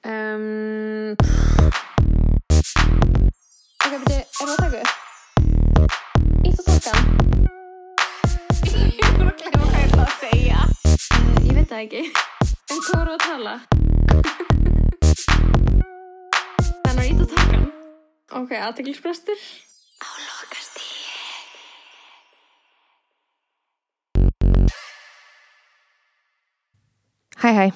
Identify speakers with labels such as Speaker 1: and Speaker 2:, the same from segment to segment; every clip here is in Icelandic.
Speaker 1: Um, ok, beti, er það að taka upp? Ítt og tólka.
Speaker 2: Ég voru að glemma hvað ég ætla að segja.
Speaker 1: Uh,
Speaker 2: Eh,
Speaker 1: ég veit það ekki. En hvað voru að tala? Þannig að ítt og tólka. Ok, aðteglisbrestur.
Speaker 2: Á lokastíði.
Speaker 3: Hæ, hæ.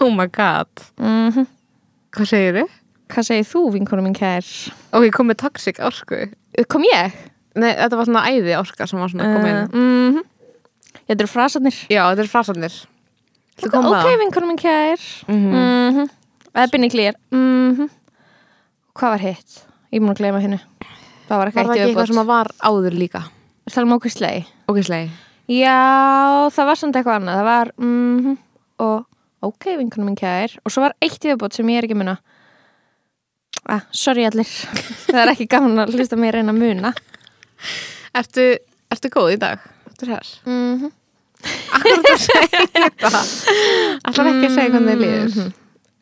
Speaker 2: Oh my god.
Speaker 3: Mm
Speaker 2: Hvað segirðu?
Speaker 3: Hvað segir þú, vinkonu mín kær?
Speaker 2: Ok, ég kom með toxic orku.
Speaker 3: Kom ég?
Speaker 2: Nei, þetta var svona æði orka sem var svona að
Speaker 1: Eh.
Speaker 2: koma inn.
Speaker 3: Uh, mm -hmm. Þetta eru frasarnir.
Speaker 2: Já, þetta er frasarnir. Þú kom
Speaker 3: Ok,
Speaker 2: með það?
Speaker 3: vinkonu mín kær. Mm -hmm. Ebbinni glýr. Mm Hvað var hitt? Ég mun að gleyma hennu. Það var
Speaker 2: Var
Speaker 3: eitthvað
Speaker 2: það
Speaker 3: eitt
Speaker 2: ekki
Speaker 3: í
Speaker 2: eitthvað sem
Speaker 3: auðvot.
Speaker 2: að var áður líka?
Speaker 3: Það er mókvist leið.
Speaker 2: Ok, slei.
Speaker 3: Já, það var samt eitthvað annað. Það var, mhm, og ok, vinkunum minn kær. Og svo var eitt viðbót sem ég er ekki að muna. Ah, sorry allir. það er ekki gaman að hlusta mér reyna að muna.
Speaker 2: Ertu, ertu góð í dag? Ertu hér?
Speaker 3: Mhm.
Speaker 2: Akkur þú segir það? Alltaf ekki að segja hvernig þið líður.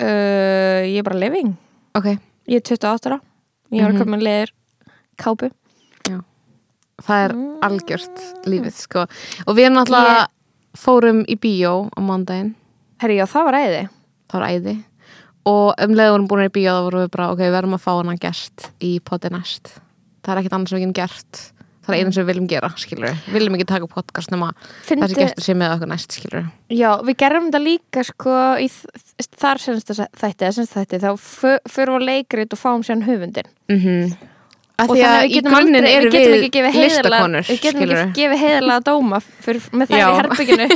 Speaker 3: uh, ég er bara living.
Speaker 2: Ok,
Speaker 3: Ég er 28 ára. Ég var að koma með leður kápu.
Speaker 2: það er algjört lífið, sko. Og við erum náttúrulega fórum í bíó á mándaginn.
Speaker 3: Herri, já, það var æði.
Speaker 2: það var æði og um leiður vorum búin í bíó þá vorum við bara ok, við verðum að fá hana gert í poti næst það er ekkert annars sem við getum gert það er einu sem við viljum gera, skilur við viljum ekki taka upp podcast nema
Speaker 3: Fyndi-
Speaker 2: þessi gestur sé með okkur næst, skilur við
Speaker 3: Já, við gerðum þetta líka sko í þ- þ- þar senst þætti, eða senst þætti, þá fö- förum við á leikrit og fáum sér hundin.
Speaker 2: mm -hmm.
Speaker 3: og
Speaker 2: því
Speaker 3: þannig
Speaker 2: að
Speaker 3: að við
Speaker 2: í
Speaker 3: getum
Speaker 2: grunninn
Speaker 3: aldrei,
Speaker 2: eru
Speaker 3: við getum ekki gefið
Speaker 2: við
Speaker 3: heiðarlega
Speaker 2: listakonur
Speaker 3: við getum
Speaker 2: skilur
Speaker 3: ekki gefið heiðarlega dóma fyrir, með það
Speaker 2: Já.
Speaker 3: í herbygginu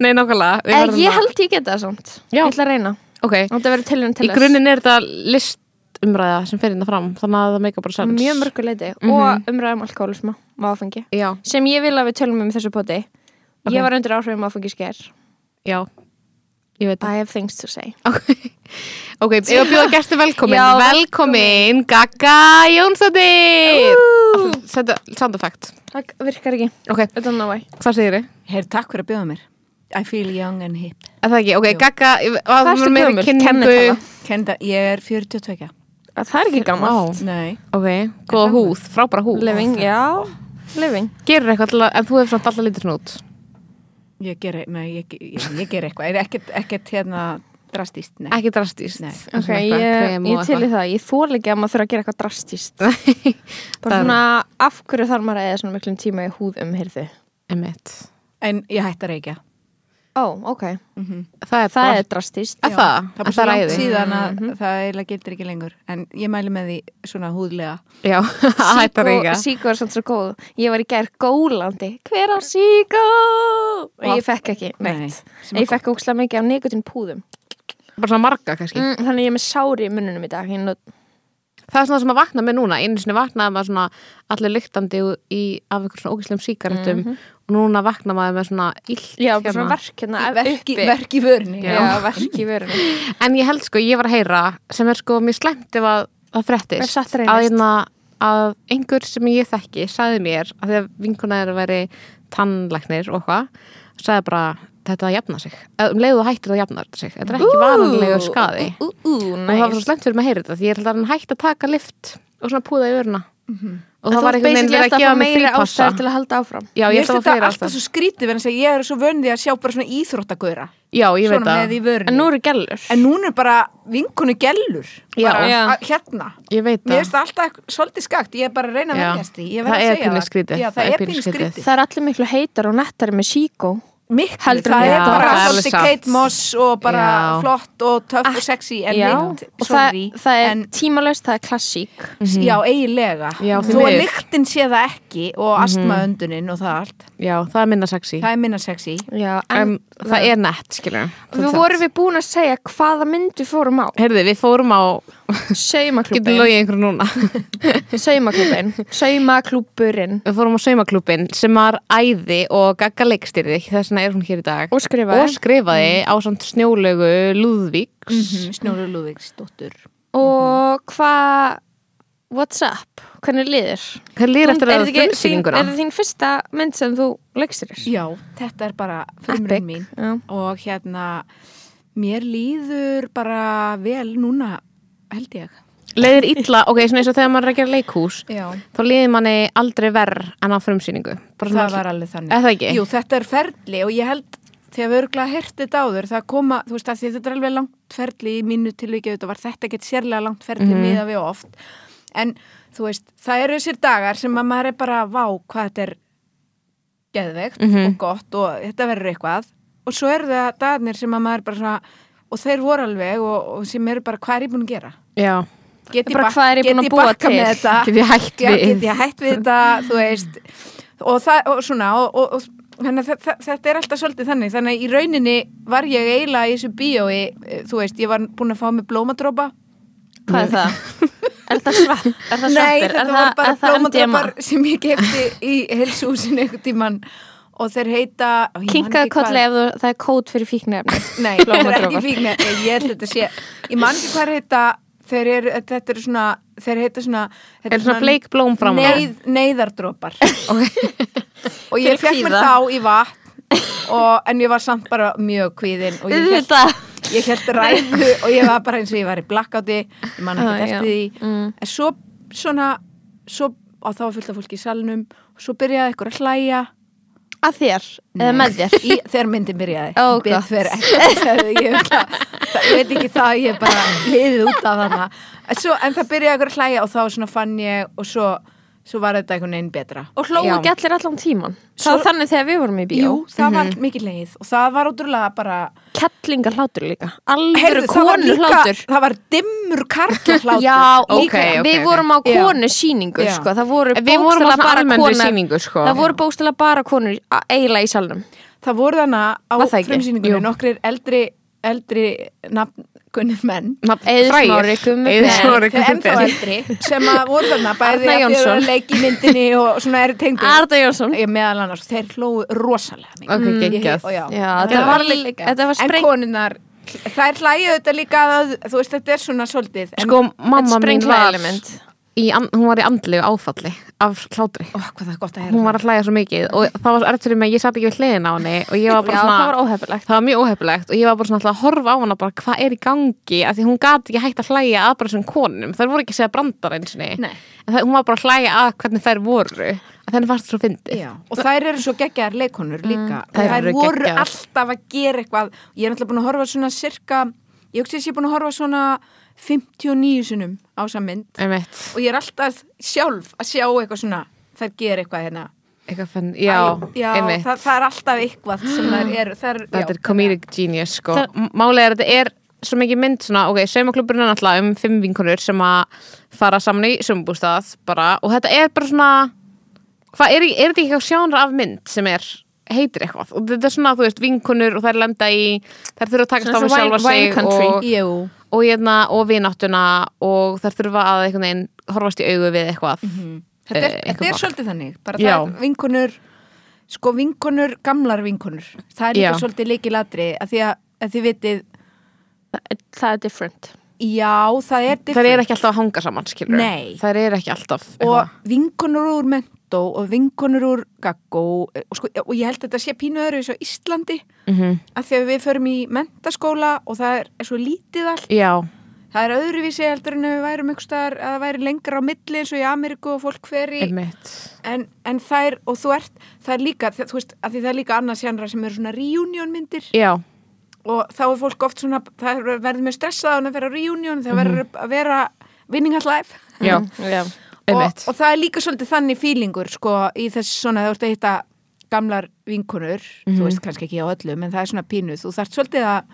Speaker 2: nei, nákvæmlega við
Speaker 3: en
Speaker 2: verðum
Speaker 3: Eh, ég
Speaker 2: að-
Speaker 3: held ég geta það samt
Speaker 2: Já.
Speaker 3: ég ætla að reyna,
Speaker 2: ok,
Speaker 3: þetta verður tilhjörn til
Speaker 2: í grunninn er þetta listumræða sem fyrir þetta fram þannig að það meika bara sens
Speaker 3: mjög mörgu leiti og umræðum alkoholisma og áfengi
Speaker 2: já,
Speaker 3: sem ég vil að við tölum um í þessu poti
Speaker 2: Ok.
Speaker 3: ég var undir áhrifum áfengisker
Speaker 2: já, ég veit það
Speaker 3: I have things to say
Speaker 2: Ok, ok, ég var að bjóða gæstu velkomin
Speaker 3: Já,
Speaker 2: Velkomin, Gaga Jónsdóttir Senda sound effect
Speaker 3: það virkar ekki,
Speaker 2: Ok,
Speaker 3: I don't know why
Speaker 2: hvað segir þið?
Speaker 4: Heyr, takk fyrir að bjóða mér. I feel young and hip.
Speaker 2: Það ekki, ok, Gaga Hvað
Speaker 3: ertu gömul?
Speaker 2: Kynningu
Speaker 3: Kennitala.
Speaker 4: Kenda, ég er 42.
Speaker 3: að það er ekki gammalt
Speaker 2: Vá.
Speaker 4: Nei.
Speaker 2: Ok, góða húð, frábæra húð
Speaker 3: living, já, living
Speaker 2: Gerir eitthvað til að, en þú hefur samt alltaf lítið svona út
Speaker 4: Ég ger, nei, ég, ég, ég ger eitthvað. Er ekkert, ekkert hérna drastíst, nei.
Speaker 2: Ekki drastíst
Speaker 4: Nei.
Speaker 3: ok, ég, ég til í það, ég þól ekki að maður þurfa að gera eitthvað drastíst
Speaker 2: það
Speaker 3: bara svona, af hverju þarf maður að eða svona miklum tíma í um húðumhyrðu
Speaker 2: Emmett
Speaker 4: En ég hætti að reykja.
Speaker 3: Ó, ok,
Speaker 2: Það er
Speaker 3: það
Speaker 2: bara
Speaker 3: er drastíst
Speaker 2: Er Það,
Speaker 4: Það er
Speaker 2: Að
Speaker 4: bara svo
Speaker 2: það
Speaker 4: langt
Speaker 2: ræði
Speaker 4: síðan að það eiginlega gildir ekki lengur. En ég mæli með því svona húðlega.
Speaker 2: Já, að hætta að reyka
Speaker 3: Síko er samt svo góð Ég var í gær gólandi Hver á Síko? Og ég fekk ekki neitt
Speaker 4: sem
Speaker 3: Ég fekk ókslega mikið af nikotin púðum
Speaker 2: Bara svona marga kannski
Speaker 3: mm, Þannig ég er með sári í munnunum í dag Ég not...
Speaker 2: Það er svona sem að vakna með núna, einu sinni vaknaði maður svona allir lyktandi í, af einhver svona ógæslegum síkaretum og núna vakna maður með svona illt
Speaker 3: Mhm. Já, bara svona verk hérna ef-
Speaker 4: Verki,
Speaker 3: uppi
Speaker 4: verki vörni.
Speaker 3: Já, verk í vörunum
Speaker 2: En ég held sko, ég var að heyra sem er sko mjög slæmt ef að það
Speaker 3: Er
Speaker 2: frettist
Speaker 3: satt reynist.
Speaker 2: að, hérna, að einhver sem ég þekki sagði mér að því að vinkuna er að veri tannlæknir og hvað sagði bara þetta að jafna sig Eða um leiðu hættir það jafnar sig þetta er ekki varanlegu skadi
Speaker 3: Ú, ú, ú,
Speaker 2: og það var
Speaker 3: næs
Speaker 2: svo slæmt fyrir mig að heyra þetta því ég held að hann hætti að taka lift og svona púða í öruna og það
Speaker 3: En þú
Speaker 2: var
Speaker 3: ert
Speaker 2: einhvern veginn
Speaker 3: basically
Speaker 2: verið að gefa
Speaker 3: alltaf fá
Speaker 2: mig
Speaker 3: meiri
Speaker 2: frípassa
Speaker 3: ástæður til að halda áfram
Speaker 2: já,
Speaker 4: Ég
Speaker 2: ég
Speaker 4: veist
Speaker 2: ætla að fá
Speaker 4: þetta
Speaker 2: fyrir
Speaker 4: alltaf
Speaker 2: alltaf
Speaker 4: svo skrítið verðan að ég er svo vöndi að sjá bara svona íþróttagöra.
Speaker 2: já, ég veit
Speaker 4: Svona með
Speaker 2: það,
Speaker 4: í vörni.
Speaker 3: En nú eru gellur
Speaker 4: En núna er bara vinkonu gellur
Speaker 2: Já.
Speaker 4: bara,
Speaker 3: Já.
Speaker 4: að- hérna
Speaker 2: ég veit
Speaker 4: Mér
Speaker 2: það
Speaker 4: finnst það alltaf svolítið skakt, ég er bara að reyna að
Speaker 2: Já.
Speaker 4: verðast því Ég verð
Speaker 2: Það
Speaker 4: að
Speaker 2: er
Speaker 4: segja
Speaker 2: pínu skrítið.
Speaker 4: Já, það er pínu skrítið
Speaker 3: Það er allir miklu heitar og nettari með Síko
Speaker 4: Miklu,
Speaker 3: Heldur
Speaker 4: það
Speaker 3: en
Speaker 4: er
Speaker 3: þetta.
Speaker 4: bara
Speaker 2: Já, það er alveg
Speaker 4: svolítið
Speaker 2: satt.
Speaker 4: Kate Moss og bara
Speaker 2: Já.
Speaker 4: flott og töff og sexy en
Speaker 3: Já,
Speaker 4: lykt,
Speaker 3: og það,
Speaker 4: sorry
Speaker 3: það er
Speaker 4: en,
Speaker 3: tímalöst, það er klassík
Speaker 4: Já, eiginlega
Speaker 2: Já, því
Speaker 4: Þó að
Speaker 2: miður.
Speaker 4: lyktin sé það ekki og astmaöndunin og það allt
Speaker 2: já, það er minna sexy
Speaker 4: Það er minna sexy
Speaker 3: Já,
Speaker 2: en það er nett, skilur
Speaker 3: Við vorum við búin að segja hvaða myndu fórum á
Speaker 2: heyrðu, við fórum á getur
Speaker 3: Saumaklubin
Speaker 2: logið einhverju núna
Speaker 3: Saumaklubin Saumakluburinn
Speaker 2: við fórum á saumaklúbin sem var æði og gagga leikstýrði þess vegna er hún hér í dag
Speaker 3: Og skrifaði. Mm.
Speaker 2: og skrifaði á samt snjólegu Lúðvíks
Speaker 4: Mhm. Snjóru Lúðvíksdóttur
Speaker 3: Og hvað What's up? Hvernig líður?
Speaker 2: hvað lýr eftir
Speaker 3: Er
Speaker 2: að
Speaker 3: þetta ekki þín-
Speaker 2: frumsýninguna
Speaker 3: er þetta þín fyrsta mynd sem þú leikstir þér?
Speaker 4: Já, þetta er bara frumurinn mín
Speaker 3: Já.
Speaker 4: og hérna Mér líður bara vel núna, held ég.
Speaker 2: leiðir illa, ok, svona eins og þegar maður er að gera leikhús
Speaker 4: Já.
Speaker 2: þá líðir manni aldrei verð en á frumsýningu bara
Speaker 4: Það var alveg þannig.
Speaker 2: Er það ekki?
Speaker 4: Jú, þetta er ferli og ég held þegar við örgulega hirtið þetta áður, það koma, þú veist að því þetta er alveg langt ferli í mínu tilvikið, þetta var þetta ekkert sérlega langt ferli
Speaker 3: Mhm.
Speaker 4: mm miða við oft, en þú veist, það eru þessir dagar sem að maður er bara, vá, hvað þetta er geðveikt
Speaker 3: Mhm.
Speaker 4: og gott og þetta verður eitthvað og svo eru það dagarnir sem að maður er bara svona, og þeir voru alveg og, og sem eru bara, hvað er ég búin að gera?
Speaker 2: já,
Speaker 4: get ég,
Speaker 3: Bara
Speaker 4: bak,
Speaker 3: hvað er ég
Speaker 4: get
Speaker 3: búin að
Speaker 4: ég
Speaker 3: búa
Speaker 4: bakka
Speaker 3: til?
Speaker 4: með þetta
Speaker 2: Get ég hætt
Speaker 4: Já,
Speaker 2: við?
Speaker 4: get ég hætt við þetta þú veist og, það, og svona og, og, og þannig, að þe- þe- þetta er alltaf svolítið þannig þannig að í rauninni var ég eiginlega í þessu bíói eh, þú veist, ég var búin að fá mig blómadrópa
Speaker 3: Hvað er það? er það svart? Er það
Speaker 4: Nei,
Speaker 3: svartir?
Speaker 4: þetta
Speaker 3: er
Speaker 4: voru
Speaker 3: það,
Speaker 4: bara
Speaker 3: er það MDMA?
Speaker 4: blómadrópar sem ég kefti í helsúsinu einhvern tíman og þeir heita ó, ég man
Speaker 3: Kinkaðu
Speaker 4: ekki hvað-
Speaker 3: kolli ef þú, það er kód fyrir fíknefni
Speaker 4: Nei, þetta er ekki
Speaker 3: Blómadropar.
Speaker 4: fíknir Ég held þetta sé Ég man ekki hvað þeir heita Þeir eru, þetta eru svona Þeir heita svona þetta
Speaker 2: Er svona bleik blóm framan á?
Speaker 4: Neyð, Neyðardropar Og
Speaker 3: Til
Speaker 4: ég fekk mér
Speaker 3: kvíða.
Speaker 4: þá í vatn og, En ég var samt bara mjög kvíðin Og ég hélt,
Speaker 3: Auðvitað.
Speaker 4: ég hélt ræðu Og ég var bara eins og ég var í blakkáti Ég man
Speaker 3: Ah,
Speaker 4: ekki
Speaker 3: já.
Speaker 4: eftir því En svo svona svo, Og þá var fullt af fólki í salnum Og svo byrjaði ykkur að hlæja
Speaker 3: Að þér, eða með þér
Speaker 4: Mm. í, þegar myndin byrjaði
Speaker 3: Ó,
Speaker 4: Betur
Speaker 3: gott.
Speaker 4: fer ekki, sagði ég, það, það, ég veit ekki það ég bara liðið út af þarna en, svo, en það byrjaði eitthvað að hlæja og þá svona fann ég og svo, svo var þetta einhvern veginn betra
Speaker 3: Og hlóðu
Speaker 2: Já.
Speaker 3: ekki allir allan tíman Það var þannig þegar við vorum í bíó
Speaker 4: Jú, það
Speaker 3: Mhm.
Speaker 4: var mikið leið og það var ótrúlega bara
Speaker 3: Kettlingar hlátur líka Alvöru
Speaker 4: Heyrðu, það var
Speaker 3: konu hlátur
Speaker 4: það var dimmur karla hlátur
Speaker 3: Já,
Speaker 2: Ok,
Speaker 3: líka,
Speaker 2: ok,
Speaker 3: við
Speaker 2: ok.
Speaker 3: vorum á
Speaker 4: Já.
Speaker 3: konu síningu
Speaker 4: Já.
Speaker 3: sko. Það voru
Speaker 2: Við vorum á
Speaker 3: bókstaflega
Speaker 2: svona
Speaker 3: bara
Speaker 2: almennri
Speaker 3: konur-
Speaker 2: sýningu, sko.
Speaker 3: Það voru bókstala bara konur í- að- eiginlega í salnum
Speaker 4: það voru þarna á
Speaker 3: Var það ekki?
Speaker 4: frumsýningunni
Speaker 3: Jú.
Speaker 4: nokkrir eldri, eldri nafngunnir menn
Speaker 3: Eiður
Speaker 2: Frægir.
Speaker 3: Smári, Gummi
Speaker 2: Eiður
Speaker 3: Ben.
Speaker 2: Smári,
Speaker 4: Þau
Speaker 2: Gummi
Speaker 4: ennþá
Speaker 2: Ben.
Speaker 4: eldri sem að voru þarna bæði
Speaker 3: Arna
Speaker 4: að þau eru
Speaker 3: Jónsson.
Speaker 4: að leik í myndinni og svona eru tengdur
Speaker 3: Arda Jónsson
Speaker 4: ég meðal annars, þeir hlóðu rosalega mikið
Speaker 2: Ok, geggjað.
Speaker 4: og já,
Speaker 3: Já,
Speaker 4: Þetta
Speaker 3: þetta
Speaker 4: var
Speaker 3: var
Speaker 4: alveg-
Speaker 3: líka- þetta var spreng-
Speaker 4: En konunnar, þær hlæju þetta líka að, þú veist, þetta er svona svolítið en,
Speaker 2: sko mamma mín
Speaker 3: sprengla
Speaker 2: var
Speaker 3: element.
Speaker 2: í, an- hún var í andlegu áfalli af hlátri
Speaker 4: ó, hvað það er gott að
Speaker 2: hún
Speaker 4: heyra
Speaker 2: var að hlæja svo mikið og það var erftur með að ég satt ekki við hliðin á henni og ég var bara
Speaker 3: Já,
Speaker 2: svona
Speaker 3: það var óhefilegt
Speaker 2: það var mjög óhefilegt og ég var bara svona alltaf að horfa á hana bara hvað er í gangi af því hún gat ekki hægt að hlæja að bara svona konum þær voru ekki að segja brandar eins og
Speaker 4: Nei.
Speaker 2: en það, hún var bara að hlæja að hvernig þær voru að þenni fannst það svo fyndið
Speaker 4: Já, og þær eru svo geggjaðar leikonur líka
Speaker 2: Þær
Speaker 4: þær
Speaker 2: eru
Speaker 4: voru
Speaker 2: geggjaðar.
Speaker 4: alltaf að gera eitthvað ég er náttúrulega búin að horfa svona cirka ég hugsi að ég er búin að horfa svona 59 sinum á sammynd
Speaker 2: Einmitt,
Speaker 4: og ég er alltaf sjálf að sjá eitthvað svona þær gera eitthvað hérna
Speaker 2: eitthvað fenn, já,
Speaker 4: Æ, já
Speaker 2: einmitt
Speaker 4: það, það er alltaf eitthvað sem þær eru þær, já.
Speaker 2: þetta er comedic genius sko. Málið er að þetta er svo mikið mynd svona, ok, saumaklubburinn er náttúrulega um fimm vinkonur sem að fara saman í sumbústað bara og þetta er bara svona hvað er, er þetta ekki eitthvað sjónra af mynd sem er heitir eitthvað og þetta er svona, þú veist, vinkonur og þær lenda í þær þurfa að takast á
Speaker 3: Svona
Speaker 2: með
Speaker 3: eins og
Speaker 2: sjálfa
Speaker 3: wine- wine
Speaker 2: sig
Speaker 3: country.
Speaker 2: og,
Speaker 4: Jú,
Speaker 2: og, hérna, og vináttuna og þær þurfa að einhvern veginn horfast í augu við eitthvað
Speaker 4: Mhm. þetta er,
Speaker 2: eh,
Speaker 4: þetta
Speaker 2: einhver
Speaker 4: er
Speaker 2: bak.
Speaker 4: svolítið þannig bara
Speaker 2: Já.
Speaker 4: það er vinkonur sko vinkonur, gamlar vinkonur það er líka
Speaker 2: Já.
Speaker 4: svolítið leikilatri að því að, að þið vitið,
Speaker 3: Það er- Það er different
Speaker 4: já það er
Speaker 2: þær
Speaker 4: different
Speaker 2: eru ekki alltaf að hanga saman, skilur
Speaker 4: Nei.
Speaker 2: þær eru ekki alltaf eitthvað.
Speaker 4: og vinkonur úr mentó og vinkonur úr gaggó eh, og, sko, og ég held að þetta sé pínu öðru á Íslandi
Speaker 2: Mhm.
Speaker 4: að því að við förum í mentaskóla og það er, er svo lítið allt
Speaker 2: já,
Speaker 4: það er öðruvísi heldur en ef við værum einhvers staðar að það væri lengra á milli eins og í Ameríku og fólk fer í
Speaker 2: einmitt
Speaker 4: en, en þær, og þú ert, það er líka, þú veist, að því það er líka annars janra sem eru svona reunion myndir
Speaker 2: já,
Speaker 4: og þá er fólk oft svona, það er- verður mjög stressað að vera á reunion, það verður að vera winning at life
Speaker 2: já,
Speaker 3: Já
Speaker 4: og,
Speaker 2: einmitt
Speaker 4: og það er líka svolítið þannig fílingur sko í þessu svona, þú ert að hitta gamlar vinkunur,
Speaker 2: Mhm.
Speaker 4: þú veist kannski ekki á öllum en það er svona pínuð, þú þarft svolítið að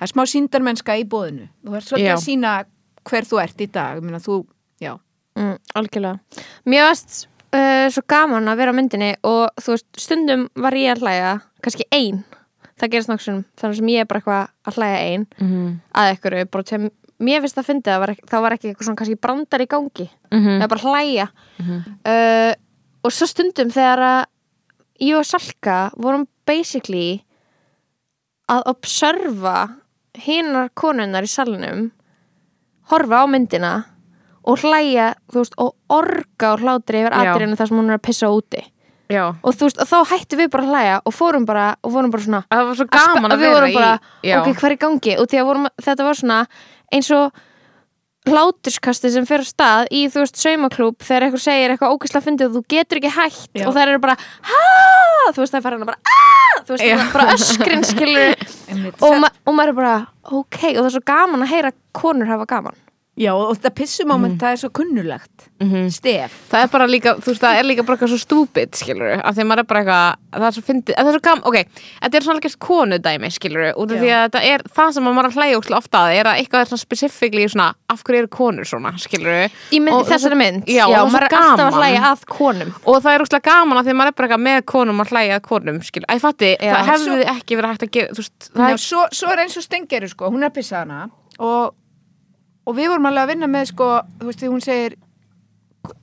Speaker 4: það er smá síndarmennska í bóðinu þú þarft svolítið
Speaker 2: Já.
Speaker 4: að sína hver þú ert í dag ég meina þú, já,
Speaker 3: Mm, algjörlega. Mér varst uh, svo gaman að vera á myndinni og þú veist, stundum var ég að hlæja kannski ein, það gerist nokksum þannig sem ég er bara eitthvað að hlæja ein
Speaker 2: Mhm.
Speaker 3: að einhverju, bara til að mér finnst það fyndið að var, ekki- þá var ekki eitthvað svona kannski brandar í gangi
Speaker 2: Mhm.
Speaker 3: það var bara að hlæja uh, og svo stundum þegar að ég og Salka vorum basically að observa hinnar konunnar í salnum horfa á myndina og hlæja þú veist, og orga og hlátri yfir
Speaker 2: Já.
Speaker 3: atriðinu þar sem hún er að pissa úti
Speaker 2: já.
Speaker 3: og þú veist, og þá hættum við bara að hlæja og fórum bara, og vorum bara svona
Speaker 2: Það var svo
Speaker 3: að
Speaker 2: gaman
Speaker 3: spa-
Speaker 2: að
Speaker 3: við
Speaker 2: vera
Speaker 3: vorum bara,
Speaker 2: í já.
Speaker 3: ok, hvað er í gangi og því að vorum, þetta var svona eins og hláturskasti sem fer á stað í, þú veist, saumaklúb þegar eitthvað segir eitthvað ógæsla fyndið og þú getur ekki hætt
Speaker 4: Já.
Speaker 3: og þær eru bara "Ha!" þú veist, það er farin að bara "Ah!" þú veist,
Speaker 2: Já.
Speaker 3: bara- bara öskrin skilur
Speaker 4: Einmitt.
Speaker 3: og, ma og maður er bara, ok og það er svo gaman að heyra konur hafa gaman
Speaker 4: Já, og þetta pissumoment, það er svo kunnulegt
Speaker 2: Mhm.
Speaker 4: Stef
Speaker 2: Það er bara líka, þú veist, það er líka bara eitthvað svo stúpid, skilur af því að maður er bara eitthvað, það er svo fyndið, það er svo gaman, ok, þetta er svona líka konudæmi, skilur út af því að þetta er, það sem maður er að hlæja úrslega ofta að er að eitthvað er svona specifíkli svona, af hverju eru konur svona, skilur
Speaker 3: í mynd,
Speaker 2: Og-
Speaker 3: þessari mynd,
Speaker 2: Já, og það
Speaker 3: maður
Speaker 2: er
Speaker 3: er alltaf að
Speaker 2: gaman.
Speaker 3: hlæja að konum
Speaker 2: og það er úrslega gaman að því að maður er bara eitthvað með konum að hlæja að konum, skilur, að ég fatti,
Speaker 3: Já.
Speaker 2: það hefði ekki verið hægt að gera, þú veist, það
Speaker 4: Já,
Speaker 2: er,
Speaker 4: svo, svo er eins og stengeru sko, hún er pissaðana og, og við vorum alveg að vinna með sko, þú veist því hún segir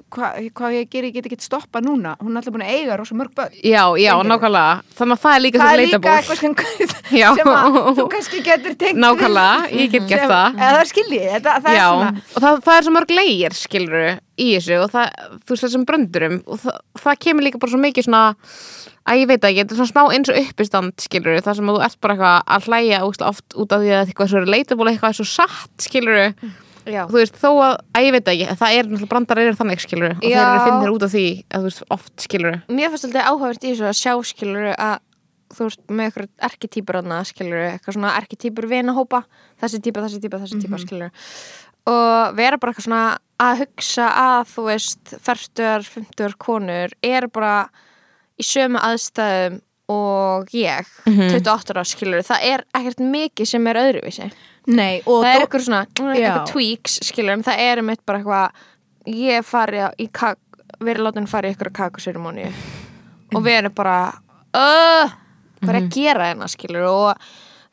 Speaker 4: hvað hva ég gerir, ég get ekki stoppa núna hún er alltaf búin að eiga rosa mörg börn
Speaker 2: já, já,
Speaker 4: Steingerður.
Speaker 2: nákvæmlega, þannig að það er líka
Speaker 4: það er
Speaker 2: þessi
Speaker 4: líka
Speaker 2: leitarból.
Speaker 4: eitthvað sem,
Speaker 2: Já.
Speaker 4: sem að þú kannski getur tengt við.
Speaker 2: Nákvæmlega, ég get gert
Speaker 4: Sem-
Speaker 2: það.
Speaker 4: eða það er skiljið, það, það er
Speaker 2: Já,
Speaker 4: svona
Speaker 2: og það, það er svo mörg leigir skilur í þessu og það, þú veist þessum bröndurum og það, það kemur líka bara svo mikið svona að ég veit ekki, þetta er svona smá eins og uppistand skilur þar sem að þú ert bara eitthvað að hlæja ógeðslega oft út af því að eitthvað svo er leitaból eitthvað er svo satt skilur
Speaker 3: já.
Speaker 2: þú veist þó að, að ég veit ekki, það er náttúrulega brandar eru þannig skilur og þeir
Speaker 3: Já.
Speaker 2: eru finnir út af því að þú veist oft skilur
Speaker 3: mér fannst alltaf áhægt í þessu að sjá skilur að þú ert með eitthvað arkitýpur annað skilur, eitthvað svona arkitýpur vinahópa, þessi týpa, þessi týpa, þessi týpa mm og vera bara eitthvað svona að hugsa að þú veist 40, 50 konur er bara í sömu aðstæðum og ég 28 ára skilur, það er ekkert mikið sem er öðruvísi
Speaker 4: Nei, og
Speaker 3: það er
Speaker 4: þó-
Speaker 3: eitthvað svona, eitthvað tweaks skilur, um, það er um eitt bara eitthvað ég fari á- í kak verið látin fara í eitthvað kakuseremóni og við erum bara öh, hvað er að gera hérna skilur og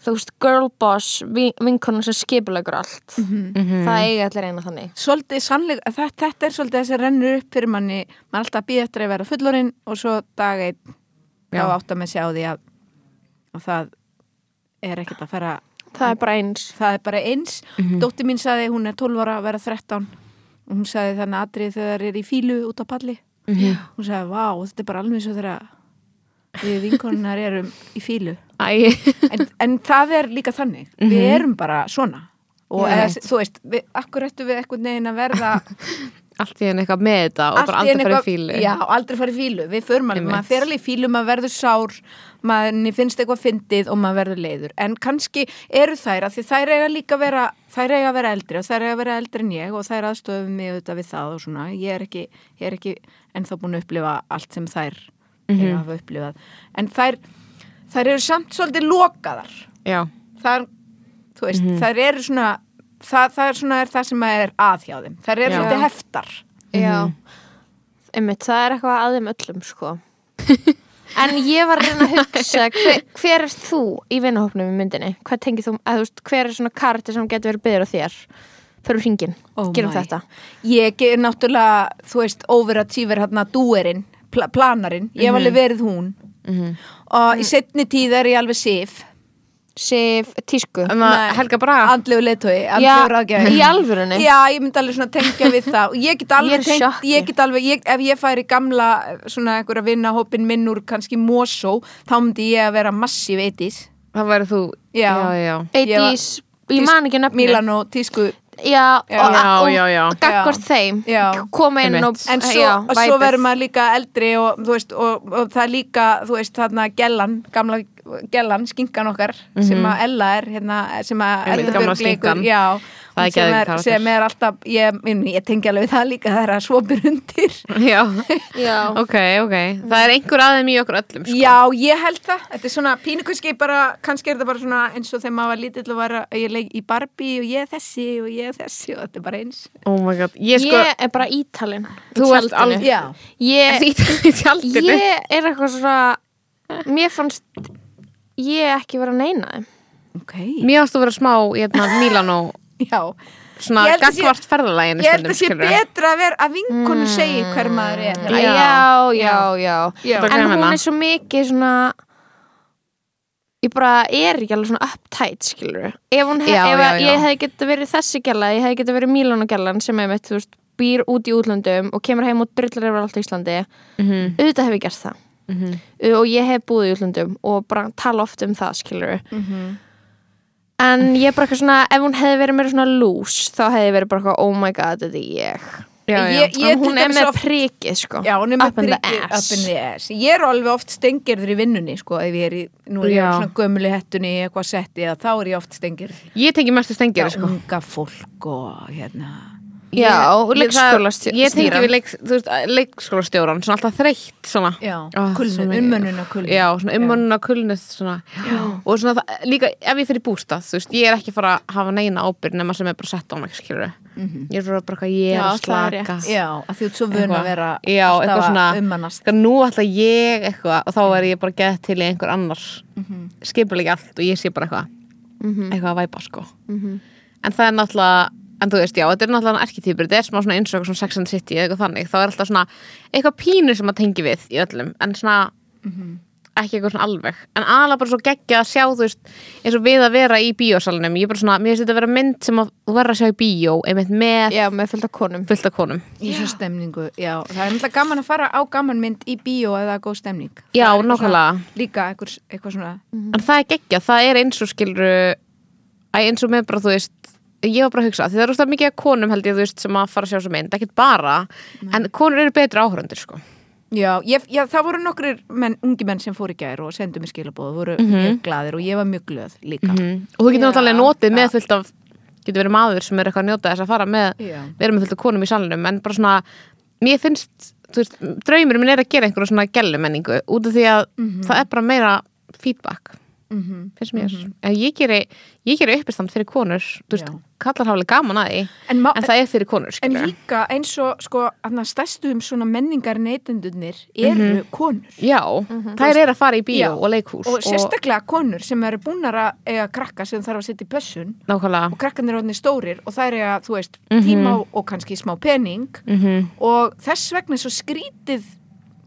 Speaker 3: þú veist, girlboss vinkonan sem skipulegur allt það eiga allir eina þannig
Speaker 4: svolítið sannleik, þetta, þetta er svolítið þessi rennur upp fyrir manni, maður er alltaf að býja eftir að vera fullorinn og svo dag einn þá
Speaker 2: Já.
Speaker 4: átt að með sjá því að, að það er ekkert að fara
Speaker 3: það er bara eins
Speaker 4: það er bara eins dóttir mín saði, hún er 12 ára að vera 13 og hún saði þannig atrið þegar þær er í fílu út á palli hún saði, vá, þetta er bara alveg svo þegar við vinkonunar erum í fílu
Speaker 2: Æ,
Speaker 4: en, en það er líka þannig við erum bara svona og
Speaker 3: Já.
Speaker 4: eða, þú veist, við, akkur ættum við eitthvað neginn að verða
Speaker 2: allt í enn eitthvað með þetta og bara
Speaker 4: allt í
Speaker 2: aldrei
Speaker 4: einu
Speaker 2: farið
Speaker 4: eitthvað-
Speaker 2: fílu
Speaker 4: já, aldrei farið í fílu, við förum alveg,
Speaker 2: Einmitt.
Speaker 4: maður fer alveg í fílu maður verður sár, maður finnst eitthvað fyndið og maður verður leiður, en kannski eru þær, að því þær eiga líka að vera þær eiga að vera eldri og þær eiga að vera eldri en ég og þær aðstofum mig auðvitað við það og svona, ég er ekki, ég er ekki ennþá búin að upplifa allt sem þær
Speaker 2: Mhm.
Speaker 4: mm -hmm. hafa upplifað, en þær þær eru samt svolítið lokaðar
Speaker 2: Já.
Speaker 4: þar, þú veist,
Speaker 2: Mhm.
Speaker 4: þær eru svona það, það er svona er það sem er að hjá þeim þær eru
Speaker 2: Já.
Speaker 4: svolítið heftar
Speaker 3: Já,
Speaker 2: Mhm.
Speaker 3: einmitt, það er eitthvað að þeim öllum sko En ég var að reyna að hugsa hver, hver er þú í vinahópnum í myndinni? Hvað tengir þú, að, þú veist, hver er svona karakter sem getur verið byggður á þér? Förum hringin,
Speaker 4: Oh
Speaker 3: gerum
Speaker 4: my.
Speaker 3: þetta
Speaker 4: Ég er náttúrulega, þú veist, overachiever hérna dúerinn, pl planarinn,
Speaker 3: Mhm.
Speaker 4: ég hef alveg verið hún og í setni tíð er ég alveg sif,
Speaker 3: Sif, tísku
Speaker 2: Þannig að
Speaker 4: Nei.
Speaker 2: Helga Braga
Speaker 4: andlegu letói,
Speaker 3: Já,
Speaker 4: andlegu ráðgjafi.
Speaker 3: í alvörunni?
Speaker 4: Já, ég myndi alveg svona tengja við það og ég get
Speaker 3: Ég er
Speaker 4: alveg tengt,
Speaker 3: sjokki.
Speaker 4: ég get alveg, ég, ef ég færi gamla svona einhverja vinnahópin minn úr kannski Mosó, þá myndi ég að vera massíf eitis.
Speaker 2: Það væri þú
Speaker 4: Já.
Speaker 2: já, já.
Speaker 4: Ég var-
Speaker 3: Eitís, ég man ekki nöfnum
Speaker 4: Milano, tísku,
Speaker 3: Já, og,
Speaker 2: Já,
Speaker 3: og,
Speaker 2: já, já.
Speaker 3: og gagvart þeim
Speaker 4: Já.
Speaker 3: Koma inn og
Speaker 2: Einmitt. Eh,
Speaker 4: En svo,
Speaker 3: já,
Speaker 4: og svo
Speaker 3: væpið.
Speaker 4: verður maður líka eldri og, þú veist, og, og það er líka, þú veist, þarna gellan, gamla gellan, skinkan okkar, sem að Ella er, hérna, sem að
Speaker 2: Mhm. Einmitt,
Speaker 4: Eldur
Speaker 2: gamla
Speaker 4: Björg leikur,
Speaker 2: skinkan.
Speaker 4: já,
Speaker 2: Það er
Speaker 4: sem,
Speaker 2: geðveikur
Speaker 4: er,
Speaker 2: karakter.
Speaker 4: sem er alltaf, ég, ég, ég tengi alveg við það líka, það er að svopir undir.
Speaker 2: Já,
Speaker 3: Já,
Speaker 2: ok, ok Það er einhver aðeim í okkur öllum sko.
Speaker 4: Já, ég held það, þetta er svona pínukurski bara, kannski er þetta bara svona eins og þegar maður var lítill og var að- ég leik í Barbie og ég er þessi og ég er þessi og þetta er bara eins.
Speaker 2: Oh my god, ég
Speaker 3: ég,
Speaker 2: sko
Speaker 3: er bara ítalin í
Speaker 2: Þú ert
Speaker 3: tjaldinu.
Speaker 2: alveg-
Speaker 4: Já.
Speaker 3: Ég
Speaker 2: Ertu ítalinn í tjaldinu?
Speaker 3: Ég er eitthvað svona Mér fannst ég ekki vera að neina þeim
Speaker 4: Ok.
Speaker 2: Mér ástu að vera smá, hérna, Milano
Speaker 4: Já.
Speaker 2: Svona
Speaker 4: Ég held að sé-
Speaker 2: gagvart ferðalæginu
Speaker 4: Ég held að sé
Speaker 2: skilurðu.
Speaker 4: betra að vera að vinkonu segi hver maður er.
Speaker 3: Já, já, já,
Speaker 4: Já.
Speaker 2: Þetta
Speaker 3: En
Speaker 2: græna.
Speaker 3: hún er svo mikið svona Ég bara er ekki alveg svona uptight, skilur Ef, hún hef,
Speaker 2: Já,
Speaker 3: ef
Speaker 2: já,
Speaker 3: að
Speaker 2: já.
Speaker 3: ég hefði getað verið þessi gæla Ég hefði getað verið Mílónu gælan sem er mitt, þú veist býr út í útlöndum og kemur heim og drullar yfir allt á Íslandi
Speaker 2: Mhm.
Speaker 3: auðvitað hef ég gert það
Speaker 2: Mhm.
Speaker 3: Uh, og ég hef búið í útlöndum og bara tala oft um það skilur
Speaker 4: Mhm.
Speaker 3: en ég er bara eitthvað svona ef hún hefði verið mér svona loose þá hefði ég verið bara eitthvað oh my god þetta er ég
Speaker 2: Já, já.
Speaker 4: Ég-
Speaker 3: en
Speaker 4: til
Speaker 3: hún er
Speaker 4: dæmis
Speaker 3: með
Speaker 4: oft-
Speaker 3: prikið sko
Speaker 4: Já, hún er með
Speaker 3: Up in the
Speaker 4: prikið
Speaker 3: ass.
Speaker 4: up in the ass. Ég er alveg oft stengirður í vinnunni, sko, ef ég er í, nú er ég
Speaker 2: Já.
Speaker 4: á svona gömuli hettunni í eitthvað setti, eða þá er ég oft stengirður.
Speaker 2: Ég tengi mestu
Speaker 4: Já,
Speaker 2: stengir, sko.
Speaker 4: unga fólk og hérna.
Speaker 3: Já, og
Speaker 2: Ég-
Speaker 3: leikskólastjó-
Speaker 2: Ég tengi
Speaker 3: stýran.
Speaker 2: við leik, þú veist, leikskólastjóran, svona alltaf þreytt, svona.
Speaker 4: Já,
Speaker 2: Ó, svo
Speaker 4: kulnun,
Speaker 2: mikið.
Speaker 4: ummönnun og kulnun.
Speaker 2: Já, svona ummönnuna kulnið, svona. Og svona, það, líka, ef ég fyrir bústað, þú veist, ég er ekki að fara að hafa neina ábyrg nema sem er bara sett á mig, skilur. Ég er bara bara eitthvað, ég er
Speaker 3: Já,
Speaker 2: að
Speaker 3: það
Speaker 2: slaka.
Speaker 3: er
Speaker 4: Mhm. Já, að því þú ert svo vun að vera
Speaker 2: Já, eitthvað
Speaker 4: alltaf
Speaker 2: svona-
Speaker 4: að Mhm. ummannast.
Speaker 2: Þegar nú ætla ég eitthvað og þá er ég bara gett til í einhver annars mm
Speaker 4: Mhm.
Speaker 2: -hmm. allt og ég sé bara eitthvað eitthvað að væpa sko
Speaker 4: Mhm.
Speaker 2: en það er náttúrulega en þú veist já, þetta er náttúrulega arkitýpur þetta er smá svona eins og svona Sex and the City eða eitthvað þannig þá er alltaf svona eitthvað pínu sem að tengi við í öllum en svona
Speaker 4: Mhm.
Speaker 2: ekki eitthvað svona alveg en aðalega bara svo geggja að sjá þú veist eins og við að vera í bíósalunum ég er bara svona, mér finnst þetta að vera mynd sem að þú verður að sjá í bíó einmitt með
Speaker 3: Já, með fullt af konum
Speaker 2: fullt af konum
Speaker 4: Í þessu stemningu, já. Það er náttúrulega gaman að fara á gaman mynd í bíó eða góð stemning. Það
Speaker 2: Já,
Speaker 4: er eitthvað svona-
Speaker 2: nákvæmlega.
Speaker 4: Líka eitthvað, eitthvað svona,
Speaker 2: en það er geggja, það er eins og skilru æ, eins og með bara þú veist ég var bara að hugsa, því það er úrstað mikið af konum held ég þú veist sem að fara að sjá svo mynd, ekkert bara en konur eru betri áhörundir sko
Speaker 4: já, ég, já, það voru nokkur menn, ungi menn sem fór í gær og sendu mér skilabóð, voru mjög glaðir og ég var mjög glöð líka.
Speaker 2: og þú getur
Speaker 4: Já,
Speaker 2: náttúrulega notið
Speaker 4: já.
Speaker 2: með fullt af getur verið maður sem er eitthvað að njóta þess að fara með
Speaker 4: Já.
Speaker 2: vera með fullt af konum í salnum en bara svona, mér finnst þú veist, draumur minn er að gera einhverja svona gellumenningu út af því að
Speaker 4: Mhm.
Speaker 2: það er bara meira feedback finnst mér, En ég geri, ég geri uppistand fyrir konur, þú veist,
Speaker 4: Mhm. Já.
Speaker 2: kallar hafa alveg gaman að því
Speaker 4: En, ma-
Speaker 2: en það er fyrir konur,
Speaker 4: En
Speaker 2: skilur
Speaker 4: líka eins og sko, þarna stærstu um svona menningar neytendunir eru konur
Speaker 2: Já, þær eru að fara í bíó
Speaker 4: Mhm. Já.
Speaker 2: og leikhús
Speaker 4: og sérstaklega konur sem eru búnar að eiga krakka sem þarf að setja í pössun
Speaker 2: Nákvæmlega
Speaker 4: og krakkanir orðinni stórir og þær eiga, þú veist,
Speaker 3: Mhm.
Speaker 4: tíma og kannski smá pening
Speaker 2: Mhm.
Speaker 4: og þess vegna er svo skrítið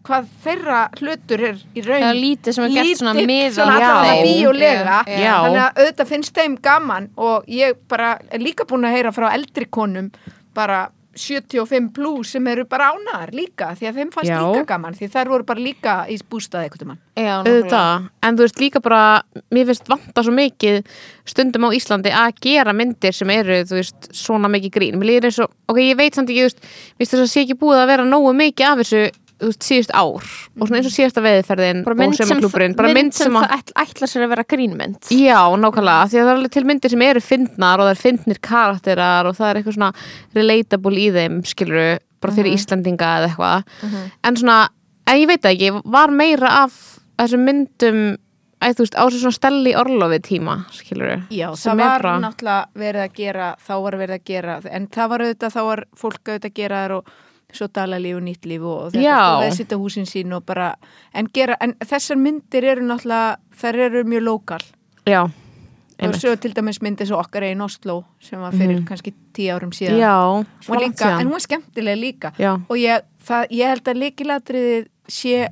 Speaker 4: hvað þeirra hlutur er í raun
Speaker 3: Það er lítið sem er gert svona miðað
Speaker 4: svona
Speaker 2: Já.
Speaker 4: alltaf svona bíólega
Speaker 2: Já. Já.
Speaker 4: þannig að auðvitað finnst þeim gaman og ég bara er líka búin að heyra frá eldri konum bara 75 plus sem eru bara ánaðar líka því að þeim fannst
Speaker 2: Já.
Speaker 4: líka gaman því þær voru bara líka í bústaði eitthvað mann
Speaker 3: Já, nákvæmlega.
Speaker 2: Auðvitað, en þú veist líka bara mér finnst vanta svo mikið stundum á Íslandi að gera myndir sem eru þú veist, svona mikið grín mér líður eins og, ok, ég veit samt ekki, þú veist mér finnst þess að sé ekki búið að vera nógu mikið af þessu þú veist, síðust ár og svona eins og síðasta veðiferðin
Speaker 3: bara
Speaker 2: og
Speaker 3: mynd sem,
Speaker 2: sömaklúburinn bara mynd sem að
Speaker 3: það ætl- ætlar sér að vera grínmynd
Speaker 2: Já, nákvæmlega, af því að það er alveg til myndir sem eru fyndnar og það er fyndnir karakterar og það er eitthvað svona relatable í þeim skilur, bara fyrir
Speaker 4: Mhm.
Speaker 2: Íslendinga eða eitthvað, en svona en ég veit það ekki, var meira af þessum myndum, að, þú veist á þessu svona stelli orlofi tíma skilur,
Speaker 4: Já, það
Speaker 2: sem
Speaker 4: var
Speaker 2: er bara
Speaker 4: náttúrulega verið að gera, þá var verið að gera, en það var auðvitað, þá var fólk auðvitað að gera þar og svo dalalíf og nýtt líf og, og
Speaker 2: Já.
Speaker 4: þetta og veðsita húsin sín og bara, en gera, en þessar myndir eru náttúrulega, þær eru mjög lokal.
Speaker 2: Já,
Speaker 4: Það
Speaker 2: Einmitt. Mhm.
Speaker 4: var svo til dæmis myndir svo okkar einn Oslo sem var fyrir kannski tíu árum síðan.
Speaker 2: já
Speaker 4: Hún var
Speaker 2: svo langt
Speaker 4: líka,
Speaker 2: síðan.
Speaker 4: en hún var skemmtilega líka.
Speaker 2: Já.
Speaker 4: Og ég, það, ég held að leikilatriðið sé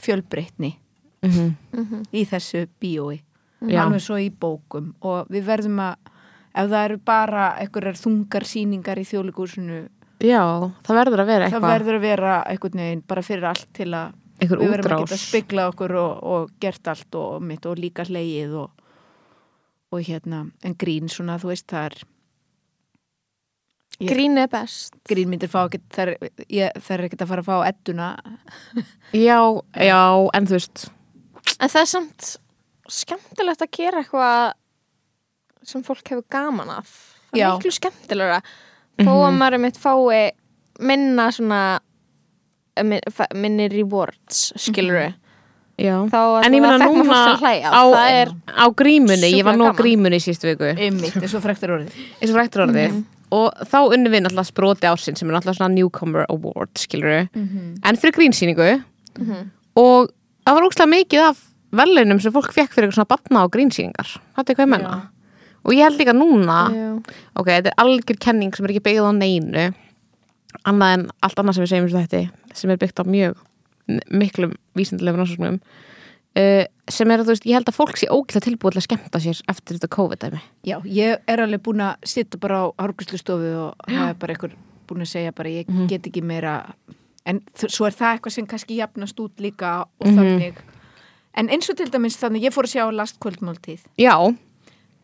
Speaker 4: fjölbreytni
Speaker 2: Mhm.
Speaker 4: í þessu bíói
Speaker 2: Mm. Já.
Speaker 4: alveg svo í bókum og við verðum að ef það eru bara einhverjar þungar sýningar í þjóðleikúsinu
Speaker 2: Já, það verður að vera
Speaker 4: það
Speaker 2: eitthvað
Speaker 4: verður að vera einhvern veginn bara fyrir allt til að
Speaker 2: Einhver
Speaker 4: við verðum að
Speaker 2: útrás.
Speaker 4: geta spegla okkur og, og gert allt og mitt og líka hlegið og, og hérna en grín svona þú veist það er Ég-
Speaker 3: grín er best
Speaker 4: grínmyndir fá ekkert það er, ég- þær er ekkert að fara að fá edduna
Speaker 2: Já, já, en þú veist
Speaker 3: en það er samt skemmtilegt að gera eitthvað sem fólk hefur gaman af það
Speaker 4: Já.
Speaker 3: er miklu skemmtilegra þó að maður er mitt fái minna svona min- fa- minni rewards skilur við
Speaker 2: Já.
Speaker 3: Þá allavega
Speaker 2: en ég meina
Speaker 3: fekk maður
Speaker 2: núna
Speaker 3: fólk til að hlæja.
Speaker 2: á,
Speaker 3: Það er
Speaker 2: á grímunni, ég var nú á
Speaker 3: sjúklega
Speaker 2: grímunni í sístu viku
Speaker 4: ymmit, eins og frektar orðið
Speaker 2: eins og rættur orðið og þá unnum við náttúrulega sproti ársinn sem er náttúrulega svona Newcomer Award skilur en fyrir grínsýningu og það var ógstlega mikið af velunum sem fólk fekk fyrir eitthvað svona batna og grínsýningar þetta er hvað ég menna og ég held líka núna ok, þetta er algjör kenning sem er ekki byggð á neinu annað en allt annað sem við segjum um þetta sem er byggt á mjög m- miklum vísindulegum rannsóknum uh, sem er að þú veist, ég held að fólk sé ógætla tilbúið til að skemmta sér eftir þetta COVID-dæmi
Speaker 4: Já, ég er alveg búin að sitta bara á hárguslustofu og það er bara einhver búin að segja bara ég get ekki meira en þ- svo er það eitthvað sem kannski jafnast út líka og þannig en eins og til dæmis þannig ég fór að sjá last kvöldmáltíð
Speaker 2: Já,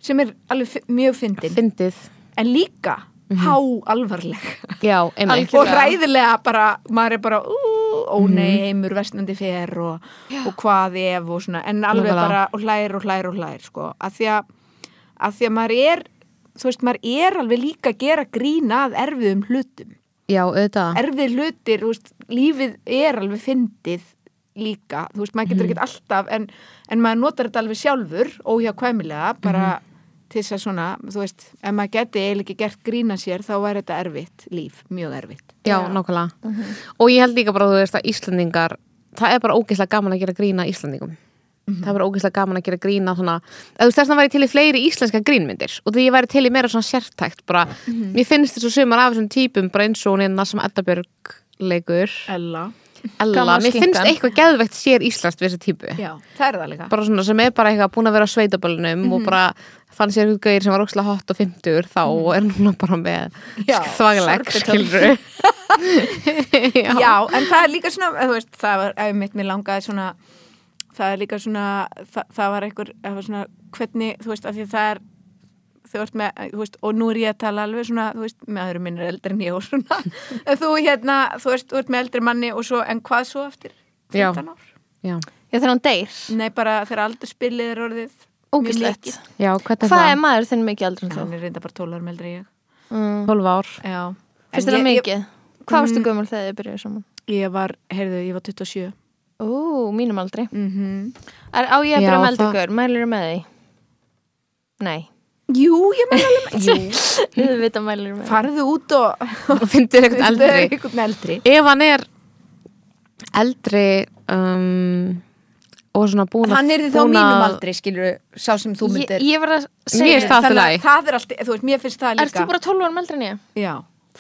Speaker 4: sem er alveg fi- mjög fyndin
Speaker 2: fyndið
Speaker 4: en líka há alvarleg
Speaker 2: Já, einmitt
Speaker 4: og ræðilega bara maður er bara ú, ó nei heimur vestnandi fer og, og hvað ef og svona en alveg
Speaker 2: Nákvæmlega.
Speaker 4: bara og hlær og hlær og hlær sko að því að, að því að maður er þú veist maður er alveg líka að gera grína að erfiðum hlutum
Speaker 2: Já, auðvitað
Speaker 4: erfið hlutir, þú veist, lífið er alveg fyndið líka, þú veist, maður getur ekkert alltaf en, en maður notar þetta alveg sjálfur óhjákvæmilega, bara til þess að svona, þú veist, ef maður geti eiginlega ekki gert grína sér, þá væri þetta erfitt líf, mjög erfitt.
Speaker 2: Já, nákvæmlega Og ég held líka bara þú veist að Íslendingar það er bara ógeðslega gaman að gera grína Íslendingum Það er bara ógeðslega gaman að gera grína svona, eða þú veist þessna væri til í fleiri íslenska grínmyndir og því ég væri til í meira svona sértækt bara, mér finnst þessu sumar af þessum típum bara eins og hún hérna sem Edda Björg leikur,
Speaker 4: Ella.
Speaker 2: Ella,
Speaker 3: Gamla
Speaker 2: mér finnst
Speaker 3: skinkan.
Speaker 2: eitthvað geðveikt sér íslenskt við þessu típu
Speaker 4: Já, það er það líka.
Speaker 2: bara svona sem er bara eitthvað búin að vera á sveitaböllunum
Speaker 3: Mhm.
Speaker 2: og bara fann sér eitthvað gauðir sem var ókslega hot og 50 þá og er núna bara með
Speaker 4: Já,
Speaker 2: þvagleg
Speaker 4: sorbitöll.
Speaker 2: skilru
Speaker 4: já. en það er líka svona, eða þú veist, það var, ef mitt mér langaði svona, það er líka svona, það, það var einhver, það var svona, hvernig, þú veist, af því það er, þú ert með, þú veist, og nú er ég að tala alveg svona, þú veist, með aðurum minn er eldri en ég og svona, en þú hérna, þú veist, þú ert með eldri manni og svo, en hvað svo eftir
Speaker 2: Já.
Speaker 4: 15 ár?
Speaker 2: já,
Speaker 3: Ég þegar hún deyr
Speaker 4: Nei, bara þegar aldurspilið er orðið. mjög
Speaker 3: Ógislegt
Speaker 4: mikið.
Speaker 2: já, hvernig
Speaker 3: Hvað
Speaker 2: það?
Speaker 3: er maður þinn mikið aldrei en
Speaker 4: Hann er reynda bara 12 árum eldri en ég.
Speaker 3: þú? Mm.
Speaker 2: 12 ár
Speaker 4: Já. En
Speaker 3: Fyrst er það
Speaker 4: ég-
Speaker 3: mikið Hvað varstu gömul þegar þið byrjuði saman?
Speaker 4: Ég, ég var, heyrðu, ég var 27.
Speaker 3: Ó, mínum aldrei
Speaker 4: Mm
Speaker 3: Er á ég að
Speaker 2: Já,
Speaker 3: byrja með
Speaker 2: það-
Speaker 3: eldugur? Mælur með því? Nei
Speaker 4: Jú, ég meina alveg,
Speaker 3: Þið vita mælur með því
Speaker 4: farðu út og
Speaker 2: og finnir eitthvað
Speaker 4: Þetta er
Speaker 2: eldri
Speaker 4: einhvern eldri
Speaker 2: ef hann er eldri um, og svona búin að
Speaker 4: hann er því þá
Speaker 2: búin
Speaker 4: mínum
Speaker 2: að-
Speaker 4: aldrei skilur sá sem þú
Speaker 3: Ég,
Speaker 4: myndir
Speaker 3: ég var að
Speaker 2: Mér
Speaker 3: segja
Speaker 2: finnst það allt í
Speaker 4: þannig
Speaker 2: lagi.
Speaker 4: að það er alltaf, þú veist, mér finnst það líka
Speaker 3: Erst þú bara 12 árum eldri en ég?
Speaker 4: já,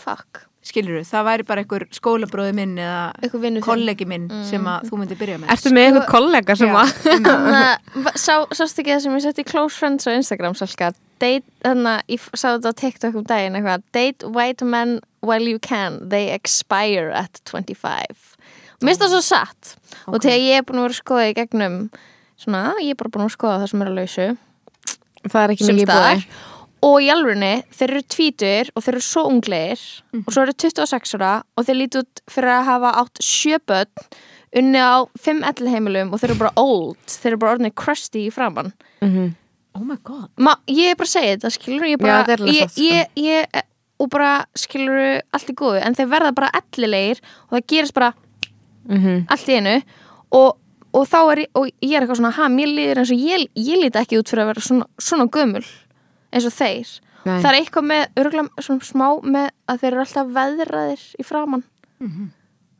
Speaker 3: Fuck
Speaker 4: skilur það væri bara einhver skólabróði minn
Speaker 3: Einhver
Speaker 4: eða
Speaker 3: vinur þinn.
Speaker 4: kollegi minn sem að þú myndir byrja með
Speaker 2: Mm. ertu með
Speaker 3: Sko-
Speaker 2: eitthvað kollega sem
Speaker 4: Já.
Speaker 2: að
Speaker 3: Þannig að Hérna, sá, sást ekki það sem ég sett í Close Friends á Instagram salka date, þannig að ég f- sá þetta á TikTok um daginn eitthvað, date white men while you can, they expire at 25 Mér finnst það svo satt og þegar ég er búin að vera að skoða í gegnum svona, ég er bara búin að skoða það sem er að lausu
Speaker 2: það er ekki
Speaker 3: sem
Speaker 2: mikið búið
Speaker 3: staðar og í alvörinni, þeir eru tvítur og þeir eru svo ungleir og svo eru 26 ára og þeir líti út fyrir að hafa átt sjöböld unni á 5 ellheimilum og þeir eru bara old þeir eru bara orðinni crusty í framann
Speaker 2: Mhm.
Speaker 4: oh my god
Speaker 3: Ma, ég er bara að segja þetta, skilur ég
Speaker 2: Já,
Speaker 3: bara,
Speaker 2: þetta er alveg
Speaker 3: ég,
Speaker 2: satt, sko.
Speaker 3: ég, ég, og bara skilur allt í góðu, en þeir verða bara ellilegir og það gerist bara
Speaker 2: Mhm.
Speaker 3: allt í einu og, og þá er ég, og ég er eitthvað svona ha, mér líður eins og ég, ég líti ekki út fyrir að vera svona, svona gömul eins og þeir
Speaker 2: Nei.
Speaker 3: það er eitthvað með, örgulega svona smá með að þeir eru alltaf veðraðir í framann
Speaker 4: Mhm.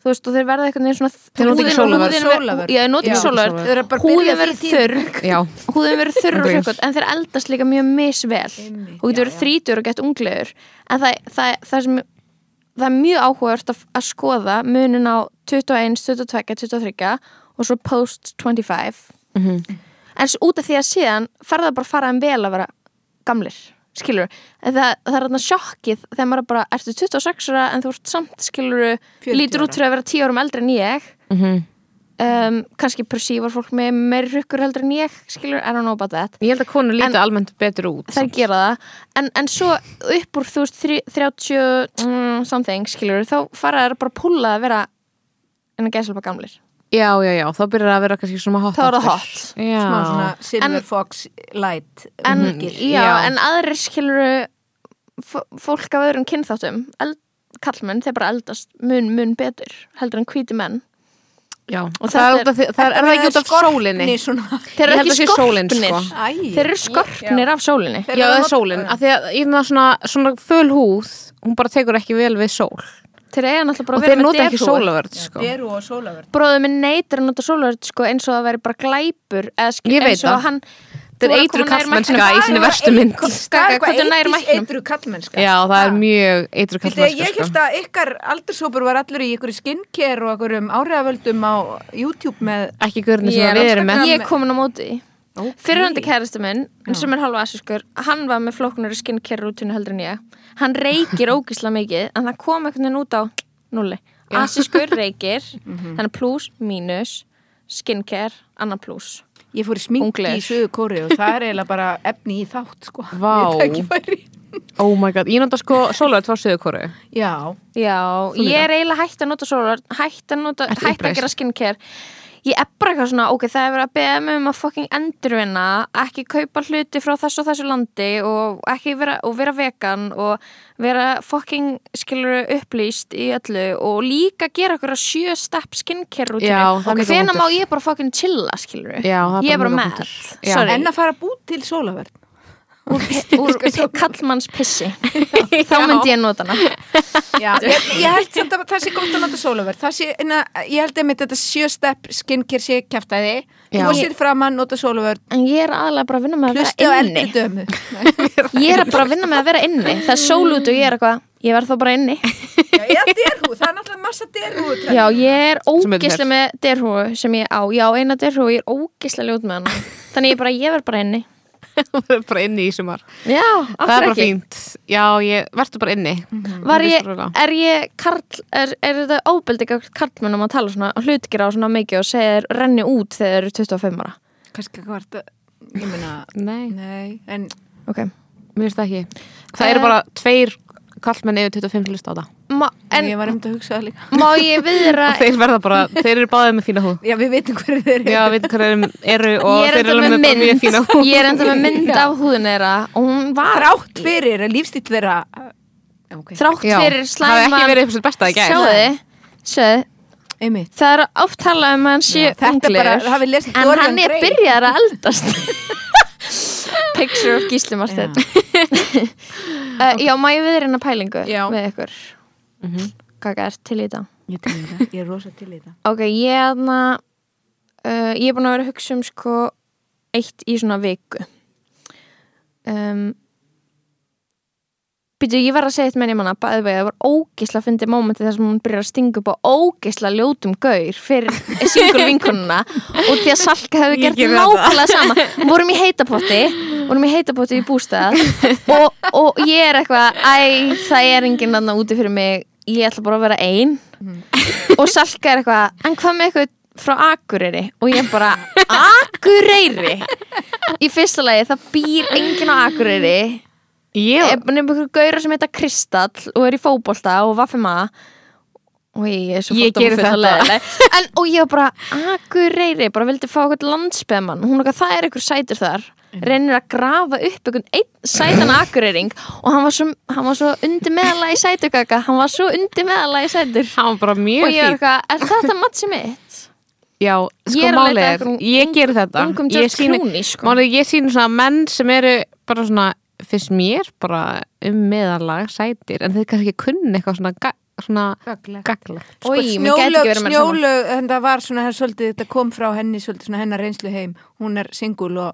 Speaker 3: þú veist, og þeir verða eitthvað neins svona
Speaker 2: Þeir nota ekki
Speaker 3: húðin-
Speaker 2: sólarverð.
Speaker 3: húðin ver-
Speaker 4: Sólarverð.
Speaker 3: já, þeir nota ekki
Speaker 4: Já. Þeir eru bara
Speaker 3: sólaverð
Speaker 4: að byrja
Speaker 3: húðin
Speaker 4: því
Speaker 3: verður
Speaker 4: tíma.
Speaker 3: þurrk
Speaker 2: já,
Speaker 3: húðin verður þurr og
Speaker 2: Agreed.
Speaker 3: sökkot en þeir eldast líka mjög misvel
Speaker 4: Einmitt,
Speaker 3: og
Speaker 4: já,
Speaker 3: getur verið
Speaker 4: já.
Speaker 3: þrítur og gett unglegur en það, það, það, sem, það er mjög áhugavert að, að skoða munin á 21, 22, 23 og svo post 25 en svo út af því að síðan farða bara að fara þeim vel að vera gamlir skilur, það, það er þarna sjokkið þegar maður er bara, ertu 26 ára en þú ert samt skilur,
Speaker 4: 40
Speaker 3: lítur út
Speaker 4: ára.
Speaker 3: fyrir að vera 10 árum eldri en ég um, kannski persívar fólk með meiri rukkur heldur en ég skilur, I don't know about that
Speaker 2: ég held að konur líti almennt betur út
Speaker 3: þær gera það, en, en svo upp úr þú veist þrí- 30 mm, something, skilur, þá fara þær bara að púla að vera en að gæsla bara gamlir,
Speaker 2: já, já, já, þá byrjar það að vera kannski svona hot
Speaker 3: þá er það
Speaker 2: aftur.
Speaker 3: hot
Speaker 2: já,
Speaker 4: smá svona
Speaker 3: En-
Speaker 4: Silver Fox Light
Speaker 3: en,
Speaker 4: munkir.
Speaker 3: já,
Speaker 2: Mhm, Já.
Speaker 3: en aðrir skilur fólk af öðrum kynþáttum eld, kallmenn, þeir bara eldast mun, mun betur, heldur en hvíti menn
Speaker 2: já. og
Speaker 3: þetta
Speaker 2: það er, út af því- það er, sko. er það ekki út af sólinni
Speaker 4: Nei, svona
Speaker 3: þeir
Speaker 2: Ég
Speaker 3: eru
Speaker 2: held að
Speaker 3: ekki
Speaker 2: sé sólin,
Speaker 3: skorpnir
Speaker 2: sko.
Speaker 4: Æ.
Speaker 3: þeir eru skorpnir af sólinni
Speaker 2: já,
Speaker 4: Þeir eru
Speaker 2: það er
Speaker 4: not-
Speaker 2: sólin, af því að ég finna svona, svona föl húð, hún bara tekur ekki vel við sól
Speaker 3: þeir eiga náttúrulega bara
Speaker 2: og
Speaker 3: að vera
Speaker 2: þeir nota ekki
Speaker 3: derhúfur.
Speaker 2: sólavörð sko.
Speaker 4: Beru og Sólavörn
Speaker 3: bróðið minn neytir að nota sólarhörd sko, eins og það væri bara glæpur eða skil,
Speaker 2: Ég veit
Speaker 3: eins og
Speaker 2: það.
Speaker 3: hann
Speaker 2: Þetta er
Speaker 3: Þú
Speaker 2: eitru
Speaker 3: að koma nær
Speaker 2: kallmennska
Speaker 3: markinu.
Speaker 2: í sinni verstu mynd
Speaker 4: Það er
Speaker 3: Skaka, hvernig nær
Speaker 4: eitthvað
Speaker 3: mæknum?
Speaker 4: eitru kallmennska
Speaker 2: Já, það er mjög eitru
Speaker 4: Viti, ég
Speaker 2: kallmennska
Speaker 4: held
Speaker 2: sko.
Speaker 4: að ykkar aldurshópur var allur í ykkur skinnker og ykkur um áhrifavöldum á YouTube með
Speaker 2: Ekki görni sem
Speaker 3: Ég
Speaker 2: að
Speaker 3: er
Speaker 2: við erum
Speaker 4: alls-
Speaker 2: með
Speaker 3: ég er komin á móti því.
Speaker 4: Okay.
Speaker 3: Fyrirhandi kæristu minn, sem er halva asískur, hann var með flóknari skinnkerri rútinu heldur en ég. Hann reykir ógisla mikið, en það kom einhvern veginn út á nulli. Asískur reykir, þannig pluss, mínus, skinnker, annar pluss.
Speaker 4: Ég fór í sminki
Speaker 3: Unglegur.
Speaker 4: í söðu kóri og það er eiginlega bara efni í þátt, sko.
Speaker 2: Vá.
Speaker 4: Við tækifæri.
Speaker 2: Oh my god, ég nota sko sólöld frá söðukoru
Speaker 4: Já,
Speaker 2: Þú
Speaker 3: Já, ég
Speaker 2: líka?
Speaker 3: er eiginlega hægt að nota sólar, hægt að nota,
Speaker 2: Ertu
Speaker 3: hægt að
Speaker 2: uppreist?
Speaker 3: gera skinnker. Ég er bara eitthvað svona, ok, það er verið að beða mig um að fucking endurvinna, ekki kaupa hluti frá þessu og þessu landi og ekki vera, og vera vegan og vera fucking, skilur, upplýst í öllu og líka gera okkur að sjö stepp skinnker út
Speaker 2: Já, það er
Speaker 3: og
Speaker 2: mjög
Speaker 3: hvena
Speaker 2: góður.
Speaker 3: má ég bara fucking chilla, skilur
Speaker 2: Já, það er
Speaker 3: ég er
Speaker 2: bara
Speaker 3: bara
Speaker 2: mjög
Speaker 3: með,
Speaker 2: góður. Já.
Speaker 3: sorry
Speaker 4: en að fara bút til sólaverð.
Speaker 3: úr kallmanns pissi þá myndi ég nota hana
Speaker 4: Já, ég, ég held samt að það sé gott að nota sólaverð. Það sé, inna, ég held einmitt þetta sjöstepp skinnker sé kæftæði.
Speaker 2: Já.
Speaker 4: Þú sér fram að nota sólaverð,
Speaker 3: en ég er aðalega bara að vinna með að
Speaker 4: hlusti á
Speaker 3: vera inni
Speaker 4: eldri dömu.
Speaker 3: Ég er bara að vinna með að vera inni Það er sól út og ég er eitthvað Ég verð þá bara inni
Speaker 4: Já, ég er derhú, það er náttúrulega massa derhú.
Speaker 3: Já, ég er
Speaker 2: Sem betur fer.
Speaker 3: ógislega með derhúu sem ég á Já, eina derhúu, ég er ógislega ljót með hana Þannig ég bara, ég verð bara inni
Speaker 2: bara inni í sumar
Speaker 3: Já, af
Speaker 2: það er
Speaker 3: hverju
Speaker 2: bara
Speaker 3: ekki
Speaker 2: fínt, já, ég, verður bara inni
Speaker 3: Var ég,
Speaker 2: Vissulega.
Speaker 3: er ég karl, er, er þetta óbeldi karlmennum að tala svona hlutgera á svona mikið og segja þér renni út þegar þeir eru 25 ára
Speaker 4: Kanski hvað var þetta, ég meina,
Speaker 2: nei,
Speaker 4: nei, en
Speaker 3: okay.
Speaker 2: mér finnst það ekki það eru
Speaker 3: Eh.
Speaker 2: bara tveir kallmenn yfir 25 hlust á það
Speaker 3: Ma, En
Speaker 4: ég var einmitt að hugsa það líka.
Speaker 3: má ég viðra
Speaker 2: og þeir verða bara, þeir eru báðið með fína húð
Speaker 4: Já, við veitum hverju þeir eru.
Speaker 2: já, veit hverju eru og
Speaker 3: Ég er
Speaker 2: þeir eru alveg
Speaker 3: enda með
Speaker 2: bara mjög
Speaker 3: mynd
Speaker 2: fína húð
Speaker 3: Ég er enda með mynd af húðun þeirra og hún var
Speaker 4: Þrátt fyrir að lífstíl þeirra Já, ok.
Speaker 3: þrátt
Speaker 2: Já,
Speaker 3: fyrir
Speaker 2: það hefði
Speaker 3: slæman
Speaker 2: ekki verið eitthvað sem besta í gær
Speaker 3: sjáðu, sjáðu
Speaker 4: Einmitt.
Speaker 3: það er oft talað um að hann sé
Speaker 4: Já, þetta
Speaker 3: unglegur
Speaker 4: bara- hafið lesið
Speaker 3: en
Speaker 4: Dorian
Speaker 3: hann er
Speaker 4: Gray.
Speaker 3: byrjar að eldast picture of Gísli Martin já, já má ég viðrýna pælingu
Speaker 4: Já. Mhm.
Speaker 3: með ykkur kaka er til í þetta
Speaker 4: Ég til í það, ég er rosa til í það.
Speaker 3: ok, ég er þarna uh, ég er búin að vera að hugsa um sko eitt í svona viku um Býtu, ég var að segja eitt menn ég manna bæði vegi, það var ógisla að fyndi mómenti þar sem hún byrjar að stinga upp á ógisla ljótum gaur fyrir singur vinkununa og því að Salka hefði
Speaker 2: Ég
Speaker 3: gert
Speaker 2: geri þetta.
Speaker 3: nákvæmlega sama Við vorum í heitapotti, vorum í heitapotti í bústað og, og ég er eitthvað æ, það er enginn annað úti fyrir mig ég ætla bara að vera ein og Salka er eitthvað en hvað með eitthvað frá Akureyri og ég bara Akureyri í fyrsta lagi það býr enginn á Akureyri
Speaker 2: ég,
Speaker 3: nefnum ykkur gauðra sem heita Kristall og er í fótbolta og vaffema og ég er svo
Speaker 2: Ég geri
Speaker 3: fordómafull og
Speaker 2: þetta.
Speaker 3: leiðinleg. en, og ég var bara, akureyri bara vildi fá eitthvað landsbyðamann hún okkar, það er ykkur sætur þar reynir að grafa upp ykkur einn sætan akureyring og hann var svo, hann var svo undir meðalagi sætur kaka hann var svo undir meðalagi sætur
Speaker 2: hann var bara
Speaker 3: og
Speaker 2: mjög
Speaker 3: ég var
Speaker 2: fín
Speaker 3: eitthvað, er þetta matsi mitt?
Speaker 2: já,
Speaker 3: Ég
Speaker 2: sko
Speaker 3: er að
Speaker 2: málið er,
Speaker 3: leita að einhverjum
Speaker 2: ég gerir þetta
Speaker 3: ungum
Speaker 2: ég
Speaker 3: George
Speaker 2: sýni
Speaker 3: Clooney sko
Speaker 2: Málið, ég sýnir svona menn sem eru bara svona, finnst mér bara um meðalag sætir en þeir kannski kunni eitthvað svona, ga svona
Speaker 4: Gaglegt.
Speaker 2: gaglegt.
Speaker 3: Ói, mér gæti ekki verið
Speaker 4: Sko, Snjólaug,
Speaker 3: meira saman.
Speaker 4: snjólaug, en það var svona, það, svolítið, þetta kom frá henni, svolítið svona hennar reynslu heim, hún er singul og,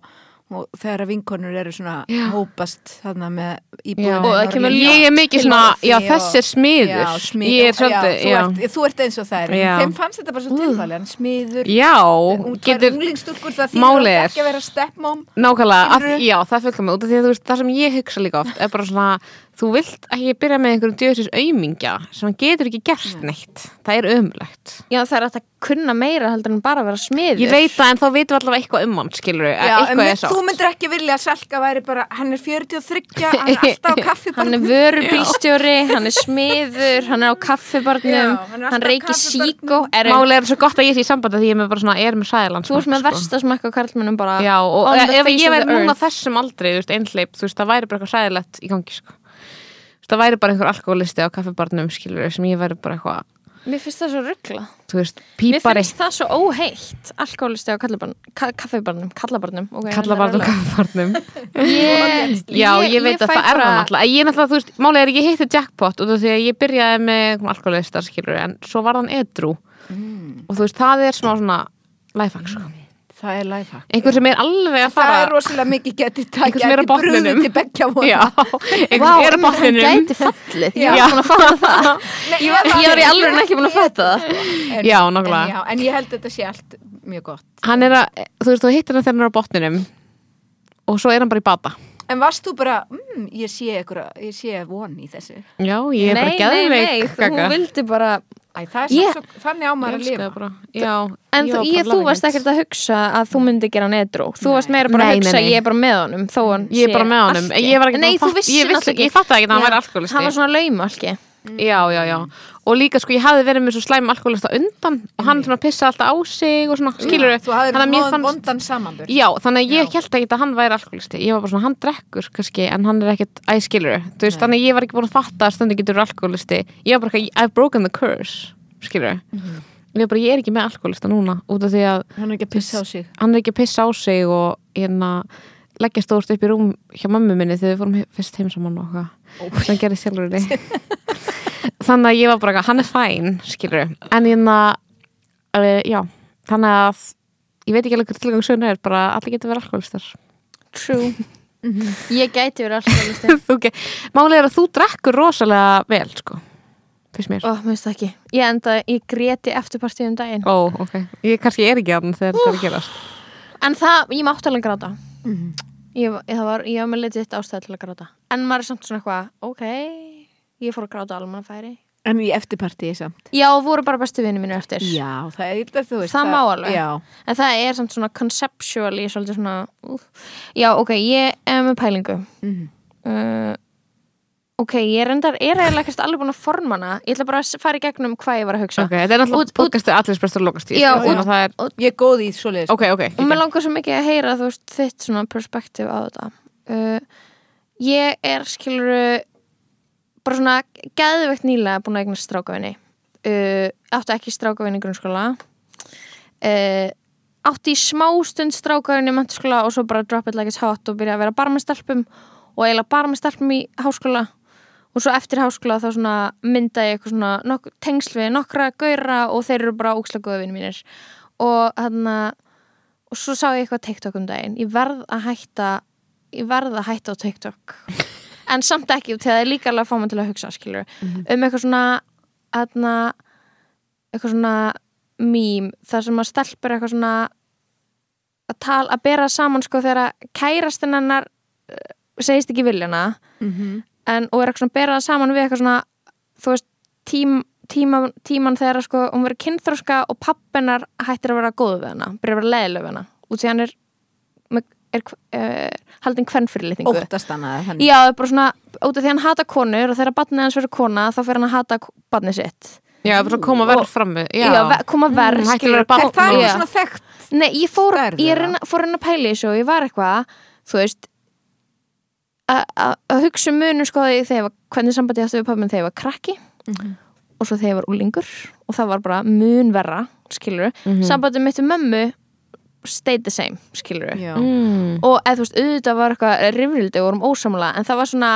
Speaker 4: og þegar að vinkonur eru svona hópast þarna með íbúðina.
Speaker 2: Og
Speaker 4: í
Speaker 3: það
Speaker 4: Noregi.
Speaker 3: kemur ljós
Speaker 2: Ég er mikið
Speaker 4: til
Speaker 2: svona,
Speaker 4: Noregi
Speaker 2: já
Speaker 4: og-
Speaker 2: þessi er smiður
Speaker 4: Já, smiður.
Speaker 2: Ég er svolítið,
Speaker 4: já.
Speaker 2: já
Speaker 4: Þú ert, þú ert eins og það er,
Speaker 2: Já.
Speaker 4: þeim fannst þetta bara svo tilfælega, en smiður,
Speaker 2: Já,
Speaker 4: getur,
Speaker 2: getur
Speaker 4: unglingstúrkur, það þýður
Speaker 2: Málið er-
Speaker 4: ekki að vera steppmóm.
Speaker 2: nákvæmlega að,
Speaker 4: Skilurðu?
Speaker 2: Já, það fylgum mig út af því að þú veist, það sem ég hugsa líka oft er bara svona, þú vilt ekki byrja með einhverjum djöðsins aumingja sem hann getur ekki gert neitt Það er ömulegt
Speaker 3: Já, það er hægt að kunna meira heldur en bara að vera smiður
Speaker 2: Ég veit það en þá veitum við allavega eitthvað um hann, skilur
Speaker 4: Já, en
Speaker 2: Eitthvað
Speaker 4: mynd-
Speaker 2: er sátt.
Speaker 4: þú myndir ekki vilja að Salka væri bara, hann er 43, hann er alltaf á
Speaker 3: hann er
Speaker 4: kaffibarnum.
Speaker 3: vörubílstjóri, hann er smiður hann er á kaffibarnum,
Speaker 4: Já, hann er alltaf
Speaker 3: hann
Speaker 4: á
Speaker 3: reykir
Speaker 4: kaffibarnum.
Speaker 3: síkó er
Speaker 2: Máli er svo gott að ég sé í sambandi því ég er með bara svona, er með sæðilandsmark
Speaker 3: þú ert með versta smakka karlmennum bara
Speaker 2: Já, og
Speaker 3: on the
Speaker 2: ef
Speaker 3: face
Speaker 2: ég
Speaker 3: of
Speaker 2: væri
Speaker 3: the
Speaker 2: núna
Speaker 3: earth.
Speaker 2: þessum aldrei, þú veist, einhleip, þú veist, það væri bara eitthvað sæðilegt í gangi, sko. Þú veist, það væri bara einhver alkoholisti á kaffibarnum, skilur, sem ég væri bara eitthvað,
Speaker 3: mér finnst það svo ruggla
Speaker 2: þú veist,
Speaker 3: mér
Speaker 2: pípari,
Speaker 3: finnst það svo óheitt alkoholisti á kallabarnum, ka kaffibarnum kallabarnum, ok
Speaker 2: kallabarn og kaffibarnum.
Speaker 3: ég,
Speaker 2: Já, ég, veit að það
Speaker 3: fæ
Speaker 2: er
Speaker 3: bara-
Speaker 2: það náttúrulega. En Ég náttúrulega, þú veist, máli er að ég heitti jackpot og þú veist, ég byrjaði með einhver alkoholista,
Speaker 3: Mm.
Speaker 2: skilur, en svo var hann edru. Og þú veist, það er smá svona lifehack, sko.
Speaker 4: það er lifehack
Speaker 2: einhver sem er alveg að
Speaker 4: það er
Speaker 2: fara
Speaker 4: rosalega mikið getið það
Speaker 2: Einhver sem er á
Speaker 4: gæti brúðið
Speaker 2: botninum.
Speaker 4: til beggja
Speaker 2: já, einhver sem er
Speaker 3: Vá,
Speaker 4: vona
Speaker 2: að
Speaker 3: einmitt, hann
Speaker 2: botninum
Speaker 3: gæti fallið
Speaker 4: Já.
Speaker 3: Ég var svona að fatta það
Speaker 4: Nei,
Speaker 3: Ég var, ég var í alveg ekki búin að fatta það
Speaker 4: en,
Speaker 2: Já,
Speaker 4: en,
Speaker 2: nákvæmlega.
Speaker 4: já, en ég held þetta sé allt mjög gott
Speaker 2: hann er að, þú veist, þú hittir hann þegar hann er á botninum og svo er hann bara í bata
Speaker 4: en varst þú bara, mm, ég sé ykkur ég sé von í þessu
Speaker 2: já, ég er bara
Speaker 3: Nei, nei, nei,
Speaker 2: geðveik
Speaker 3: þú vildi bara
Speaker 4: Æ, það er
Speaker 3: Ég-
Speaker 4: yeah. svo, þannig á maður að lifa
Speaker 2: bara, já,
Speaker 3: En þú, ég, þú varst ekkert að hugsa að þú myndi gera hann edru Þú varst meira bara
Speaker 2: Nei,
Speaker 3: að
Speaker 2: nei,
Speaker 3: hugsa
Speaker 2: nei.
Speaker 3: ég er bara með honum þó hann
Speaker 2: Ég er
Speaker 3: sé
Speaker 2: bara með honum,
Speaker 3: alki.
Speaker 2: ég var ekki búin
Speaker 3: Nei,
Speaker 2: að
Speaker 3: þú
Speaker 2: fatta-
Speaker 3: vissi
Speaker 2: ég vissi-
Speaker 3: náttúrulega
Speaker 2: ég fattaði ekki að hann
Speaker 3: Já,
Speaker 2: væri alkohólisti.
Speaker 3: Hann var svona laum alki
Speaker 2: Mm. Já, já, já, og líka sko ég hafði verið með svo slæm alkoholista undan og hann svona pissa alltaf á sig og svona, skilur
Speaker 4: þú hafðir
Speaker 2: að mér
Speaker 4: móðan
Speaker 2: fannst
Speaker 4: vondan samanbörn
Speaker 2: Já, þannig að ég held ekki að hann væri alkoholisti Ég var bara svona, hann drekkur kannski En hann er ekkit, æ, skilur Þú veist, þannig að ég var ekki búin að fatta að stundin getur verið alkoholisti Ég var bara ekki, I've broken the curse Skilur
Speaker 4: Mhm.
Speaker 2: Ég var bara, ég er ekki með alkoholista núna Út af því að
Speaker 4: hann er ekki að pissa á sig
Speaker 2: hann er ekki að pissa á sig Og hérna, leggja stórt upp í rúm Hjá mömmu minni þegar við fórum he- fyrst heim saman Og hvað, sem hann gerði sjálfur því Þannig að ég var bara, eitthvað, hann er fæn Skilur, en hérna eh, Já, þannig að Ég veit ekki alveg hvað tilgangsöðun er, bara að allir getur verið alkoholistar.
Speaker 3: True Mhm. Ég gæti verið alkoholisti
Speaker 2: þú ge- Málið er að þú drekkur rosalega vel sko Fyrst mér
Speaker 3: Ó, mér finnst það ekki Ég enda, ég gréti eftirpartíð um daginn
Speaker 2: Ó, ok Ég kannski er ekki aðan þegar þetta er að gerast
Speaker 3: En það, ég mátti alveg gráta
Speaker 4: Mhm.
Speaker 3: ég, var- ég, það var, ég var með legit ástæði til að gráta En maður er samt svona eitthvað, ok Ég fór að gráta almannafæri
Speaker 4: en í eftirpartíi samt
Speaker 3: Já, voru bara bestu vinni mínu eftir
Speaker 4: já, það er illa þú veist
Speaker 3: Það má alveg.
Speaker 4: já,
Speaker 3: En það er samt svona conceptually svolítið svona úf. Já, ok, ég er með pælingu
Speaker 4: mhm.
Speaker 3: uh, Ok, ég reyndar er eiginlega ekkert alveg búin að forma hana Ég ætla bara að s- fara í gegnum hvað ég var að hugsa
Speaker 2: Ok, þetta er
Speaker 3: Út-
Speaker 2: náttúrulega podcastu allir spestur lokast
Speaker 3: Já,
Speaker 2: og
Speaker 3: út-
Speaker 2: það er
Speaker 4: ég er góð í svoleiðis
Speaker 2: Ok, ok
Speaker 3: Og
Speaker 2: ekki.
Speaker 3: mér langar svo mikið að heyra þú veist þitt svona perspektíf á þetta uh, Ég er skiluru bara svona geðveikt nýlega búin að eignast strákavinni uh, Áttu ekki strákavinni í grunnskóla uh, Átti í smástund strákavinni í mentaskóla og svo bara drop it like it's hot og byrja að vera bara með stelpum og eiginlega bara með stelpum í háskóla og svo eftir háskóla þá svona mynda ég eitthvað svona nok tengsl við nokkra gauðra og þeir eru bara ókslega góða vinni mínir og hann og svo sá ég eitthvað TikTok um daginn ég verð að hætta ég verð að hætta á TikTok en samt ekki til það er líka alveg að fá mig til að hugsa skilur um eitthvað svona aðna, eitthvað svona mím þar sem að stelpur eitthvað svona að tala að bera saman sko þegar kærastinn hennar eh, segist ekki viljana en, og er eitthvað svona að bera það saman við eitthvað svona þú veist tím Tíman, tíman þegar sko, hún verið kynþróska og pappennar hættir að vera góð við hana byrjar að vera leðileg við hana út því hann er, með- er uh, haldin hvern fyrirlitningu
Speaker 4: óttast hann að hann
Speaker 3: Já, það er bara svona, út af því hann hata konur og þegar barnið hans verður kona þá fyrir hann að hata k- barnið sitt
Speaker 2: Já, bara að koma verð fram með Já,
Speaker 3: Já, ve- koma verð,
Speaker 2: Mm, hættir að
Speaker 3: skilur,
Speaker 2: vera
Speaker 4: er það
Speaker 2: barn
Speaker 3: Já.
Speaker 4: ekki svona þekkt
Speaker 3: Nei, ég fór,
Speaker 4: Stærð
Speaker 3: ég
Speaker 4: eða?
Speaker 3: reyna, fór reyna að pæla í þessu og ég var eitthvað, þú veist a- a- að hugsa um munum sko því þegar ég var, hvernig sambandi ég átti við pappa minn þegar ég var krakki og svo þegar ég var úlingur og það var bara mun verra, skilur sambandi mitt um mömmu stayed the same, skilur
Speaker 4: já,
Speaker 2: mm.
Speaker 3: og eða þú veist, auðvitað var eitthvað rifrildi og vorum ósamlega, en það var svona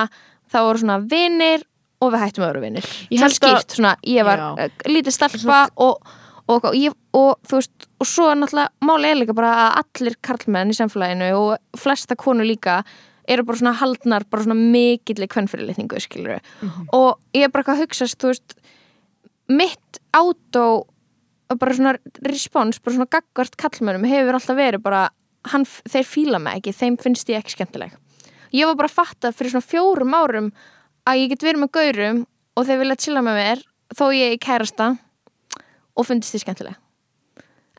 Speaker 3: það voru svona vinnir og við hættum að vera vinnir
Speaker 2: Ég
Speaker 3: Svona
Speaker 2: held að-
Speaker 3: skýrt, svona, ég var
Speaker 4: Já.
Speaker 3: uh, lítið stelpa og, og, og, ég, og þú veist og svo er náttúrulega, máli er líka bara að allir karlmenn í samfélaginu og flesta konur líka eru bara svona haldnar, bara svona mikilli kvennfyrirlitningu, skilur
Speaker 2: Mhm.
Speaker 3: og ég er bara eitthvað að hugsa, þú veist mitt átó bara svona respons, bara svona gaggvart kallmönum hefur alltaf verið bara hann, þeir fíla mig ekki, þeim finnst ég ekki skemmtileg ég var bara að fatta fyrir svona fjórum árum að ég get verið með gaurum og þeir vilja chilla með mér þó ég er kærasta og finnst ég skemmtileg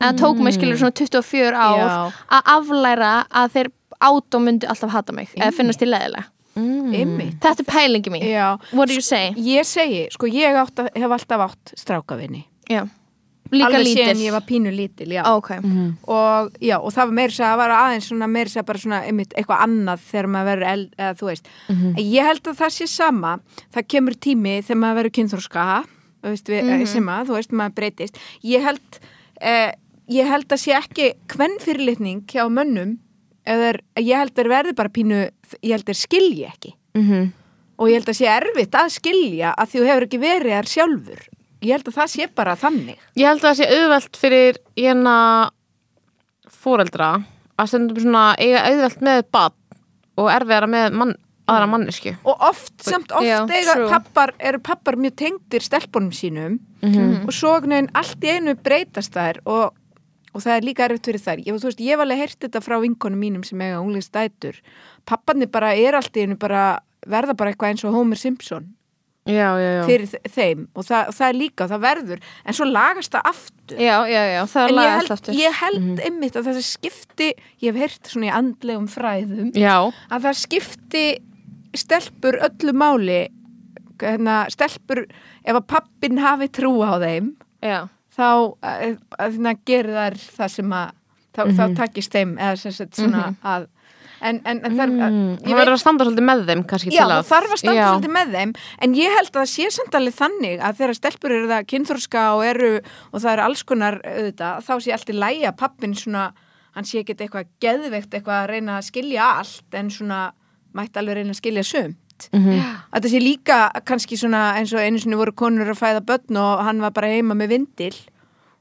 Speaker 3: en það tók mig skilur svona 24 ár
Speaker 4: Já.
Speaker 3: að aflæra að þeir átó myndi alltaf hata mig eða finnast ég leðilega
Speaker 4: ymmit
Speaker 3: þetta er pælingi mín,
Speaker 4: Mm. já,
Speaker 3: what do you say?
Speaker 4: Ég segi, sko, ég átt að, hef alltaf átt strákavinni.
Speaker 3: Já. líka
Speaker 4: Alveg síðan
Speaker 3: lítil
Speaker 4: ég var Mm-hmm. pínu lítil, já.
Speaker 3: ok,
Speaker 4: Og, já, og það var meira sér að vara aðeins svona meira sér bara svona einmitt eitthvað annað þegar maður verður, eld, eða þú veist.
Speaker 3: Mhm.
Speaker 4: Ég held að það sé sama, það kemur tími þegar maður verður kynþróska, þú veist, við,
Speaker 3: Mhm.
Speaker 4: sem að, þú veist, maður breytist. Ég held, eh, ég held að sé ekki hvern fyrirlitning hjá mönnum, eða ég held að verði bara pínu, ég held að skilji ekki og ég held að sé erfitt að skilja að því þú hefur ekki verið þar sjálfur ég held að það sé bara þannig
Speaker 2: Ég held að það sé auðvelt fyrir hérna fóreldra að stundum svona eiga auðvelt með barn og erfiðara með mann, aðra mannesku
Speaker 4: og oft, samt oft
Speaker 3: Já,
Speaker 4: eiga
Speaker 3: true.
Speaker 4: pappar, eru pappar mjög tengdir stelpunum sínum
Speaker 3: Mhm.
Speaker 4: og svo neginn, allt í einu breytast þær og, og það er líka erfitt fyrir þær ég, þú veist, ég hef alveg heyrt þetta frá vinkonum mínum sem eiga unglistætur papparnir bara er allt í einu bara verða bara eitthvað eins og Homer Simpson
Speaker 2: Já, já, já
Speaker 4: fyrir þe- þeim og það, það er líka, það verður en svo lagast það aftur
Speaker 3: Já, já, já, það
Speaker 4: en
Speaker 3: er
Speaker 4: ég
Speaker 3: lagast
Speaker 4: held,
Speaker 3: aftur
Speaker 4: ég held
Speaker 2: Mhm.
Speaker 4: einmitt að þessi skipti ég hef heyrt svona í andlegum fræðum
Speaker 2: Já,
Speaker 4: að það skipti stelpur öllu máli hérna, stelpur ef að pappin hafi trú á þeim
Speaker 3: Já,
Speaker 4: þá eh, að hérna, gerir þær það sem að þá,
Speaker 2: Mhm.
Speaker 4: þá takist þeim eða sem sagt svona að en, en, en þar,
Speaker 2: mm,
Speaker 4: ég
Speaker 2: það verður að standa svolítið með þeim kannski
Speaker 4: Já,
Speaker 2: til að
Speaker 4: það þarf að standa
Speaker 2: Já.
Speaker 4: svolítið með þeim en ég held að það sé samt alveg þannig að þegar stelpur eru það kynþróska og eru og það eru alls konar auðvitað, þá sé allt í lægi að pappin svona hann sé ekkert eitthvað geðveikt eitthvað að reyna að skilja allt en svona mætti alveg reyna að skilja sumt
Speaker 2: Mhm.
Speaker 4: Þetta sé líka kannski svona eins og einu sinni voru konur að fæða börn og hann var bara heima með vindil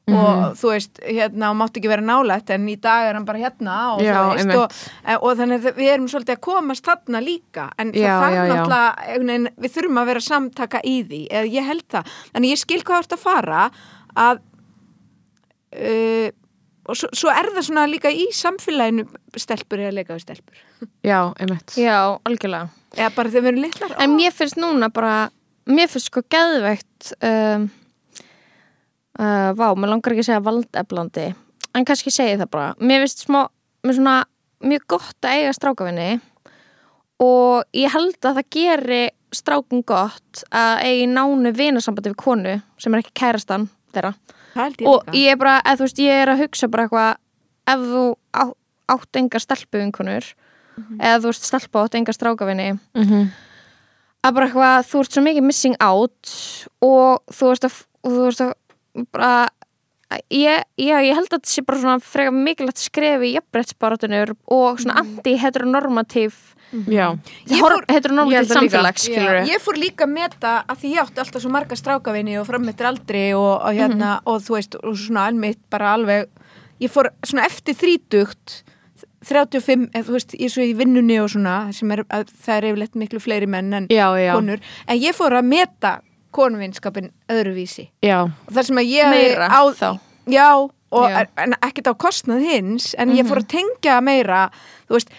Speaker 2: Mhm.
Speaker 4: og þú veist, hérna, og mátti ekki vera nálætt en í dag er hann bara hérna og,
Speaker 2: Já,
Speaker 4: þú veist,
Speaker 2: einmitt.
Speaker 4: og, Eh, og þannig að við erum svolítið að komast þarna líka en það
Speaker 2: Já,
Speaker 4: þarf
Speaker 2: já, já.
Speaker 4: náttúrulega einhvern veginn, við þurfum að vera samtaka í því eða ég held það, en ég skil hvað þú ert að fara að uh, og svo, svo er það svona líka í samfélaginu stelpur eða leika við stelpur
Speaker 2: Já, einmitt
Speaker 3: já, algjörlega
Speaker 4: eða bara þegar við erum litlar
Speaker 3: En
Speaker 4: ó,
Speaker 3: mér finnst núna bara Mér finnst sko geðveikt um, uh, Vá, mér langar ekki að segja valdeflandi En kannski segi ég það bara Mér finnst smá, mér svona Mjög gott að eiga strákafinni Og ég held að það geri Strákun gott Að eigi nánu vinasambandi við konu Sem er ekki kærastan þeirra
Speaker 4: það held ég
Speaker 3: og
Speaker 4: líka
Speaker 3: ég er bara, eða þú veist, ég er að hugsa bara eitthvað ef þú á, átt enga stelpuvinkunur
Speaker 4: Mhm.
Speaker 3: eða þú veist, stelpa átt enga strákavinni
Speaker 2: Mhm.
Speaker 3: að bara eitthvað, þú ert svo mikið missing out og þú veist að, og þú veist að bara Ég, já, ég held að þetta sé bara svona frekar mikilvægt skrefi í jafnbrettsbaratunur og svona anti-heteronormativ
Speaker 2: Já,
Speaker 4: Mhm. Ég
Speaker 3: hor-
Speaker 4: fór-
Speaker 2: Ég
Speaker 3: heteronormativ
Speaker 2: held það líka.
Speaker 3: samfélags skilur
Speaker 4: Já, ég fór líka að meta að því ég átti alltaf svo marga strákavinni og frammettir aldrei og,
Speaker 2: Mhm.
Speaker 4: og hérna og þú veist, og svona almitt bara alveg ég fór svona eftir þrítugt 35, eða þú veist, ég er svo í vinnunni og svona, sem er, að, það er yfirleitt miklu fleiri menn en
Speaker 2: já, já,
Speaker 4: konur en ég fór að meta konuvinskapin öðruvísi
Speaker 2: já,
Speaker 4: og það sem að ég
Speaker 3: Meira
Speaker 4: á,
Speaker 3: þá.
Speaker 4: já, og,
Speaker 3: Já. Mhm.
Speaker 4: en ekkert á kostnað hins en ég fór að tengja meira þú veist,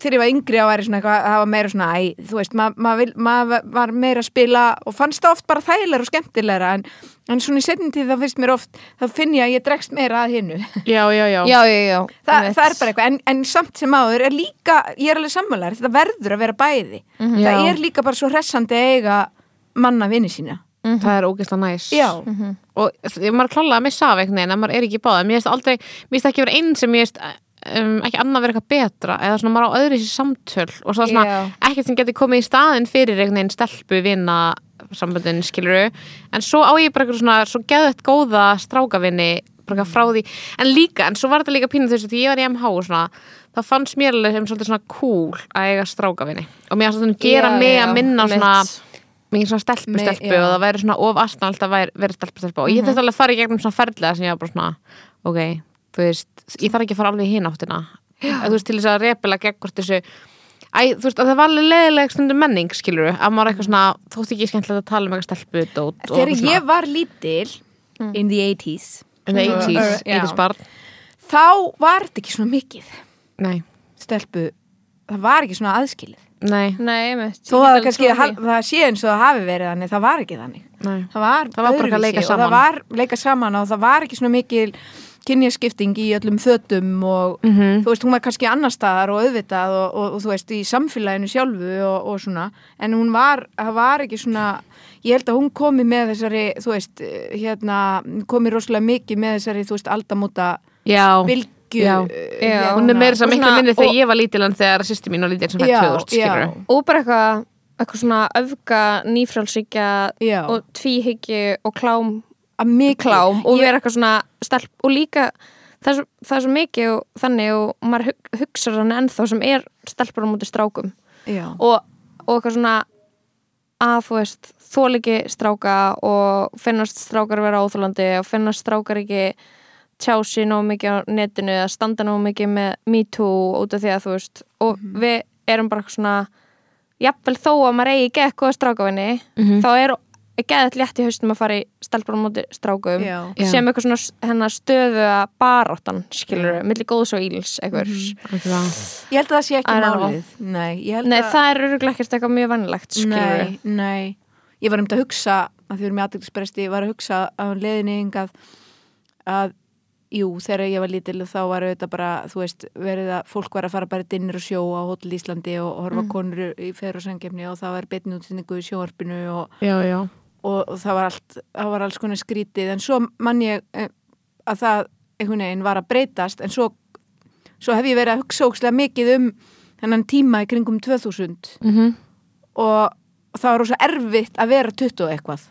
Speaker 4: þegar ég var yngri á væri svona eitthvað það var meira svona, æ, þú veist maður ma ma var meira að spila og fannst það oft bara þægilega og skemmtilegra en, en svona í setjum tíð þá finnst mér oft þá finn ég að ég dregst meira að hinnu
Speaker 2: já, já, já.
Speaker 3: já, já, já
Speaker 4: Þa,
Speaker 3: einmitt.
Speaker 4: það er bara eitthvað, en, en samt sem áður er líka, ég er alveg sammálar, þetta verður að vera bæði
Speaker 3: Mhm.
Speaker 4: það
Speaker 2: Já.
Speaker 4: er líka bara svo hressandi að eiga manna vini sína
Speaker 3: Mhm.
Speaker 2: það er ógeðslega næs
Speaker 4: Já.
Speaker 2: og ég- maður er klálega að missa af einhvern veginn en maður er ekki í báða, mér finnst aldrei mér finnst ekki vera einn sem ég finnst um, ekki annað vera eitthvað betra eða svona maður á öðru sér samtöl og svo svona
Speaker 3: Já.
Speaker 2: ekkert sem getur komið í staðin fyrir einhvern veginn stelpu vinna samböndin skiluru en svo á ég bara eitthvað svona svo geðvett góða strákavinni bara eitthvað frá því en líka, en svo var þetta líka pínu þess að því ég var í MH og svona það fannst mér alveg sem svolítið svona cool að eiga strákavinni og mér fannst þetta gera
Speaker 3: Já,
Speaker 2: mig
Speaker 3: já,
Speaker 2: að minna
Speaker 3: mitt.
Speaker 2: svona mikið svona stelpu
Speaker 4: Me-
Speaker 2: stelpu
Speaker 4: já. Mhm.
Speaker 2: og það væri svona of asnalt að væri, veri stelpu stelpu og ég þurfti alveg að fara í gegnum svona ferðlega sem ég var bara svona ok, þú veist, ég þarf ekki að fara alveg í hin áttina þú veist, til þess að repila gegn hvort þessu Æ, þú veist, að það var alveg leðileg stundum menning, skilur að maður eitthvað svona, þótt ekki skemmtilegt að tala um eitthvað stelpu dót og
Speaker 4: Þegar
Speaker 2: eitthvað
Speaker 4: ég var lítil
Speaker 3: Mm.
Speaker 4: in the 80s
Speaker 2: svona, um 80s,
Speaker 4: Já.
Speaker 2: 80s barn
Speaker 4: þá var þetta ekki svona mikið
Speaker 2: Nei,
Speaker 4: stelpu, það var ekki svona aðskilið
Speaker 2: nei,
Speaker 3: Nei, einmitt. Ég get
Speaker 4: þó að það
Speaker 3: alveg
Speaker 4: kannski
Speaker 3: trúað því.
Speaker 4: haf- það sé eins og það hafi verið þannig það var ekki þannig
Speaker 2: nei
Speaker 4: það var,
Speaker 2: Það var bara eitthvað að leika
Speaker 4: öðruvísi og
Speaker 2: saman.
Speaker 4: það var leika saman og það var ekki svona mikil kynjaskipting í öllum þötum og
Speaker 2: Mhm.
Speaker 4: þú veist, hún var kannski annar staðar og auðvitað og, og, og þú veist, í samfélaginu sjálfu og, og svona, en hún var það var ekki svona, ég held að hún komi með þessari, þú veist eh, hérna, komi rosalega mikið með þessari þú veist, aldamóta
Speaker 2: Já,
Speaker 4: bylgju
Speaker 2: Já.
Speaker 4: eh,
Speaker 3: Já.
Speaker 2: hún er meira sem
Speaker 3: Og
Speaker 2: miklu
Speaker 3: svona-
Speaker 2: minni þegar
Speaker 3: og-
Speaker 2: ég var lítil en þegar sýsti mín og lítil sem
Speaker 4: Já,
Speaker 2: fætt 2000, skilur
Speaker 4: já.
Speaker 3: og bara eitthvað eitthvað svona öfga, nýfrálsíkja
Speaker 4: Já.
Speaker 3: og tvíhyggju og klám,
Speaker 4: að mikið
Speaker 3: klám og
Speaker 4: Ég-
Speaker 3: vera eitthvað svona stelp og líka það er, svo- það er svo mikið og, þannig og maður hug, hugsar hann ennþá sem er stelpur á múti strákum
Speaker 4: Já.
Speaker 3: og, og eitthvað svona að þú veist þóliki stráka og finnast strákar vera óþólandi og finnast strákar ekki tjá sér nóg mikið á netinu eða standa nóg mikið með me too út af því að þú veist og
Speaker 4: Mhm.
Speaker 3: við erum bara eitthvað svona jafnvel þó að maður eigi geðið góða strákafinni
Speaker 2: Mhm.
Speaker 3: þá er geðið létt í haustum að fara í stelpur á móti strákum
Speaker 4: Já.
Speaker 2: Já.
Speaker 3: sem eitthvað svona s- hennar stöðu baráttan skilur við, milli góðs og íls eitthvað
Speaker 2: Algjörlega.
Speaker 4: Ég held að það sé ekki
Speaker 3: I don't know.
Speaker 4: málið. Nei, ég Mhm. held
Speaker 3: Nei,
Speaker 4: að...
Speaker 3: það er öruglega ekkert eitthvað mjög vannlegt skilur
Speaker 4: Nei, nei. Ég var um þetta að hugsa, að því við erum í aðdeglispresti, ég var að hugsa á leðinni yngað að, jú, þegar ég var lítil þá var auðvitað bara, þú veist, verið að fólk var að fara bara í dinnir og sjó á Hotel Íslandi og horfa
Speaker 3: Mm.
Speaker 4: konur í ferð og sangjefni og það var betni útsendingu í sjóarpinu og,
Speaker 2: Já, já.
Speaker 4: og, og það, var allt, það var alls konar skrítið en svo mann ég eh, að það einhvern veginn var að breytast en svo, svo hef ég verið að hugsa ókslega mikið um þennan tíma í kringum 2000
Speaker 3: mm -hmm.
Speaker 4: og það var rosa erfitt að vera 20 og eitthvað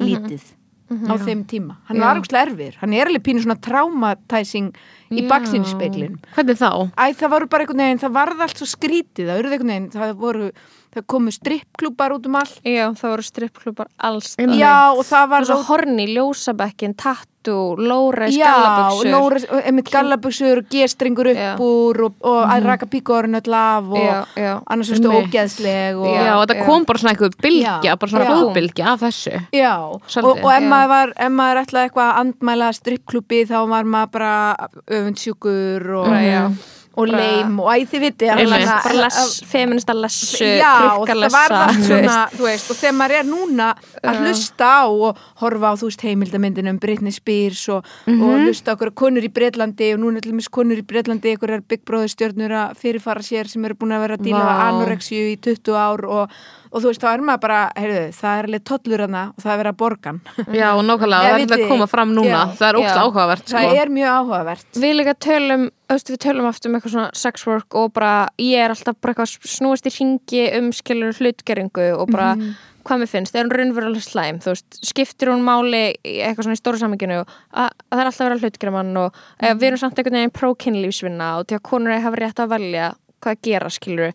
Speaker 4: lítið á þeim tíma hann var ókslega erfir, hann er alveg pínu svona traumatizing í
Speaker 2: Já.
Speaker 4: baksinspeiklin
Speaker 2: Hvernig þá?
Speaker 4: Æ, það voru bara einhvern veginn, það varð allt svo skrítið, það, urðu einhvern veginn, það voru, það komu strippklúpar út um allt.
Speaker 3: Já, það voru strippklúpar alls
Speaker 2: Einmitt.
Speaker 3: staðar.
Speaker 4: Já, og það var
Speaker 3: Og svo horni, ljósabekkin, tattu, lóreis, gallabuxur
Speaker 4: Lóres, einmitt gallabuxur og gestringur upp
Speaker 3: Já. Mhm.
Speaker 4: úr og, og að raka píkórin öll af og
Speaker 3: Já, já.
Speaker 4: annars veistu
Speaker 2: Einmitt.
Speaker 4: ógeðsleg og,
Speaker 2: Já, og
Speaker 3: já.
Speaker 2: þetta kom bara svona eitthvað
Speaker 4: Já,
Speaker 2: bylgja, bara svona
Speaker 4: já.
Speaker 2: flóðbylgja af þessu.
Speaker 4: Já, og,
Speaker 2: Svolítið,
Speaker 4: og ef
Speaker 3: já.
Speaker 4: maður, var, ef maður ætlaði eitthvað að andmæla strippklubbi þá var maður bara öfundsjúkur og,
Speaker 3: Bara, Mm. já.
Speaker 4: og
Speaker 3: Bara-
Speaker 4: leim og æ, þið viti
Speaker 2: Einmitt.
Speaker 3: Bara les, feminista lessu,
Speaker 4: Já, og það var
Speaker 3: krukkalessa
Speaker 4: það svona, þú veist, og þegar maður er núna að hlusta á og horfa á, þú veist, heimildamindinu um Britney Spears og, og hlusta á okkur konur í Breitlandi og núna er til dæmis konur í Breitlandi, ykkur er Big Brother stjörnur að fyrirfara sér sem eru búin að vera að díla
Speaker 2: Vá.
Speaker 4: wow. anorexíu í 20 ár og, og þú veist, þá er maður bara, heyrðu, það er alveg tollur hana og það er verið að borgan.
Speaker 2: Já, og nákvæmlega,
Speaker 4: Já,
Speaker 2: það er
Speaker 4: vitið
Speaker 2: þetta að koma
Speaker 4: þið.
Speaker 2: fram núna.
Speaker 4: Já,
Speaker 2: það er ógst
Speaker 3: já.
Speaker 2: áhugavert, sko.
Speaker 4: það er mjög áhugavert.
Speaker 3: Við líka tölum, auðvitað við tölum aftur um eitthvað svona sex work og bara ég er alltaf bara eitthvað snúast í ringi um skilur hlutgeringu og bara hvað mér finnst, er hún raunverulega slæm þú veist, skiptir hún máli í eitthvað svona í stóra saminginu og að, að það er alltaf að vera hlutgeramann og mm við erum samt einhvern veginn pro-kynlífsvinna og til að konur hafa rétt að velja hvað að gera skilur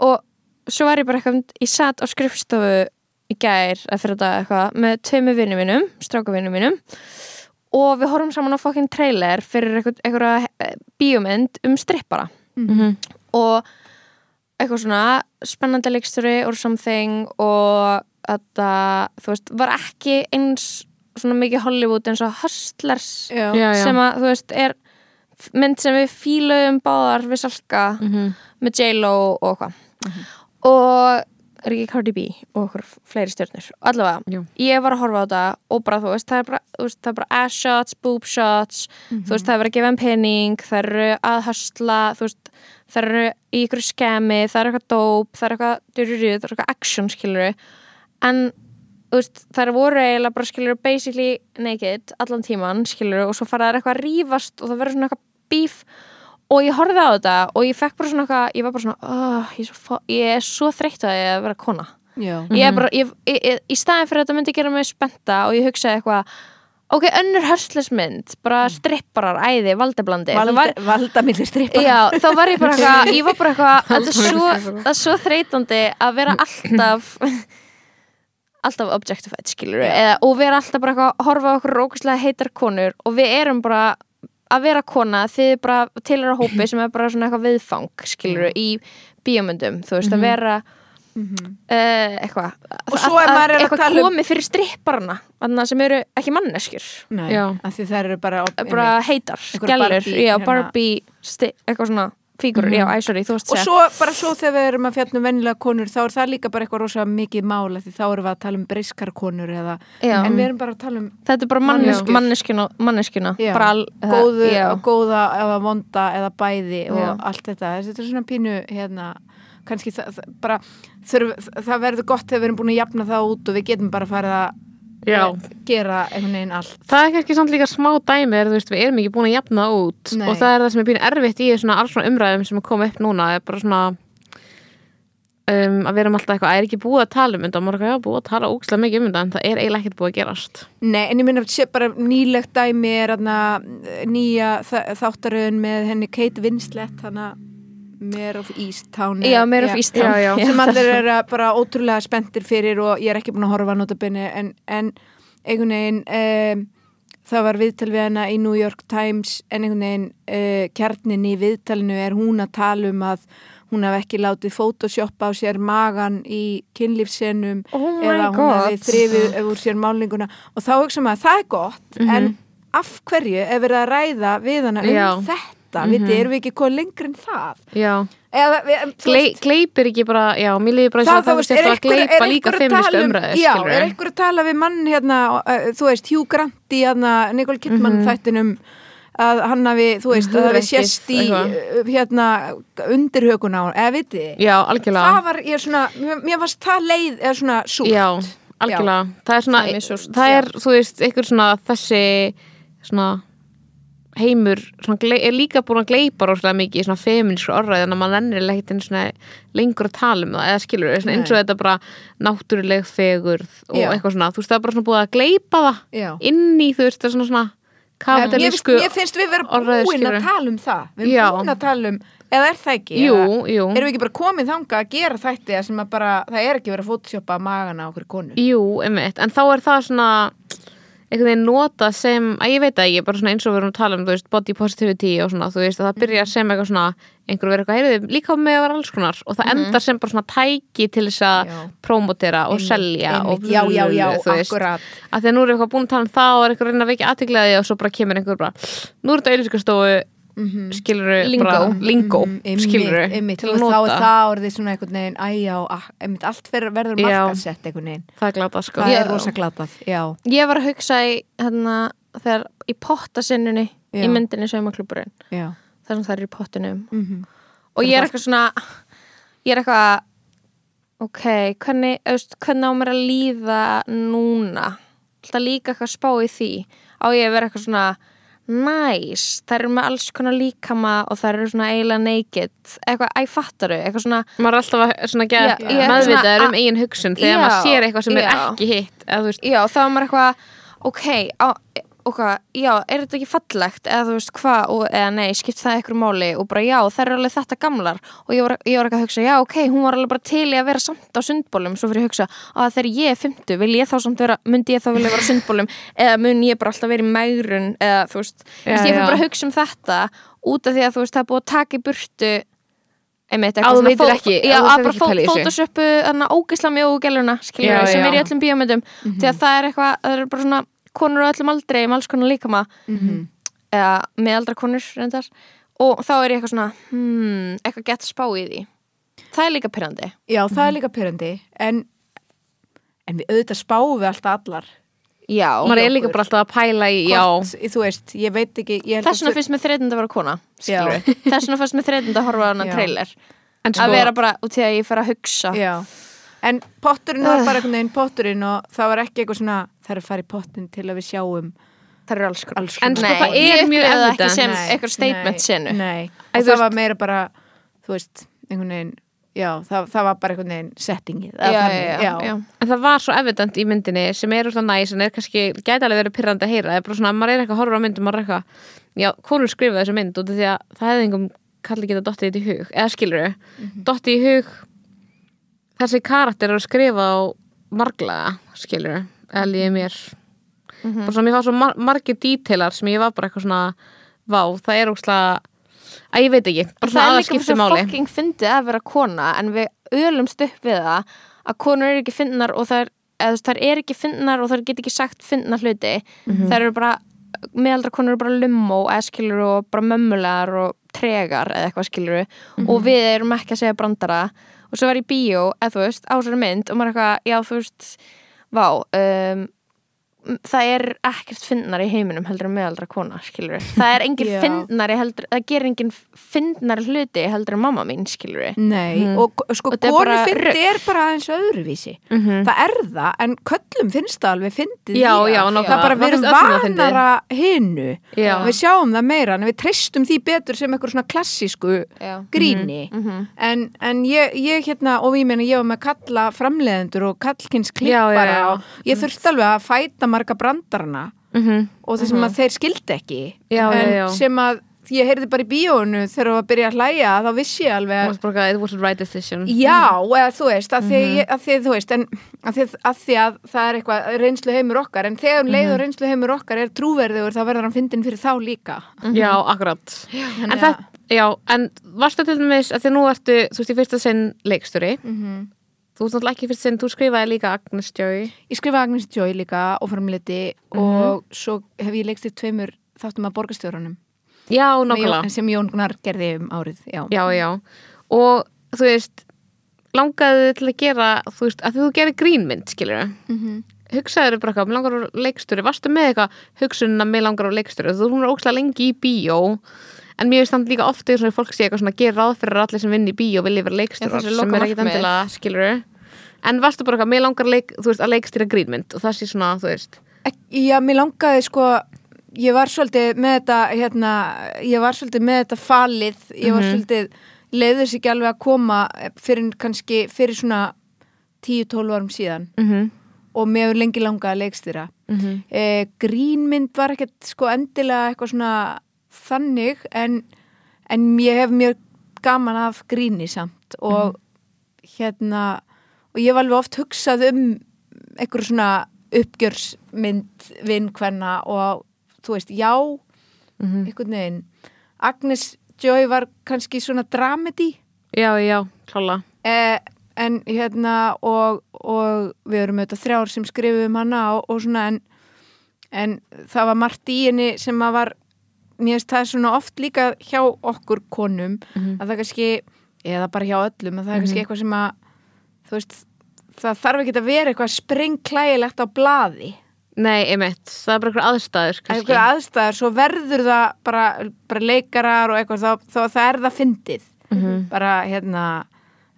Speaker 3: og svo var ég bara eitthvað, ég satt á skrifstofu í gær að fyrir þetta eitthvað með tveimu vinnum mínum, strákavinnum mínum og við horfum saman á fokkin trailer fyrir eitthvað, eitthvað bíómynd um strippara
Speaker 2: Mhm.
Speaker 3: og eitthvað svona spennandi leikstjóri or something og þetta, þú veist, var ekki eins svona mikið Hollywood eins og Hustlers
Speaker 4: Já,
Speaker 2: Já, já.
Speaker 3: sem að, þú veist, er mynd sem við fíluðum báðar við Salka
Speaker 2: Mhm.
Speaker 3: með J-Lo og hvað og er ekki Cardi B og okkur fleiri stjörnur allavega,
Speaker 2: Jú.
Speaker 3: ég var að horfa á þetta og bara þú veist, það er bara, þú veist, það er bara ass shots, boob shots þú
Speaker 2: Mhm.
Speaker 3: veist, það er verið að gefa um pening það eru að hösla, þú veist það eru í ykkur skemi, það er eitthvað dóp það er eitthvað, dyrurú, það er eitthvað action skilur en þú veist, þær voru eiginlega bara skilur basically naked allan tíman skilur og svo fara þær eitthvað að rífast og það verður svona eitthvað bíf og ég horfði á þetta og ég fekk bara svona eitthvað ég var bara svona, oh, ég, er svo, fá- ég er svo þreytt að ég að vera kona
Speaker 4: já.
Speaker 3: ég er bara, ég, ég, ég, í staðin fyrir að þetta myndi gera mig spennta og ég hugsaði eitthvað ok, önnur hörslismynd, bara stripparar æði, valdeblandi Það var-
Speaker 4: Valda, valda millir strippar.
Speaker 3: Já, þá var ég bara eitthvað, ég var bara eitthvað þetta er svo, það er svo þreytandi að vera alltaf alltaf objectified, skilur við eða, og vera alltaf bara eitthvað, að horfa á okkur rókislega heitar konur og við erum bara að vera kona, þið er bara til að hópi sem er bara svona eitthvað viðfang skilur við, í bíómyndum þú veist, að vera uh, eitthvað,
Speaker 4: Mhm. Og svo ef maður er að
Speaker 3: eitthvað
Speaker 4: tala um-
Speaker 3: komið fyrir stripparana þarna sem eru ekki manneskjur
Speaker 4: Nei,
Speaker 2: Já.
Speaker 4: af því það eru bara,
Speaker 3: bara heitar,
Speaker 4: Einhverjar
Speaker 3: gælur,
Speaker 4: Barbie,
Speaker 3: já,
Speaker 4: hérna. Mhm.
Speaker 3: Barbie sti, eitthvað svona fígur, já, æ, sorry, þú varst
Speaker 4: Og
Speaker 3: að segja
Speaker 4: svo, bara svo þegar við erum að fjalla um venjulega konur þá er það líka bara eitthvað rosa mikið mála því þá erum við að tala um breyskar konur eða,
Speaker 3: Já.
Speaker 4: en við erum bara að tala um
Speaker 3: þetta er bara mannesk,
Speaker 4: Manneskjur.
Speaker 3: manneskjuna, manneskjuna
Speaker 4: já,
Speaker 3: bara al, það-
Speaker 4: góðu,
Speaker 3: eh, já,
Speaker 4: góða eða vonda eða bæði og
Speaker 3: Já.
Speaker 4: allt þetta þetta er svona pínu hérna kannski það, það, bara, þurf, það verður gott þegar við erum búin að jafna það út og við getum bara farið að
Speaker 2: Já.
Speaker 4: gera einhvern veginn allt
Speaker 2: Það er kannski samt líka smá dæmi er, þú veist, við erum ekki búin að jafna það út
Speaker 4: Nei.
Speaker 2: og það er það sem er býin erfitt í svona, alls svona umræðum sem er komið upp núna er bara svona um, að við erum alltaf eitthvað, "Æ, er ekki búið að tala um þetta og maður er eitthvað, já, búið að tala ógstlega mikið um þetta en það er eiginlega ekkert búið að gerast
Speaker 4: Nei, en ég minna sé bara nýlegt dæmi er hana, nýja þa- þáttaröðun með henni Kate Winslet hana Mare of Easttown
Speaker 3: já, meira fyrir Ísland
Speaker 2: Já, já.
Speaker 4: sem allir eru að bara ótrúlega spenntir fyrir og ég er ekki búin að horfa að nota benni en, en einhvern veginn um, það var viðtal við hana í New York Times en einhvern veginn uh, kjarnin í viðtalinu er hún að tala um að hún haf ekki látið photoshoppa á sér magan í kynlífsenum
Speaker 3: Oh my
Speaker 4: eða hún
Speaker 3: God.
Speaker 4: hafi þrifið úr sér málninguna og þá hugsa maður að það er gott
Speaker 3: Mhm.
Speaker 4: en af hverju er verið að ræða við hana um
Speaker 2: Já.
Speaker 4: þetta mm
Speaker 3: Mhm.
Speaker 4: viti, erum við ekki komið lengri en það
Speaker 2: já
Speaker 4: eða, við, em, þú
Speaker 2: Glei,
Speaker 4: veist,
Speaker 2: gleipir ekki bara, já, mér líður bara eins
Speaker 4: það,
Speaker 2: og það
Speaker 4: þú
Speaker 2: fyrst
Speaker 4: veist,
Speaker 2: eftir
Speaker 4: er
Speaker 2: að
Speaker 4: einhver-
Speaker 2: gleipa
Speaker 4: er
Speaker 2: líka
Speaker 4: einhver að
Speaker 2: feministu
Speaker 4: tala um-
Speaker 2: umræður
Speaker 4: já,
Speaker 2: skilurðu.
Speaker 4: er einhver að tala við mann hérna, uh, þú veist, Hugh Grant í hérna, Nicole Kidman
Speaker 2: Mhm.
Speaker 4: þættinum að hann hafi, þú veist, að það hafi
Speaker 2: Hugrekkið,
Speaker 4: sést í
Speaker 2: eitthvað.
Speaker 4: uh, hérna undirhökun á hann, eða vitið þið
Speaker 2: já,
Speaker 4: það
Speaker 2: algjörlega
Speaker 4: var, ég er svona, mér, mér varst það leið eða svona súrt
Speaker 2: já, algjörlega, það er svona
Speaker 3: Það er
Speaker 2: það
Speaker 3: mjög
Speaker 2: er,
Speaker 3: súrt,
Speaker 2: það
Speaker 3: já.
Speaker 2: er þú veist, einhver svona þessi svona heimur svona, glei- er líka búin að gleipa rosalega mikið í svona feminísku orðræði þannig að maður ennir ekkert einu svona lengur að tala um það eða skilur, svona, eins og þetta bara náttúruleg fegurð og
Speaker 4: Já.
Speaker 2: eitthvað svona, þú veist, það er bara svona búið að gleipa það
Speaker 4: Já.
Speaker 2: inn í, þú veist, það er svona, svona
Speaker 4: En mér, finnst,
Speaker 2: kapitalísku
Speaker 4: mér finnst við vera
Speaker 2: orðræðu,
Speaker 4: búin að
Speaker 2: skilurðu.
Speaker 4: tala um það við
Speaker 2: Já.
Speaker 4: erum búin að tala um, eða er það ekki
Speaker 2: Jú,
Speaker 4: eða,
Speaker 2: jú.
Speaker 4: erum við ekki bara komið þangað að gera þætti þar sem að bara, það er ekki verið að photoshoppa magana á okkur konu
Speaker 2: Jú, einmitt, en þá er það svona einhvern veginn nota sem að ég veit að ég bara svona eins og við erum að tala um þú veist, body positivity og svona, þú veist að
Speaker 4: Mhm.
Speaker 2: það byrjar sem eitthvað svona, einhver verið eitthvað heyrði, líka með að vera alls konar og það endar sem bara svona tæki til þess að
Speaker 4: Mhm. Já.
Speaker 2: prómotera og
Speaker 4: Einmitt,
Speaker 2: selja og
Speaker 4: einmitt. Já, já, já,
Speaker 2: blululu, þú veist.
Speaker 4: akkurat.
Speaker 2: að því að nú er eitthvað búin að tala um það og er eitthvað að reyna að vekja aðteglaði og svo bara kemur einhver bara, nú er þetta auðvitað skiluru,
Speaker 3: Lingo.
Speaker 2: bara lingo
Speaker 4: Mm, einmitt,
Speaker 2: skiluru,
Speaker 4: Mhm. einmitt,
Speaker 2: til
Speaker 4: og
Speaker 2: að
Speaker 4: þá er
Speaker 2: nota
Speaker 4: það orðið svona einhvern veginn æjá, einmitt, allt fer, verður
Speaker 2: Já.
Speaker 4: markasett einhvern veginn
Speaker 2: það er glata sko
Speaker 4: það
Speaker 3: Já.
Speaker 4: er rosa glatað já,
Speaker 3: Ég var að hugsa í, hérna, þegar, í pottasinnunni
Speaker 4: Já.
Speaker 3: í myndinni saumakluburinn
Speaker 4: já,
Speaker 3: þar sem það er í pottinum og ég er eitthvað svona ég er eitthvað ok, hvernig, auðvist, hvernig á mér að líða núna það líka eitthvað að spá í því á ég að vera eitthvað svona næs, nice. það eru með alls konar líkama og það eru svona eiginlega naked eitthvað, æ, fattaru, eitthvað svona
Speaker 2: maður er alltaf að svona
Speaker 3: Já,
Speaker 2: gera
Speaker 3: ég er
Speaker 2: meðvitaður
Speaker 3: svona
Speaker 2: um
Speaker 3: að-
Speaker 2: eigin hugsun þegar
Speaker 3: Já,
Speaker 2: maður sér eitthvað sem er
Speaker 3: já.
Speaker 2: ekki hitt eða þú veist,
Speaker 3: já, þá er maður eitthvað ok, á, ok, já, er þetta ekki fallegt eða þú veist hvað, og- eða nei, skipt það ykkur máli og bara já, það eru alveg þetta gamlar og ég var, ég var ekki að hugsa, já, ok, hún var alveg bara til í að vera samt á sundbólum, svo fyrir ég að hugsa að þegar ég er 50, vil ég þá samt vera myndi ég þá vilja vera á sundbólum, eða mun ég bara alltaf verið megrun, eða þú veist
Speaker 2: Já,
Speaker 3: já, ég fyrir
Speaker 2: já.
Speaker 3: bara að hugsa um þetta út af því að þú veist, það er búið að taka í burtu einmitt,
Speaker 2: Að þú
Speaker 3: svona
Speaker 2: vitir
Speaker 3: fó-
Speaker 2: ekki-
Speaker 3: já,
Speaker 2: að þú
Speaker 3: að
Speaker 2: hefur
Speaker 3: bara
Speaker 2: ekki
Speaker 3: fó-
Speaker 2: pælt í þessu.
Speaker 3: photoshopu, þannig að ógisla mjög og gæluna, skiljum
Speaker 2: Já,
Speaker 3: sem er í
Speaker 2: já.
Speaker 3: öllum bíómyndum því að það er eitthvað, það eru bara svona konur á öllum aldrei, með alls konar líkama eða meðaldra konur reyndar og þá er ég eitthvað svona hmm, eitthvað gett að spá í því það er líka pyrrandi
Speaker 4: já það
Speaker 2: Mhm.
Speaker 4: er líka pyrrandi en, en við auðvitað spáum við alltaf allar
Speaker 3: já,
Speaker 2: maður er líka bara alltaf að pæla í já,
Speaker 4: Hvort- þú veist, ég veit ekki ég held
Speaker 3: þess
Speaker 4: að
Speaker 3: vegna finnst mér þreytandi að vera kona
Speaker 4: Já.
Speaker 3: skilurðu. þess vegna finnst mér þreytandi að horfa á hana
Speaker 4: Já.
Speaker 3: trailer
Speaker 2: En sko-
Speaker 3: að vera bara út í að ég fer að hugsa
Speaker 4: Já, en potturinn var bara einhvern veginn potturinn og það var ekki eitthvað svona það er að fara í pottin til að við sjáum
Speaker 3: það eru alls konar
Speaker 4: alls
Speaker 2: En
Speaker 4: konar.
Speaker 2: sko, það er
Speaker 3: ég
Speaker 2: mjög
Speaker 3: upplifði það ekki
Speaker 2: evidence.
Speaker 3: sem
Speaker 4: Nei,
Speaker 3: eitthvað statement
Speaker 4: nei,
Speaker 3: senu
Speaker 4: Nei,
Speaker 2: Æ,
Speaker 4: og
Speaker 2: þú
Speaker 4: það
Speaker 2: veist-
Speaker 4: var meira bara þú veist, einhvern veginn já, það, það var bara einhvern veginn settingið eða
Speaker 3: já, já,
Speaker 4: þannig,
Speaker 3: já, já.
Speaker 2: en það var svo evident í myndinni sem er úrst að næs en er kannski gæti alveg verið pyrrandi að heyra það er bara svona, maður er eitthvað að horfa á myndum maður er eitthvað, já, konur skrifa þessu mynd út af því að það hefði engum kalli geta dottið þetta í hug eða skilur þau, dottið í hug þessi karakter eru að skrifa á marglaða, skilur þau eða líði mér bara svona, mér fá svo mar margir dítelar sem ég var bara eitthvað svona, vá, það er úrslag að ég veit ekki, bara svona
Speaker 3: það er
Speaker 2: aðra
Speaker 3: líka
Speaker 2: skipti
Speaker 3: fyrir
Speaker 2: máli
Speaker 3: fokking fyndið að vera kona en við ölumst upp við það að konur eru ekki fyndnar og þær, eða, þú veist, þær eru ekki fyndnar og þær get ekki sagt fyndna hluti
Speaker 2: Mhm.
Speaker 3: þær eru bara, meðaldra konur eru bara lummó eða skilur og bara mömmulegar og tregar eða eitthvað skilur
Speaker 2: Mhm.
Speaker 3: og við erum ekki að segja brandara og svo var ég í bíó, eða þú veist, á sér mynd og maður eitthvað, já þú veist vá, um það er ekkert fyndnar í heiminum heldur en meðaldra kona, skilur það er engin
Speaker 4: Já.
Speaker 3: fynd fyndnari heldur, það gerir enginn fyndnari hluti heldur en mamma mín, skilur við.
Speaker 4: Nei, og k- sko
Speaker 3: Og þetta er bara
Speaker 4: konufindi
Speaker 3: rugl.
Speaker 4: er bara aðeins öðruvísi það er það, en köllum finnst það alveg fyndið
Speaker 2: Já,
Speaker 4: líka.
Speaker 2: já,
Speaker 4: það
Speaker 2: nákvæmlega.
Speaker 4: er bara
Speaker 2: Mér
Speaker 4: við erum
Speaker 2: finnst öllum það fyndið.
Speaker 4: vanara hinu
Speaker 2: Já.
Speaker 4: við sjáum það meira, en við treystum því betur sem eitthvað svona klassísku
Speaker 3: Já.
Speaker 4: gríni
Speaker 3: Mhm.
Speaker 4: en, en ég, ég hérna, og ég meina ég var með kalla framleiðendur og kallkins
Speaker 2: Já, já, já.
Speaker 4: klippara og ég þurfti alveg að fæta marga brandarana
Speaker 2: mm
Speaker 4: og það sem að þeir skildi ekki
Speaker 2: Já,
Speaker 4: en
Speaker 2: já, já.
Speaker 4: sem að því ég heyrði bara í bíónu þegar það var að byrja að hlæja þá vissi ég alveg
Speaker 2: Þú
Speaker 4: að
Speaker 2: varst bara eitthvað, it was the right decision
Speaker 4: Já, eða þú veist, að
Speaker 2: Mhm.
Speaker 4: því, mm að því þú veist, en að því, að því að það er eitthvað reynslu heimur okkar, en þegar um leið
Speaker 2: Mhm.
Speaker 4: og reynslu heimur okkar er trúverðugur, þá verður hann fyndin fyrir þá líka.
Speaker 2: Mhm. Já, akkurat En,
Speaker 4: Þannig
Speaker 2: það, já, en varstu til dæmis að því að nú ertu, þú veist, í fyrsta sinn leikstjóri Mhm. Þú veist náttúrulega ekki í fyrsta sinn, þú skrifaði líka Agnes Joy
Speaker 4: Ég skrifa Agnes Joy líka og framliti og svo hef ég leikst í tveimur þáttum að borgarstjórunum
Speaker 2: Já,
Speaker 4: Með Jón-
Speaker 2: nákvæmlega
Speaker 4: sem Jón Gunnar gerði um árið, já.
Speaker 2: Já, já Og þú veist, langaði þig til að gera, þú veist, að því þú gerði grínmynd, skilur við mm -hmm.
Speaker 3: Mhm.
Speaker 2: Hugsaður bara eitthvað, mér langar á leikstjóri Varstu með eitthvað hugsunina, mér langar á leikstjóri Þú hún er ókslega lengi í bíó En mér finnst þannig líka oft þegar svona fólk sé eitthvað svona gera ráð fyrir að allir sem vinn í bíó vilja vera leikstjórar
Speaker 3: þessi
Speaker 2: sem er
Speaker 3: lokamarkmið.
Speaker 2: ekkit endilega, skilur En varstu bara eitthvað, mér langar leik, þú veist, að leikstýra grínmynd og það sé svona, þú veist
Speaker 4: Ek- Já, mér langaði sko ég var svolítið með þetta hérna, ég var svolítið með þetta falið ég var svolítið, leiðis ekki alveg að koma fyrir kannski fyrir svona 10-12 árum síðan
Speaker 2: mm
Speaker 3: Mhm.
Speaker 2: -hmm.
Speaker 4: og mér hefur lengi langað að leikstýra e, grínmynd var ekkert sko endilega eitthvað svona þannig en, en ég hef mjög gaman af gríni samt og hérna og ég hef alveg oft hugsað um einhver svona uppgjörsmynd vinn hvenna og þú veist, já einhvern veginn Agnes Joy var kannski svona dramedy
Speaker 2: Já, já, klála
Speaker 4: Eh, en hérna og, og við erum auðvitað þrjár sem skrifum hana og, og svona en, en það var margt í henni sem að var, mér finnst það er svona oft líka hjá okkur konum að það kannski, eða bara hjá öllum að það er kannski eitthvað sem að þú veist, það þarf ekki að vera eitthvað springklægilegt á blaði
Speaker 2: Nei, einmitt, það er bara eitthvað aðstæður kannski.
Speaker 4: eitthvað aðstæður, svo verður það bara, bara leikarar og eitthvað þá, þá það er það fyndið bara hérna,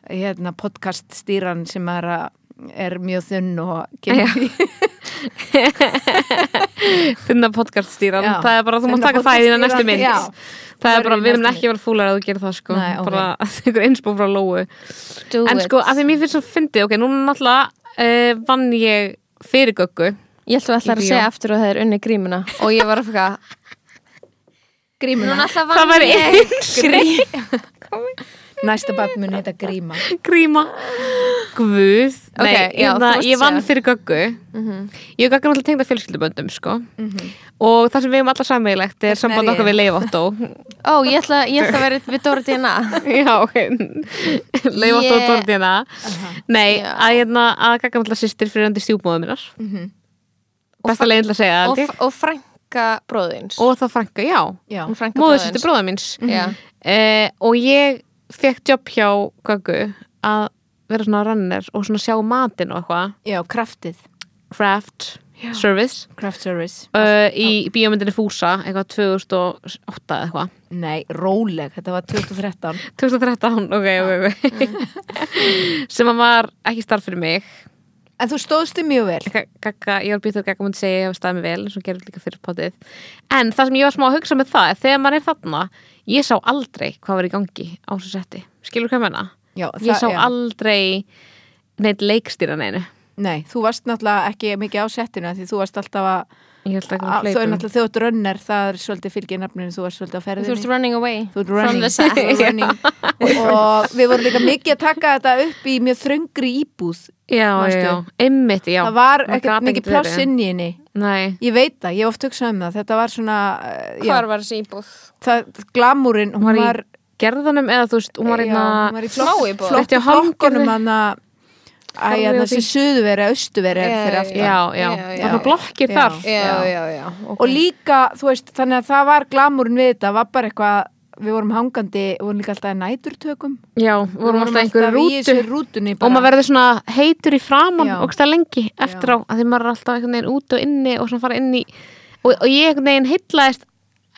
Speaker 4: hérna podcast stýran sem er, að, er mjög þunn og kemur því
Speaker 2: finna podcaststýran
Speaker 4: Já.
Speaker 2: það er bara, þú mátt
Speaker 4: Finna
Speaker 2: taka það í þína næstu
Speaker 4: podcaststýran,
Speaker 2: mynd
Speaker 4: já.
Speaker 2: það er
Speaker 4: Það
Speaker 2: bara,
Speaker 4: verður í
Speaker 2: við erum
Speaker 4: næstu
Speaker 2: ekki að vera fúlar að þú gerir það sko,
Speaker 4: Nei, ok.
Speaker 2: bara einhver einspó frá lóu
Speaker 3: Do
Speaker 2: en
Speaker 3: it.
Speaker 2: sko, að því mér finnst svo fyndið, ok, núna náttúrulega uh, vann ég fyrir göggu
Speaker 3: Ég ætlum alltaf
Speaker 2: Í
Speaker 3: að
Speaker 2: bíó.
Speaker 3: segja aftur að það er unni grímuna og ég var að fækka
Speaker 4: grímuna,
Speaker 3: alltaf
Speaker 2: það var eins
Speaker 4: næsta barn mun heita gríma
Speaker 2: gríma guð,
Speaker 3: Ok,
Speaker 2: nei, já,
Speaker 3: já, þú
Speaker 2: hérna,
Speaker 3: varst
Speaker 2: ég
Speaker 3: að
Speaker 2: vann
Speaker 3: segja.
Speaker 2: fyrir göggu
Speaker 4: Mhm.
Speaker 2: ég og göggu náttúrulega tengda fjölskylduböndum sko, og það sem við erum alla sammeilegt er
Speaker 4: Þess vegna er
Speaker 2: samband okkar
Speaker 4: ég.
Speaker 2: við Leifottó
Speaker 3: Ó, ég ætla, ég ætla að vera við Dóra Dina
Speaker 2: Já, ok Leifastu yeah. á
Speaker 3: Ég-
Speaker 2: dórnina hérna. Nei,
Speaker 3: Já. Mhm.
Speaker 2: að hérna að gagga alltaf sýstir fyrir hendur stjúbmóðu minnar Besta
Speaker 3: Og-
Speaker 2: leiðin til að segja
Speaker 3: og,
Speaker 2: það og,
Speaker 3: og frænka bróðins
Speaker 2: og það frænka, já
Speaker 4: já,
Speaker 3: Hún frænka
Speaker 2: Móðu
Speaker 3: bróðins.
Speaker 2: sýstir bróða míns
Speaker 3: Já.
Speaker 2: eh, Og ég fekk jobb hjá Gaggu að vera svona runner og svona sjá matinn og eitthvað
Speaker 4: já, kraftið
Speaker 2: Craft Service
Speaker 4: craft service,
Speaker 2: uh, í bíómyndinni Fúsa eitthvað 2008 eða eitthvað
Speaker 4: nei, róleg þetta var 2013
Speaker 2: 2013, ok, ok, ok sem að var ekki starf fyrir mig
Speaker 4: en þú stóðstu mjög vel
Speaker 2: Gagga, ég var býttur Gagga múti segja ég hef staðið mig vel eins og hún gerir líka fyrir potið en það sem ég var smá að hugsa með það er þegar maður er þarna ég sá aldrei hvað var í gangi á þessu setti skilur hvað ég menna?
Speaker 4: já,
Speaker 2: Ég
Speaker 4: það-
Speaker 2: sá
Speaker 4: já.
Speaker 2: aldrei neitt leikstýra neinu
Speaker 4: nei, þú varst náttúrulega ekki mikið á settinu af því þú varst alltaf að,
Speaker 2: ég held ekki
Speaker 4: að
Speaker 2: að
Speaker 4: þú er
Speaker 2: hleypum
Speaker 4: náttúrulega þjótt rönner það er svolítið fylgið nafninu, þú varst svolítið á ferðinni
Speaker 3: Þú ert running away
Speaker 4: Þú ert
Speaker 3: From
Speaker 4: running,
Speaker 3: the set.
Speaker 4: Þú ert running. og við vorum líka mikið að taka þetta upp í mjög þröngri íbúð
Speaker 2: já,
Speaker 4: manstu?
Speaker 2: já, einmitt, já
Speaker 4: það var
Speaker 2: Maður gat
Speaker 4: ekkert mikið
Speaker 2: ekkert
Speaker 4: pláss
Speaker 2: verið.
Speaker 4: inn í henni
Speaker 2: nei,
Speaker 4: ég veit það, ég hef oft hugsað um það þetta var svona, eh, já,
Speaker 3: Hvar var þessi íbúð?
Speaker 4: það, glamúrin hún
Speaker 2: Hún var
Speaker 4: var,
Speaker 2: í- gerðanum eða þú veist, hún var hérna-
Speaker 4: já, hún
Speaker 2: einna
Speaker 4: var í
Speaker 3: smá íbúð.
Speaker 4: flott
Speaker 2: Rétt hjá Hanggerði.
Speaker 4: blokkunum hann að
Speaker 2: Hanggerði
Speaker 4: Æja,
Speaker 2: og
Speaker 4: þessi suðuveri, austuveri er
Speaker 3: Já,
Speaker 4: fyrir
Speaker 3: já,
Speaker 4: aftan.
Speaker 2: já, já,
Speaker 3: Já, já.
Speaker 2: það var blokkir
Speaker 4: Já.
Speaker 2: þar
Speaker 4: Já.
Speaker 3: já, já okay.
Speaker 4: Og líka, þú veist, þannig að það var glamúrin við þetta, var bara eitthvað, við vorum hangandi, við vorum líka alltaf í næturtökum.
Speaker 2: já, vorum alltaf einhverju
Speaker 4: alltaf í
Speaker 2: rútu
Speaker 4: þessu rútunni
Speaker 2: og maður verður svona heitur í framann
Speaker 4: Já.
Speaker 2: og stað lengi eftir á að því maður er alltaf einhvern veginn út og inni og svona fara inn í og, og ég einhvern veginn heitlaðist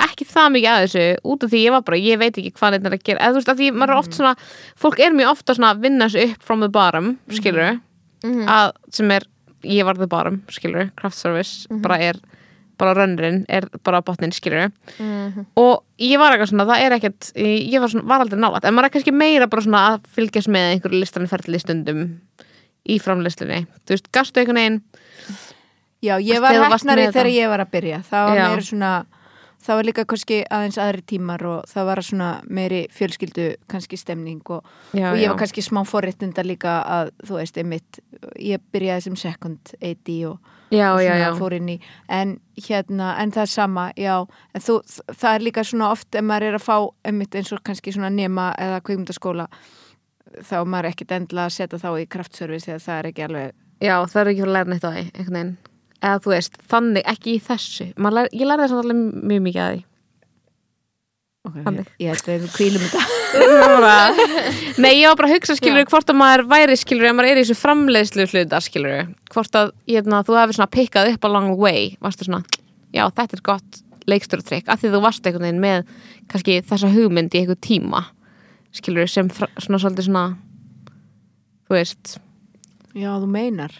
Speaker 2: ekki það mikið að þessu út af því ég var bara, ég veit ekki hvað neitt er að gera eða þú veist að því maður
Speaker 4: Mm.
Speaker 2: er oft svona fólk er mjög ofta svona að vinna þessu upp from the bottom
Speaker 4: Mhm.
Speaker 2: skilur að sem er ég var the bottom skilur craft service
Speaker 4: Mhm.
Speaker 2: bara er bara rönnurinn er bara botnin skilur og ég var eitthvað svona, það er ekkert ég var, svona, var aldrei nálægt, en maður er kannski meira bara svona að fylgjast með einhverju listanferðli stundum í framleyslunni þú veist, gastu einhvern veginn
Speaker 4: Já, ég
Speaker 2: Þú
Speaker 4: var
Speaker 2: varst með
Speaker 4: hefnari
Speaker 2: þetta.
Speaker 4: þegar ég var að byrja. Það var
Speaker 2: Já.
Speaker 4: meira svona, það var líka kannski aðeins aðri tímar og það var svona meiri fjölskyldu kannski stemning og,
Speaker 2: Já,
Speaker 4: og ég
Speaker 2: já.
Speaker 4: var kannski smá forréttinda líka að þú veist, einmitt, ég byrjaði sem second AD og,
Speaker 2: Já,
Speaker 4: og
Speaker 2: já,
Speaker 4: svona
Speaker 2: já.
Speaker 4: fór inn í en hérna, en það er sama, já en þú, það er líka svona oft ef maður er að fá einmitt eins og kannski svona nema eða kvikmyndaskóla þá er maður ekkit endla að setja þá í kraftservice eða það er ekki alveg
Speaker 2: Já, það er ekki að læra neitt á því, einhvern veginn. Eða þú veist, þannig, ekki í þessu. Maður Lær, ég lærði þess alveg mjög mikið að því.
Speaker 4: okay,
Speaker 2: Þannig.
Speaker 4: ég, ég held að við kvílum þetta
Speaker 2: Nei, ég var bara að hugsa, skilur, hvort að maður væri, skilur, ef maður er í þessu framleiðslu hlutar, skilur, hvort að, ég veit, þú hefur svona pikkað upp along the way, varstu svona, já, þetta er gott leikstjóratrykk, af því þú varst einhvern veginn með, kannski, þessa hugmynd í einhver tíma, skilur, sem fra, svona, svolítið svona, þú veist,
Speaker 4: já, þú meinar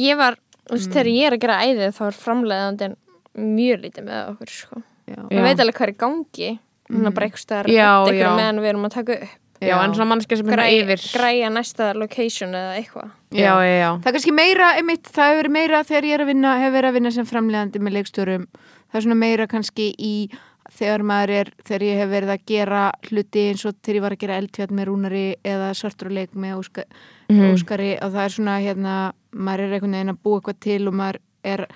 Speaker 3: Ég var, þú veist, þegar ég er að gera æðið þá er framleiðandinn mjög lítið með okkur, sko.
Speaker 2: Já.
Speaker 3: Ég veit alveg hvað er í gangi, þannig að bara eitthvað staðar
Speaker 2: Já,
Speaker 3: eitthvað
Speaker 2: já.
Speaker 3: meðan við erum að taka upp.
Speaker 2: já, en svona mannskja sem er
Speaker 3: Græ,
Speaker 2: svona yfir.
Speaker 3: Græja næsta location eða eitthvað.
Speaker 2: já, já, já.
Speaker 4: Það er kannski meira, einmitt, það hefur verið meira þegar ég er að vinna, hefur verið að vinna sem framlegandi með leikstjórum. Það er svona meira kannski í þegar maður er, þegar ég hef verið að gera hluti eins og þegar ég var að gera eldfjall með rúnari eða svartruleik með óska,
Speaker 2: Mhm.
Speaker 4: óskari og það er svona, hérna, maður er einhvern veginn að búa eitthvað til og maður er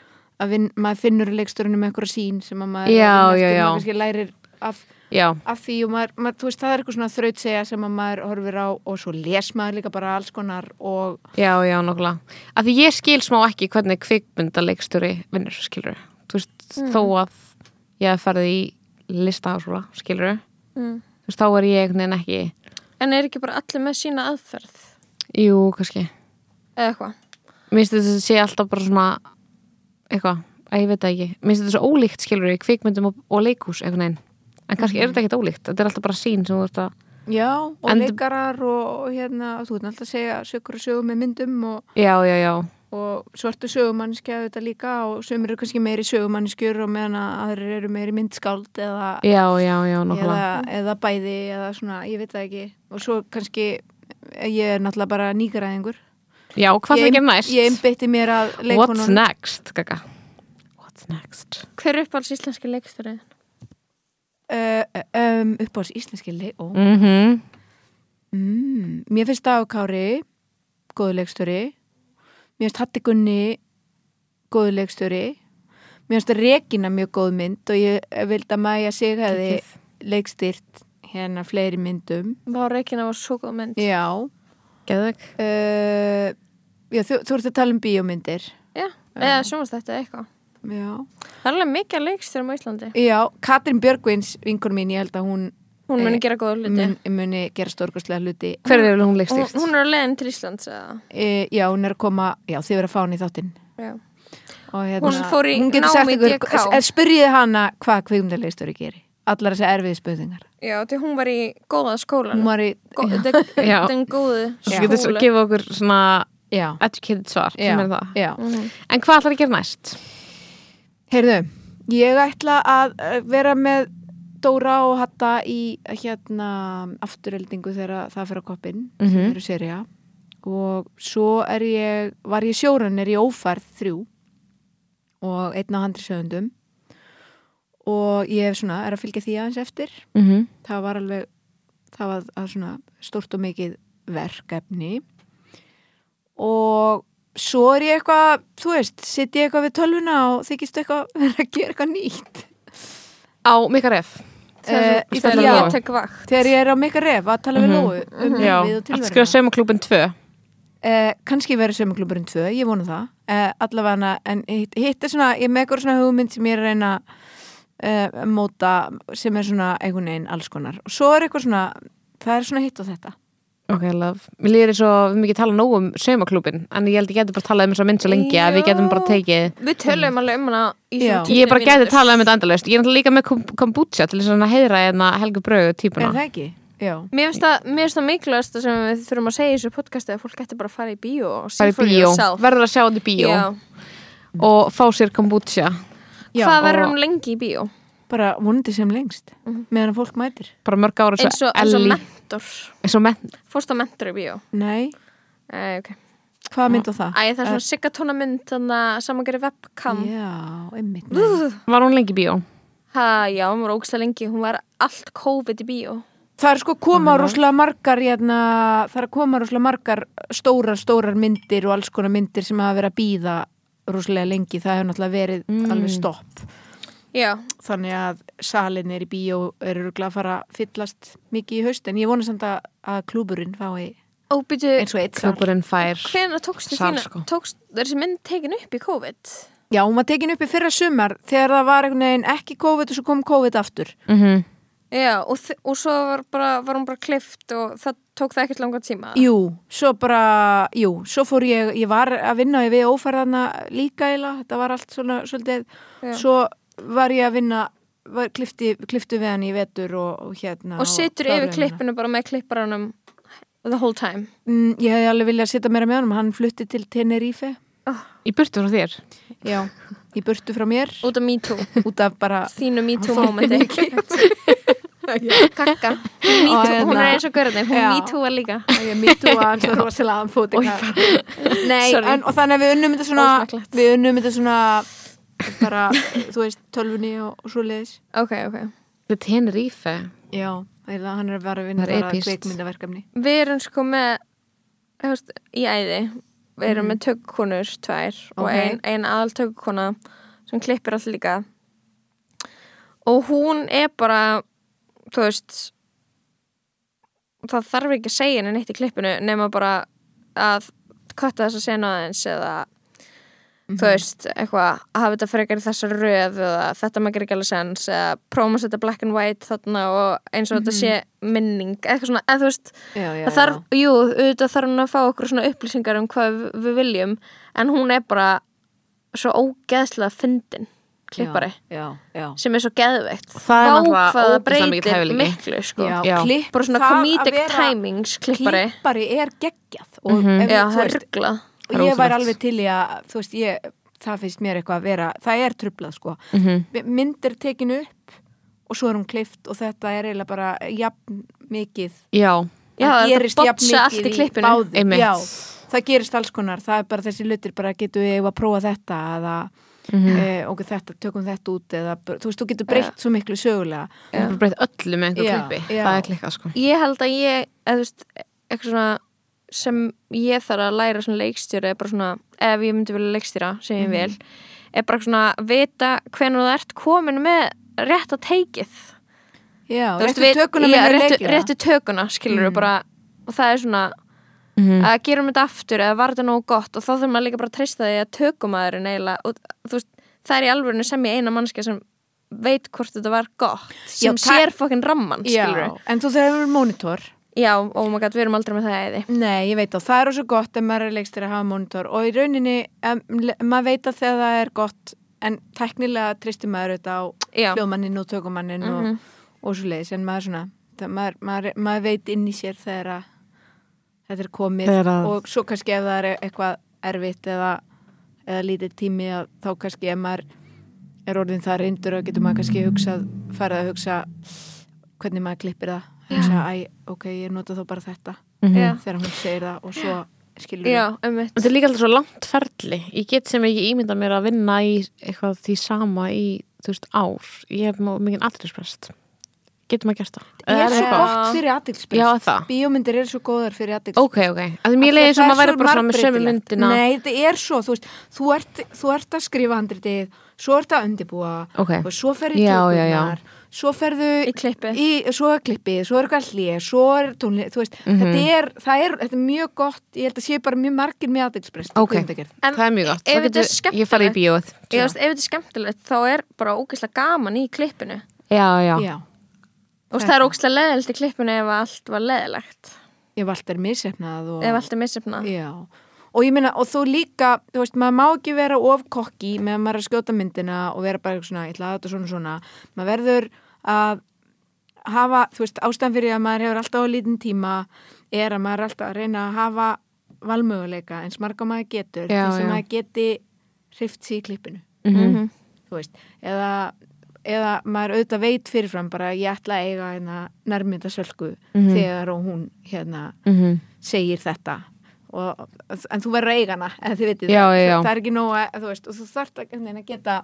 Speaker 4: að vin, maður finnur leikstjórunum með einhverja sín sem að maður
Speaker 2: Já,
Speaker 4: er að
Speaker 2: já,
Speaker 4: vinna eftir,
Speaker 2: já.
Speaker 4: maður kannski lærir af
Speaker 2: Já,
Speaker 4: af því og maður, maður, þú veist, það er eitthvað svona þraut segja sem að maður horfir á og svo les maður líka bara alls konar og
Speaker 2: já, já, nokkulega. Af því ég skil smá ekki hvernig kvikmyndaleikstjóri vinnur, skilur. Þú veist, þó að ég hef farið í listaháskóla, skilur.
Speaker 3: Mm.
Speaker 2: Þú veist, þá er ég einhvern veginn ekki,
Speaker 3: En er ekki bara allir með sína aðferð
Speaker 2: jú, kannski.
Speaker 3: eða eitthvað?
Speaker 2: Mér finnst þetta að sé alltaf bara svona, eitthvað, að ég veit það ekki. Mér finnst þetta svo ólíkt, skilur, í kvikmyndum og, og leikhús, einhvern veginn. En kannski er þetta ekkert ólíkt, þetta er alltaf bara sín sem þú ert að...
Speaker 4: Já, og
Speaker 2: En-
Speaker 4: leikarar og, og hérna, þú veit alltaf að segja sökur og sögum með myndum og,
Speaker 2: Já, já, já,
Speaker 4: og svartu sögumannskja auðvitað líka og sömur eru kannski meiri sögumannskjur og meðan að aðrir eru meiri myndskáld eða,
Speaker 2: já, já, já,
Speaker 4: eða,
Speaker 2: nokkulega.
Speaker 4: eða bæði eða svona, ég veit það ekki og svo kannski, eh, ég er náttúrulega bara nýgræðingur.
Speaker 2: Já, hvað það
Speaker 4: Ég-
Speaker 2: ekki næst?
Speaker 4: Ég einbytti mér að
Speaker 2: What's
Speaker 4: leikonunum.
Speaker 2: next, gaga? What's next?
Speaker 3: Hver er uppáhalds íslenski leikstörið?
Speaker 4: Uh, um, uppáðs íslenski leik og
Speaker 2: Mm
Speaker 4: Mm, mér finnst Dagkári góðulegstöri mér finnst Hatti Gunni góðulegstöri mér finnst Regina mjög góð mynd og ég vildi að Maja sig hefði leikstyrt hérna fleiri myndum
Speaker 3: Vá, Reykjana var svo góð mynd.
Speaker 4: já uh,
Speaker 2: Geðvögg.
Speaker 4: já, þú, þú ert að tala um bíómyndir
Speaker 3: Já, eða sjónvastætti eða eitthvað.
Speaker 4: já,
Speaker 3: Það er alveg mikið leikstörið á Íslandi.
Speaker 4: já Katrin Björgvins vinkun mín, ég held að hún
Speaker 3: Hún
Speaker 4: Eh,
Speaker 3: muni gera góða hluti.
Speaker 4: mun, muni gera stórkostlega hluti
Speaker 2: Hver er hún
Speaker 3: hún,
Speaker 2: leikstýrt?
Speaker 3: hún er á leiðin til Íslands eða?
Speaker 4: uh, já, hún er að koma, já, þið verið að fá hún í þáttinn
Speaker 3: Já.
Speaker 4: Og hérna,
Speaker 3: Hún fór í
Speaker 4: hún getur
Speaker 3: nám
Speaker 4: sagt
Speaker 3: í
Speaker 4: ykkur,
Speaker 3: DK.
Speaker 4: en spyrjið hana hvað kvikmyndalegstöru gerir allar þessi erfiði spurningar
Speaker 3: Já, því hún var í góða skólan.
Speaker 4: hún var í,
Speaker 3: Gó,
Speaker 2: Já.
Speaker 3: den góðu
Speaker 2: Þú getur svo
Speaker 3: skóla.
Speaker 2: að gefa okkur svona
Speaker 4: já,
Speaker 2: educated svar
Speaker 4: já,
Speaker 2: sem er það.
Speaker 4: já.
Speaker 3: Mhm.
Speaker 2: En hvað ætlar að gera næst?
Speaker 4: heyrðu, ég ætla að eh, vera með Dóra og Hatta í eh, hérna afturöldingu þegar það fyrir á koppin sem
Speaker 2: Mhm.
Speaker 4: eru serja og svo er ég, var ég sjórun er ég ófærð þrjú og einn á handri sögundum og ég hef svona er að fylgja því aðeins eftir
Speaker 2: Mm -hmm.
Speaker 4: það var alveg það var að svona stort og mikið verkefni og svo er ég eitthvað þú veist, sitt ég eitthvað við tölvuna og þykist eitthvað vera að gera eitthvað nýtt
Speaker 2: Á Mika Ref.
Speaker 4: Eh,
Speaker 2: í
Speaker 4: í
Speaker 2: Þegar
Speaker 3: Þegar
Speaker 2: ég
Speaker 3: ég
Speaker 2: Lóu.
Speaker 3: tek vakt.
Speaker 4: þegar ég er á meika ref að tala við
Speaker 2: Mhm.
Speaker 4: Lóu um
Speaker 2: Já,
Speaker 4: lífið og
Speaker 2: ætlar að skrifa
Speaker 4: tilveruna
Speaker 2: saumaklúbin 2.
Speaker 4: eh, kannski verður sömuklubburinn tvö, ég vona það eh, allavega en hitt, hitt er svona ég er með eitthvað svona hugmynd sem ég er að reyna eh, móta sem er svona einhvern veginn alls konar og svo er eitthvað svona, það er svona hitt og þetta
Speaker 2: Ok, love. Mér líður eins og við mikið tala nóg um saumaklúbin, en ég held ég geti bara talað um þess að mynd svo lengi að við getum bara tekið
Speaker 3: Við tölum alveg um hana í
Speaker 4: Já.
Speaker 3: svona tíu
Speaker 2: Ég bara geti
Speaker 3: mínútur.
Speaker 2: talað um þetta endalaust. Ég er náttúrulega líka með kom- kombucha til þess að heira hérna Helgu Brögu
Speaker 4: er
Speaker 2: típuna.
Speaker 4: það ekki? Já
Speaker 3: Mér finnst það, mér finnst það mikilvægast sem við þurfum að segja í þessu podcasti að fólk getur bara að fara í bíó og
Speaker 2: Bara
Speaker 3: see
Speaker 2: í
Speaker 3: for
Speaker 2: bíó.
Speaker 3: yourself.
Speaker 2: Verður að sjá þetta í bíó
Speaker 3: Já.
Speaker 2: og fá sér kombucha.
Speaker 4: Já,
Speaker 3: Hvað verður
Speaker 2: og-
Speaker 3: hún lengi í bíó?
Speaker 4: bara vonandi sem lengst meðan að fólk mætir
Speaker 2: Bara mörg ára
Speaker 3: Eins og, eins og mentor.
Speaker 2: Eins og menn.
Speaker 3: Fórst á mentor í bíó.
Speaker 4: Nei,
Speaker 3: Æ, okay.
Speaker 4: hvað mynd á það?
Speaker 3: Æ, um. það er svona siggatónamynd þannig að saman gerir webcam.
Speaker 4: Já, einmitt nei.
Speaker 3: Úff.
Speaker 2: Var hún lengi í bíó?
Speaker 3: Ha, já, hún var ógsta lengi, hún var allt COVID í bíó.
Speaker 4: Það er sko koma rosalega margar hérna, það er að koma rosalega margar stórar, stórar myndir og alls konar myndir sem hafa verið að býða rosalega lengi, það hefur náttúrulega verið alveg stopp,
Speaker 3: Já,
Speaker 4: þannig að salin er í bíó eru rúglega að fara að fyllast mikið í haust, en ég vona samt að, að klúburinn fái
Speaker 3: og byrju,
Speaker 4: eins og eitt sal.
Speaker 2: klúkurinn fær
Speaker 3: hvenær tókstu
Speaker 2: Sal,
Speaker 3: þína,
Speaker 2: sko.
Speaker 3: tókst, þessi mynd tekin upp í COVID?
Speaker 4: Já, hún var tekin upp í fyrra sumar þegar það var einhvern veginn ekki COVID og svo kom COVID aftur.
Speaker 2: mm -hmm.
Speaker 3: Já, og, þi- og svo var, bara, var hún bara klift og það tók það ekkert langan tíma.
Speaker 4: Jú, svo bara, jú, svo fór ég, ég var að vinna við ófærðana líka eila, þetta var allt svona svolítið,
Speaker 3: Já.
Speaker 4: svo var ég að vinna, var, klifti, kliftu við hann í vetur og, og hérna.
Speaker 3: og situr
Speaker 4: kláruðum
Speaker 3: yfir
Speaker 4: hana.
Speaker 3: klippinu bara með klipparanum the whole time.
Speaker 4: Mm, ég hefði alveg viljað sitta meira með honum, hann flutti til Tenerife,
Speaker 2: í burtu frá þér
Speaker 4: já, í burtu frá mér,
Speaker 3: Út af MeToo,
Speaker 4: út af bara,
Speaker 3: þínu MeToo momenti. Kakka, Me
Speaker 4: Og
Speaker 3: Too- hún
Speaker 4: hérna-
Speaker 3: er eins og görðin, hún
Speaker 4: Já.
Speaker 3: MeToo-a líka.
Speaker 4: og ég mittu að hann svo rosalega hann fóti. Nei,
Speaker 3: Sorry.
Speaker 4: en, og þannig að við unnum þetta svona,
Speaker 3: Ósmekklegt.
Speaker 4: við unnum þetta svona, bara, þú veist, tölvunni og, og svo leiðis.
Speaker 3: Ok, ok.
Speaker 2: við tenir ífe
Speaker 4: Já, það er- hann er að vera að vinna
Speaker 2: Það er
Speaker 4: bara
Speaker 2: epískt.
Speaker 4: kveikmyndaverkefni.
Speaker 3: Við erum sko með þú veist, í æði við erum með tökkunur tvær og
Speaker 4: Ok.
Speaker 3: ein, ein aðal tökkuna sem klippir allt líka og hún er bara þú veist það þarf ekki að segja henni neitt í klippinu nema bara að kvötta þess að sena aðeins eða þú veist, eitthvað að hafa þetta frekar í þessa röð eða þetta maður ekki alveg sens eða prófum að setja black and white þarna og eins og þetta sé minning eitthvað svona, eða þú veist
Speaker 4: Já, já,
Speaker 3: það þarf, jú, auðvitað þarf hún að fá okkur svona upplýsingar um hvað við- við viljum en hún er bara svo ógeðslega fyndin klippari,
Speaker 4: já, já.
Speaker 3: sem er svo geðveikt
Speaker 2: Það er náttúrulega
Speaker 3: hvað það
Speaker 2: ógeðslega mikill
Speaker 3: breytir
Speaker 2: hæfileiki.
Speaker 3: miklu sko.
Speaker 4: Já,
Speaker 2: Já.
Speaker 4: klipp-
Speaker 3: bara svona
Speaker 4: það að
Speaker 3: comedic
Speaker 4: vera
Speaker 3: timings klippari, Mhm.
Speaker 4: klippari er geggjað og ef,
Speaker 3: já,
Speaker 4: þú
Speaker 3: það er
Speaker 4: veist,
Speaker 3: ruggla
Speaker 2: það er
Speaker 4: ég væri
Speaker 2: ótrúlegt.
Speaker 4: alveg til í að þú veist, ég, það finnst mér eitthvað að vera það er trublað sko
Speaker 2: mm -hmm.
Speaker 4: mynd er tekin upp og svo er hún klift og þetta er eiginlega bara jafn mikið
Speaker 2: já,
Speaker 3: Já,
Speaker 4: það
Speaker 3: þetta
Speaker 4: gerist jafn
Speaker 3: botsa allt
Speaker 4: mikið
Speaker 3: í
Speaker 4: í
Speaker 3: klippinu.
Speaker 4: báðu
Speaker 2: Einmitt.
Speaker 4: já, það gerist alls konar það er bara þessi hlutir bara getur við eigum að prófa þetta eða mm
Speaker 3: Mhm.
Speaker 4: okkur þetta, tökum þetta út eða, bara- þú veist, þú getur breytt
Speaker 3: Eh.
Speaker 4: svo miklu sögulega
Speaker 2: þú bara breytt öllu með einhver
Speaker 4: Já,
Speaker 2: klippi
Speaker 4: já.
Speaker 2: það er klikkað sko
Speaker 3: ég held að ég eða, þú veist, eitthvað svona sem ég þarf að læra svona leikstjóri er bara svona, ef ég myndi vilja leikstjóra sem ég vil, er bara svona að vita hvernig þú ert komin með rétt að teikið
Speaker 4: já,
Speaker 3: Þú veist,
Speaker 4: réttu tökuna
Speaker 3: já,
Speaker 4: minni
Speaker 3: réttu,
Speaker 4: leikið
Speaker 3: réttu tökuna skilur
Speaker 4: Mm.
Speaker 3: við bara og það er svona
Speaker 4: Mhm.
Speaker 3: að gerum þetta aftur eða var þetta nógu gott og þá þurfum maður líka bara að treysta því að tökumæðurinn eiginlega og þú veist, það er í alvörinu sem ég eina mannskja sem veit hvort þetta var gott sem
Speaker 4: Já, það-
Speaker 3: sér fokkin ramman skilur
Speaker 4: Já, en þú þarf að vera monitor
Speaker 3: Já, oh my god, við erum aldrei með það eði
Speaker 4: Nei, ég veit á, það er svo gott ef maður er leikstir að hafa monitor og í rauninni, em, le- maður veit að þegar það er gott en tæknilega tristum maður auðvitað á
Speaker 3: Já. Mhm.
Speaker 4: hljóðmannin og tökumanninn og, og svo leiðis en maður svona, það, maður, maður, maður veit inn í sér þegar að þetta er komið
Speaker 2: Þegar að-
Speaker 4: og svo kannski ef það er eitthvað erfitt eða, eða lítið tími að þá kannski ef maður er orðin það reyndur og getur maður kannski hugsað, farið að hugsa hvernig maður klippir það hugsa, æ, ok, ég nota þá bara þetta
Speaker 2: Mm.
Speaker 3: Mhm. Já,
Speaker 4: þegar hún segir það og svo skilur
Speaker 3: já
Speaker 4: við
Speaker 3: ummitt
Speaker 2: þetta er líka alltaf svo langt ferli ég get sem ekki ímynda mér að vinna í eitthvað því sama í þú veist ár ég hef mjög mikið atriðsprest getum að gert það
Speaker 4: Ég er
Speaker 2: Eða
Speaker 4: svo
Speaker 2: eitthvað?
Speaker 4: gott fyrir aðdilsprest
Speaker 2: Já, það.
Speaker 4: Bíómyndir eru svo góðar fyrir aðdilsprest
Speaker 2: ok, ok, að því mér leiði sem að væri bara svona með sömu myndina
Speaker 4: Nei, þetta er svo, þú veist, þú ert, þú ert að skrifa handritið, svo ert að undibúa
Speaker 2: Ok.
Speaker 4: og svo ferðu í
Speaker 2: Já, já, já.
Speaker 4: tökurnar svo ferðu
Speaker 3: Í klippið.
Speaker 4: í- svo er klippið, svo er eitthvað hlið svo er tónlið, þú veist, þetta
Speaker 2: Mhm.
Speaker 4: er það er, þetta er mjög gott, ég held að sé bara mjög margir með aðdilsprest
Speaker 2: ok, það er mjög gott
Speaker 3: ef
Speaker 2: Þá
Speaker 3: þetta er
Speaker 2: getur- ég farið í
Speaker 3: skemmtilegt-
Speaker 2: bíóð
Speaker 3: Ég veist, ef þetta er skemmtilegt þá er bara ógeðslega gaman í klippinu
Speaker 2: já, já,
Speaker 4: Já,
Speaker 3: og það er ógeðslega leðilegt í klippinu ef allt var leðilegt
Speaker 4: ef allt er missefnað og...
Speaker 3: ef allt er missefnað
Speaker 4: Já, og ég meina, og þú líka, þú veist, maður má ekki vera of kokki meðan maður er að skjóta myndina og vera bara eitthvað svona, ég ætla að þetta svona svona, maður verður að hafa, þú veist, ástæðan fyrir að maður hefur alltaf á lítinn tíma er að maður er alltaf að reyna að hafa valmöguleika eins marga maður getur,
Speaker 2: Já,
Speaker 4: þess
Speaker 2: já.
Speaker 4: að maður geti hrift sig í klippinu Mm-hmm.
Speaker 3: Mhm,
Speaker 4: þú veist, eða, eða maður auðvitað veit fyrirfram bara ég ætla að eiga hérna nærmynda sölku þegar og hún hérna
Speaker 2: Mhm.
Speaker 4: segir þetta og, en þú verður að eiga hana eða þið veitir
Speaker 2: Já,
Speaker 4: það,
Speaker 2: já, já.
Speaker 4: það er ekki nóg að, þú veist, og þú þarft að, einhvern veginn að geta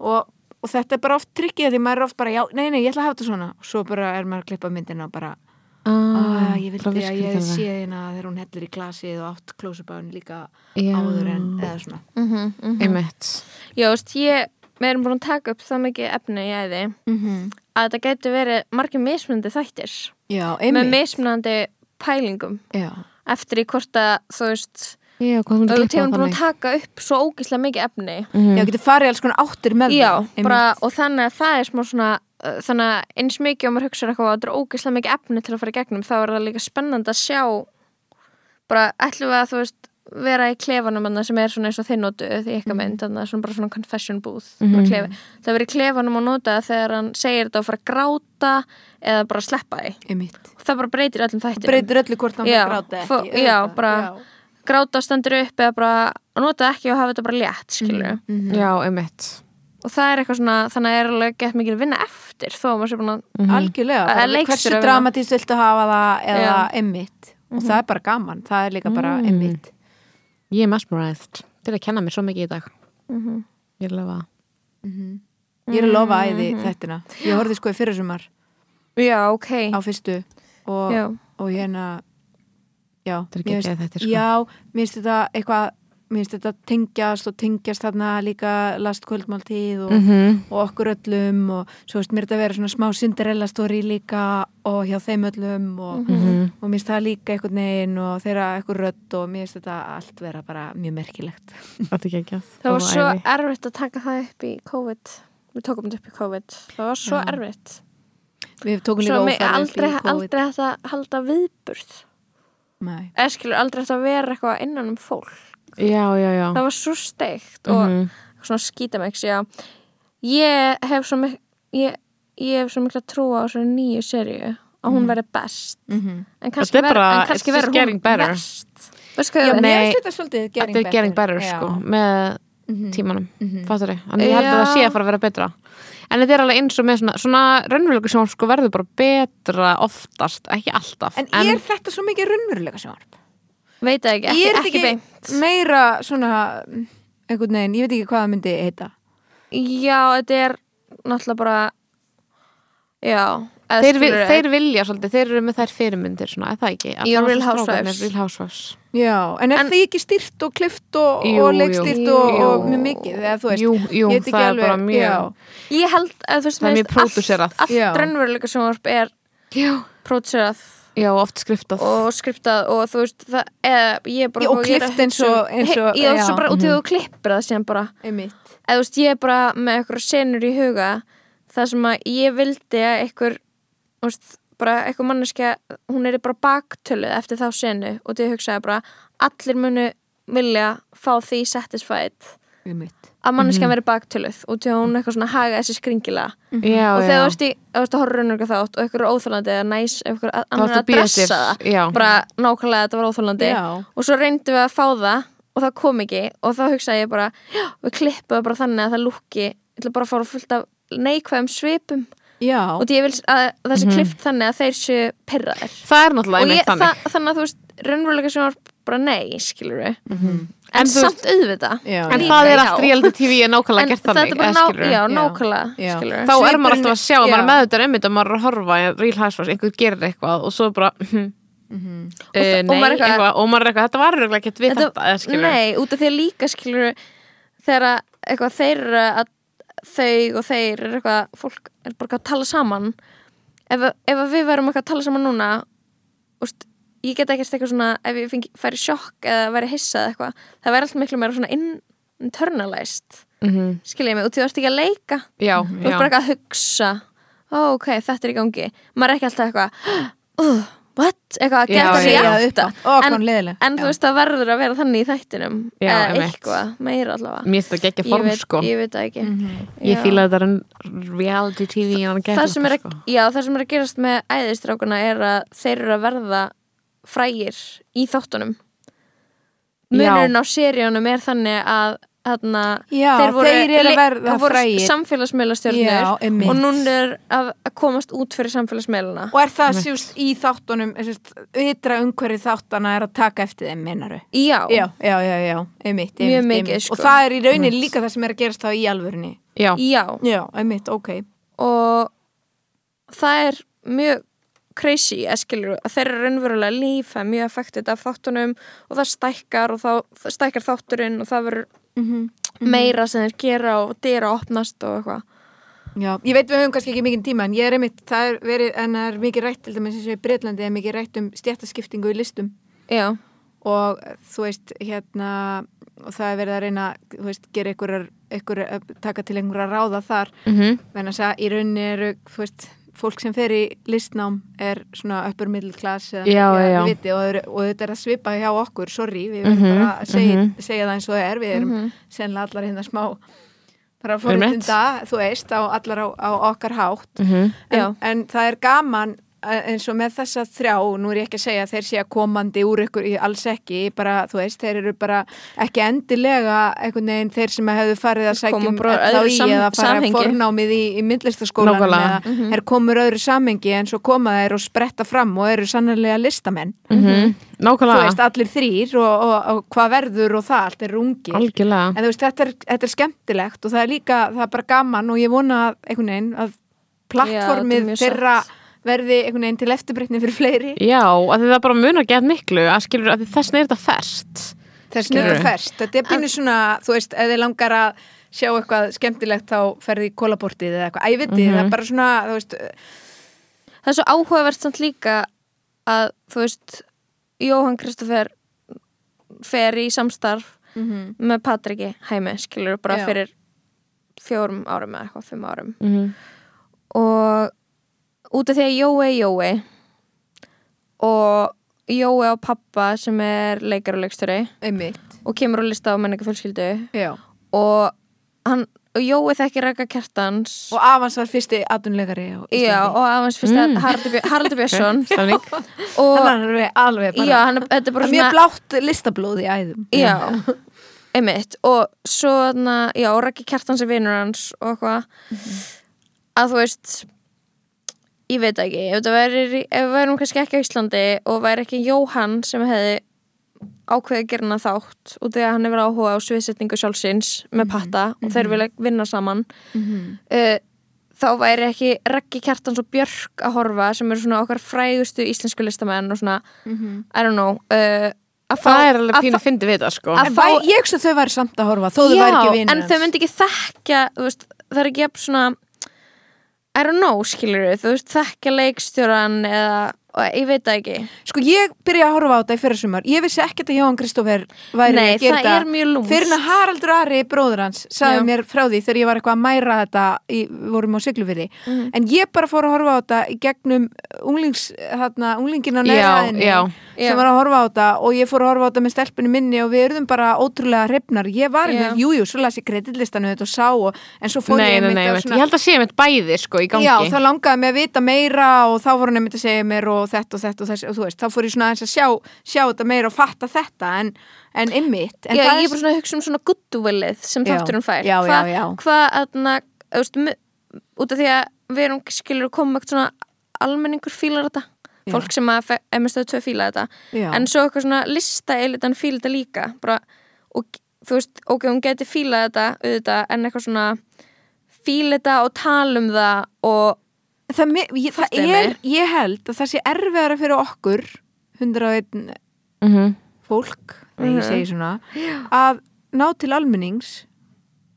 Speaker 4: og, og þetta er bara oft trikkið því maður er oft bara, já, nei, nei, ég ætla að hafa þetta svona og svo bara er maður að klippa myndina og bara
Speaker 2: Mm,
Speaker 4: ah, ég vildi að ég sé hérna þegar hún hellir í glasið og átt klósubáin líka
Speaker 2: Já.
Speaker 4: áður en eða svona
Speaker 3: mhm,
Speaker 2: einmitt
Speaker 3: Já, veist, ég, við erum búin að taka upp það mikið efni í æði að þetta getur verið margir mismunandi þættir
Speaker 4: Já,
Speaker 3: með
Speaker 4: einmitt
Speaker 3: mismunandi pælingum
Speaker 4: Já,
Speaker 3: eftir í hvort að þú veist
Speaker 2: Já, hvað þú
Speaker 3: þú
Speaker 2: myndir
Speaker 3: veist, hefum
Speaker 2: klippa
Speaker 3: búin að
Speaker 2: þannig
Speaker 3: taka upp svo ógislega mikið efni
Speaker 2: Mm.
Speaker 4: já, getur farið alls konar áttir með
Speaker 3: Já,
Speaker 4: það
Speaker 3: bara, og þannig að það er smá svona uh, þannig að eins mikið og maður hugsa eitthvað að þetta er ógislega mikið efni til að fara í gegnum þá er það líka spennandi að sjá bara ætlum við að þú veist vera í klefanum annað sem er svona eins og þeir notu því ykkar mynd, þannig að svona bara svona confession booth mm -hmm. það verið í klefanum og nota það þegar hann segir þetta og fara að gráta eða bara sleppa því
Speaker 4: einmitt
Speaker 3: það bara breytir öllum þættinum
Speaker 4: Breytir öllu hvort hann
Speaker 3: Já,
Speaker 4: var gráta ekki
Speaker 3: fó-
Speaker 4: auðvitað.
Speaker 3: já, bara- gráta stendur upp eða bara nota það ekki og hafa þetta bara létt skilur
Speaker 2: Mhm. Já, einmitt
Speaker 3: og það er eitthvað svona, þannig að er alveg gett mikil vinna eftir þó að maður sé búin að
Speaker 2: Mhm.
Speaker 4: Algjörlega,
Speaker 3: Að- að
Speaker 4: bara,
Speaker 3: leikstýra
Speaker 4: hversu
Speaker 3: við það.
Speaker 4: dramatíst viltu hafa það eða
Speaker 3: Já. Mhm. Mm.
Speaker 4: einmitt og það er bara gaman, það er líka bara einmitt
Speaker 2: Ég er mesmerized til að kenna mér svo mikið í dag Ég lefa
Speaker 4: Ég er að lofa æði
Speaker 3: Mhm.
Speaker 4: þættina Ég horfði sko í fyrirsumar
Speaker 3: já, ok,
Speaker 4: á fyrstu og,
Speaker 3: Já.
Speaker 4: og hérna já,
Speaker 2: Þetta er
Speaker 4: mér
Speaker 2: geggjað
Speaker 4: finnst-
Speaker 2: þættir, sko.
Speaker 4: já, mér finnst þetta eitthvað mér finnst þetta tengjast og tengjast þarna líka last kvöldmáltíð og,
Speaker 2: Mhm.
Speaker 4: og okkur öllum og svo veist mér þetta vera svona smá Cinderella story líka og hjá þeim öllum og,
Speaker 2: Mhm.
Speaker 3: Mhm.
Speaker 4: og mér finnst það líka einhvern veginn og þeirra eitthvað rödd og mér finnst þetta allt vera bara mjög merkilegt
Speaker 2: Þetta er geggjað
Speaker 3: það var
Speaker 2: Og æði.
Speaker 3: svo erfitt að taka það upp í COVID við tókum þetta upp í COVID það var svo erfitt
Speaker 4: Við tókum líka
Speaker 3: svo mig
Speaker 4: ófærið
Speaker 3: aldrei,
Speaker 4: fyrir COVID
Speaker 3: aldrei hægt að halda viðburð
Speaker 4: Nei.
Speaker 3: eða skilur aldrei hægt að vera eitthvað innan um fólk
Speaker 2: Já, já, já
Speaker 3: það var svo steikt og
Speaker 2: Mhm.
Speaker 3: svona skítamæks já. ég hef svo mik ég, ég hef svo mikla trú á þessu nýju serju að hún verði best
Speaker 4: Mhm.
Speaker 3: en kannski
Speaker 2: Þetta er bara-
Speaker 3: verður- en kannski
Speaker 2: it's just
Speaker 3: verður hún
Speaker 2: getting better.
Speaker 3: verst Veistu hvað
Speaker 2: Já,
Speaker 3: ég veit?
Speaker 2: nei,
Speaker 4: Mér finnst þetta svolítið
Speaker 2: Þetta er getting better,
Speaker 4: Já.
Speaker 2: sko með tímanum, mm -hmm. fattur ég en ég held að
Speaker 3: Já.
Speaker 2: það sé að fara að vera betra en þetta er alveg eins og með svona, svona raunverulegur sem sko verður bara betra oftast, ekki alltaf
Speaker 4: En, er þetta svo mikið raunverulega sjónvarp?
Speaker 3: veit það ekki,
Speaker 4: ég
Speaker 3: ekki,
Speaker 4: er
Speaker 3: ekki,
Speaker 4: ekki,
Speaker 3: beint
Speaker 4: meira svona einhvern veginn, ég veit ekki hvað það myndi heita
Speaker 3: já, þetta er náttúrulega bara já eða
Speaker 2: þeir, vil,
Speaker 3: skilurðu,
Speaker 2: þeir vilja svolítið, þeir eru með þær fyrirmyndir svona, er það ekki? Að
Speaker 3: Í
Speaker 2: það var
Speaker 3: Real
Speaker 2: svo strákarnir,
Speaker 3: Housewives.
Speaker 2: Real Housewives
Speaker 4: já, en er
Speaker 3: En-
Speaker 4: því ekki styrt og klift og,
Speaker 2: Jú,
Speaker 4: og leikstyrt
Speaker 2: jú.
Speaker 4: og, og
Speaker 2: Jú.
Speaker 4: mjög mikið eða þú veist,
Speaker 2: Jú, jú,
Speaker 4: ég veit ekki
Speaker 2: það er
Speaker 4: alveg
Speaker 2: bara mjög-
Speaker 4: já,
Speaker 3: ég held að þú veist
Speaker 2: Það er
Speaker 3: mér
Speaker 2: mjög
Speaker 3: finnst allt-
Speaker 2: pródúserað.
Speaker 4: Já.
Speaker 3: allt raunveruleika sjónvarp er
Speaker 2: Já,
Speaker 3: pródúserað
Speaker 2: já oft skriftað
Speaker 3: og skriptað og þú veist það, eða, ég er bara
Speaker 4: Já, og
Speaker 3: ég er að
Speaker 4: klippt eins og-
Speaker 3: hugsa um-
Speaker 4: eins
Speaker 3: Hei,
Speaker 4: og-
Speaker 3: ég er svo
Speaker 4: já. Mhm.
Speaker 3: bara út í þú klippir það sem bara
Speaker 4: einmitt
Speaker 3: eða þú veist ég er bara með eitthvað senur í huga það sem að ég vildi að eitthvað þú veist bara eitthvað manneskja hún er bara baktöluð eftir þá senu og því ég hugsaði bara allir munu vilja fá því satisfied
Speaker 4: einmitt,
Speaker 3: að manneskjan
Speaker 2: Mhm.
Speaker 3: veri baktöluð og því að hún eitthvað svona haga þessi skringilega
Speaker 2: já,
Speaker 3: og þegar
Speaker 2: já.
Speaker 3: þú veist í, ef þú veist að horfa raunur þátt og eitthvað er óþólandi eða næs ef eitthvað annar er
Speaker 2: ertu að
Speaker 3: að
Speaker 2: bíða
Speaker 3: dressa
Speaker 2: eftir,
Speaker 3: það
Speaker 2: já.
Speaker 3: bara nákvæmlega þetta var óþólandi
Speaker 4: Já.
Speaker 3: og svo reyndum við að fá það og það kom ekki og þá hugsaði ég bara "Já, við klippuðu bara þannig að það lúkki ég ætla bara að fara fullt af neikvæðum svipum
Speaker 4: já,
Speaker 3: og því ég vil að það sé klippt þannig að þeir séu pirraðir
Speaker 2: það er náttúrulega
Speaker 3: og ég,
Speaker 2: einmitt Mhm. þannig
Speaker 3: það, þannig að þú veist raunverulega sem var bara nei skilur við en,
Speaker 2: Mhm. En þú
Speaker 3: samt auðvita
Speaker 4: Já,
Speaker 2: en
Speaker 4: já.
Speaker 2: það er
Speaker 3: Já.
Speaker 2: allt reality tv er nákvæmlega
Speaker 3: en
Speaker 2: gert
Speaker 3: þetta
Speaker 2: þannig
Speaker 3: er bara
Speaker 2: eða
Speaker 3: ná,
Speaker 2: skilurðu?
Speaker 3: já,
Speaker 4: Já.
Speaker 3: nákvæmlega
Speaker 4: Já.
Speaker 2: þá
Speaker 3: skilur við
Speaker 2: er maður
Speaker 4: Svipurinn-
Speaker 2: alltaf að sjá, maður
Speaker 4: já.
Speaker 2: er meðutur einmitt og maður er að horfa í Real Housewives, einhver gerir eitthvað og svo bara mm, uh,
Speaker 3: Mhm. Og það-
Speaker 2: nei,
Speaker 3: og maður er eitthvað-
Speaker 2: eitthvað, og maður er eitthvað, þetta var röglega ekkert við þetta, þetta skilur við.
Speaker 3: Nei, út af því að líka skilur þegar að eitthvað þeir eru að þau og þeir eru eitthvað fólk er bara eitthvað að tala saman ef, að- ef að við verum eitthvað að tala saman núna úst, ég get ekkert eitthvað svona ef ég fengi, færi sjokk eða væri hissað eitthvað það væri alltaf miklu meira svona in- internalized
Speaker 2: Mhm.
Speaker 3: skilja ég mig, út af því þú ert ekki að leika
Speaker 2: já,
Speaker 3: þú ert
Speaker 2: já,
Speaker 3: bara eitthvað að hugsa ó, ok, þetta er í gangi maður er ekki alltaf eitthvað uh, what, eitthvað
Speaker 2: Já,
Speaker 3: að geta
Speaker 2: já,
Speaker 3: sér
Speaker 2: já,
Speaker 4: upp á. Ó, hvað hún leiðileg.
Speaker 3: en þú
Speaker 4: Já.
Speaker 3: veist, það verður að vera þannig í þættinum
Speaker 2: Já,
Speaker 3: eða
Speaker 2: einmitt.
Speaker 3: eitthvað, meira allavega
Speaker 2: mér finnst það geggja
Speaker 3: ég
Speaker 2: form
Speaker 3: veit,
Speaker 2: sko,
Speaker 3: ég veit það ekki Já.
Speaker 2: ég fíla þetta en reality tv en hann
Speaker 3: það sem,
Speaker 2: geggja
Speaker 3: er,
Speaker 2: sko.
Speaker 3: að- já, það sem er að gerast með æðistrákuna er að þeir eru að verða frægir í þáttunum
Speaker 2: Já.
Speaker 3: munurinn á seríunum er þannig að þarna,
Speaker 4: Já, þeir eru að verða frægir. Já,
Speaker 3: samfélagsmiðlastjörnir
Speaker 4: einmitt.
Speaker 3: og núna er að, að komast út fyrir samfélagsmiðlana
Speaker 4: Og er það sjúst í þáttunum, vitra umhverju þáttana er að taka eftir þeim, meinaru?
Speaker 3: já,
Speaker 4: Já, já, já, já, einmitt, einmitt,
Speaker 3: Mjög mikið,
Speaker 4: einmitt.
Speaker 3: sko.
Speaker 4: Og það er í raunin líka það sem er að gerast þá í alvörunni.
Speaker 2: Já,
Speaker 3: já.
Speaker 4: Já, einmitt, ok.
Speaker 3: og það er mjög crazy eskilur að þeirra raunverulega líf það er mjög affektið af þáttunum og það stækkar og þá það stækkar þátturinn og það verður meira sem þeir gera og dyr að opnast og eitthvað
Speaker 4: Já, ég veit við höfum kannski ekki mikið tíma en ég er einmitt, það er verið, en það er mikið rætt til dæmis eins og í Breitlandi er mikið rætt um stjættaskiptingu í listum
Speaker 3: já,
Speaker 4: og þú veist, hérna og það er verið að reyna, þú veist, gera einhverjar, einhverjar, taka til einhverja ráða þar, mm
Speaker 2: Mhm,
Speaker 4: -hmm. menn að í rauninni eru, þú veist, fólk sem fer í listnám er svona uppur middelklass eða
Speaker 2: Já,
Speaker 4: eða
Speaker 2: já.
Speaker 4: þið vitið, og, eru- og þetta er að svipa hjá okkur, sorry, við verðum
Speaker 3: Mhm,
Speaker 4: bara að segja, segja það eins og það er, við erum sennilega allar hérna smá bara
Speaker 2: Við erum rétt.
Speaker 4: fórhundinda, þú veist, á allar á, á okkar hátt
Speaker 3: Mhm. Já.
Speaker 4: en, en það er gaman eh, eins og með þessa þrjá, nú er ég ekki að segja að þeir séu komandi úr ykkur, ég- alls ekki bara, þú veist, þeir eru bara ekki endilega einhvern veginn þeir sem hefðu farið að um
Speaker 3: Koma
Speaker 4: sækjum
Speaker 3: bara öðru sam-
Speaker 4: eða fara
Speaker 3: samhengi.
Speaker 4: fornámið í, í myndlistaskólanum
Speaker 2: Nákvæmlega.
Speaker 4: eða
Speaker 3: Mhm.
Speaker 4: þeir komur öðru samhengi en svo koma þeir og spretta fram og eru sannlega listamenn þú
Speaker 2: mhm. nákvæmlega,
Speaker 4: veist, allir þrýr og, og, og, hvað verður og það, allt er rungir
Speaker 2: algjörlega
Speaker 4: en þú veist, þetta er, þetta er skemmtilegt og það er líka, það er bara gaman og ég vona að einhvern veginn
Speaker 3: Já,
Speaker 4: að
Speaker 3: þetta er
Speaker 4: plattformið
Speaker 3: mjög
Speaker 4: þeirra verði einhvern veginn til eftirbreytni fyrir fleiri
Speaker 2: Já, að því það bara munar gett miklu að skilur að þessin er þetta fest
Speaker 4: þess nöðu
Speaker 2: Skilurðu?
Speaker 4: ferst, þetta er bínu svona þú veist, ef þið langar að sjá eitthvað skemmtilegt þá ferði í kólabortið eða eitthvað, að ég veit þið,
Speaker 3: Mhm.
Speaker 4: það er bara svona þú veist,
Speaker 3: það er svo áhugavert samt líka að þú veist Jóhann Kristoffer fer í samstarf með Patriki Hæmi skilur bara
Speaker 4: Já.
Speaker 3: fyrir fjórum árum eða eitthvað, fimm árum
Speaker 2: mm -hmm.
Speaker 3: og út af því að Jói er Jói og Jói á pappa sem er leikar og leikstjóri
Speaker 4: einmitt
Speaker 3: og kemur og lista á menningafjölskyldu
Speaker 4: já.
Speaker 3: og, hann, og Jói þekkir Rækka Kjartans
Speaker 4: og Avans var fyrsti atunleikari á Íslandi
Speaker 3: já, og aðeins fyrst að Haraldur, Björ- Haraldur Björnsson
Speaker 2: Stemning
Speaker 3: og
Speaker 4: Mm. hann er alveg, alveg bara,
Speaker 3: já, hann, þetta er bara
Speaker 4: mjög blátt listablóð í æðum
Speaker 3: Já, einmitt og svo, na, já, Rækki Kjartans er vinur hans og eitthvað
Speaker 2: Mhm.
Speaker 3: að þú veist ég veit ekki, ef það væri ef við værum kannski ekki á Íslandi og væri ekki Jóhann sem hefði ákveðið að gera hana þátt og þegar hann hefur áhuga á sviðsetningu sjálfsins
Speaker 2: Mhm.
Speaker 3: með patta og þeir vilja vinna saman uh, þá væri ekki Rækki Kjartans og Björk að horfa sem eru svona okkar frægustu íslensku listamenn og svona, I don't know uh, að fá-
Speaker 2: Mhm. Það er
Speaker 3: að
Speaker 2: alveg
Speaker 3: fá-
Speaker 2: pínu fyndi við það sko
Speaker 3: að
Speaker 4: en
Speaker 3: fá-
Speaker 4: væ- ég hugsa að þau væri samt að horfa þó þau væri ekki vinur
Speaker 3: en þau myndi ekki þekkja þú veist, það er ekki jafn svona I don't know, skilur þú veist, þekkja leikstjóran eða, og ég veit það ekki
Speaker 4: Sko ég byrja að horfa á þetta í fyrra sumar Ég vissi ekkert að Jóhann Kristófer væri
Speaker 3: Nei,
Speaker 4: að gera
Speaker 3: það er mjög lúmskt.
Speaker 4: Fyrir að Haraldur Ari, bróður hans, sagði
Speaker 3: Já.
Speaker 4: mér frá því þegar ég var eitthvað að mæra þetta í, vorum á siglufyrði
Speaker 2: Mhm.
Speaker 4: En ég bara fór að horfa á þetta í gegnum unglings, þarna, unglingin á
Speaker 2: Já,
Speaker 4: neyraðinni
Speaker 2: já.
Speaker 3: Já.
Speaker 4: sem var að horfa á þetta og ég fór að horfa á þetta með stelpunni minni og við erum bara ótrúlega hrifnar Ég var
Speaker 3: Já.
Speaker 4: einhvern, jújú, svo las ég kreditlistanu þetta og sá og, en svo fór
Speaker 2: Nei,
Speaker 4: ég
Speaker 2: nei,
Speaker 4: einmitt
Speaker 2: nei,
Speaker 4: á
Speaker 2: einmitt. ég held að sé mitt bæði sko í gangi
Speaker 4: Já, þá langaði mig að vita meira og þá voru nefnt að segja mér og þetta og þetta og þess og þú veist, þá fór ég svona aðeins að sjá, sjá þetta meira og fatta þetta en, en ymmit en
Speaker 3: já,
Speaker 4: það
Speaker 3: ég er bara svona að hugsa um svona goodwillið sem
Speaker 4: Já.
Speaker 3: þátturinn fær
Speaker 4: Já, já,
Speaker 3: Hvað-
Speaker 4: já.
Speaker 3: hvað, aðna, veist, mu- út af því að við erum skilur komið með svona almenningur fílar þetta fólk sem að fe- MStöð 2 fíla þetta
Speaker 4: Já.
Speaker 3: en svo eitthvað svona lista eilitan fíla þetta líka bara, og þú veist, ok, hún geti fílað þetta auðvitað, en eitthvað svona fíla þetta og tala um það og
Speaker 4: það, me- ég, það
Speaker 3: Fattaðu
Speaker 4: er,
Speaker 3: mig.
Speaker 4: ég held að það sé erfiðara fyrir okkur 101
Speaker 2: mm -hmm.
Speaker 4: fólk, þegar
Speaker 3: Mhm.
Speaker 4: ég segi svona að ná til almennings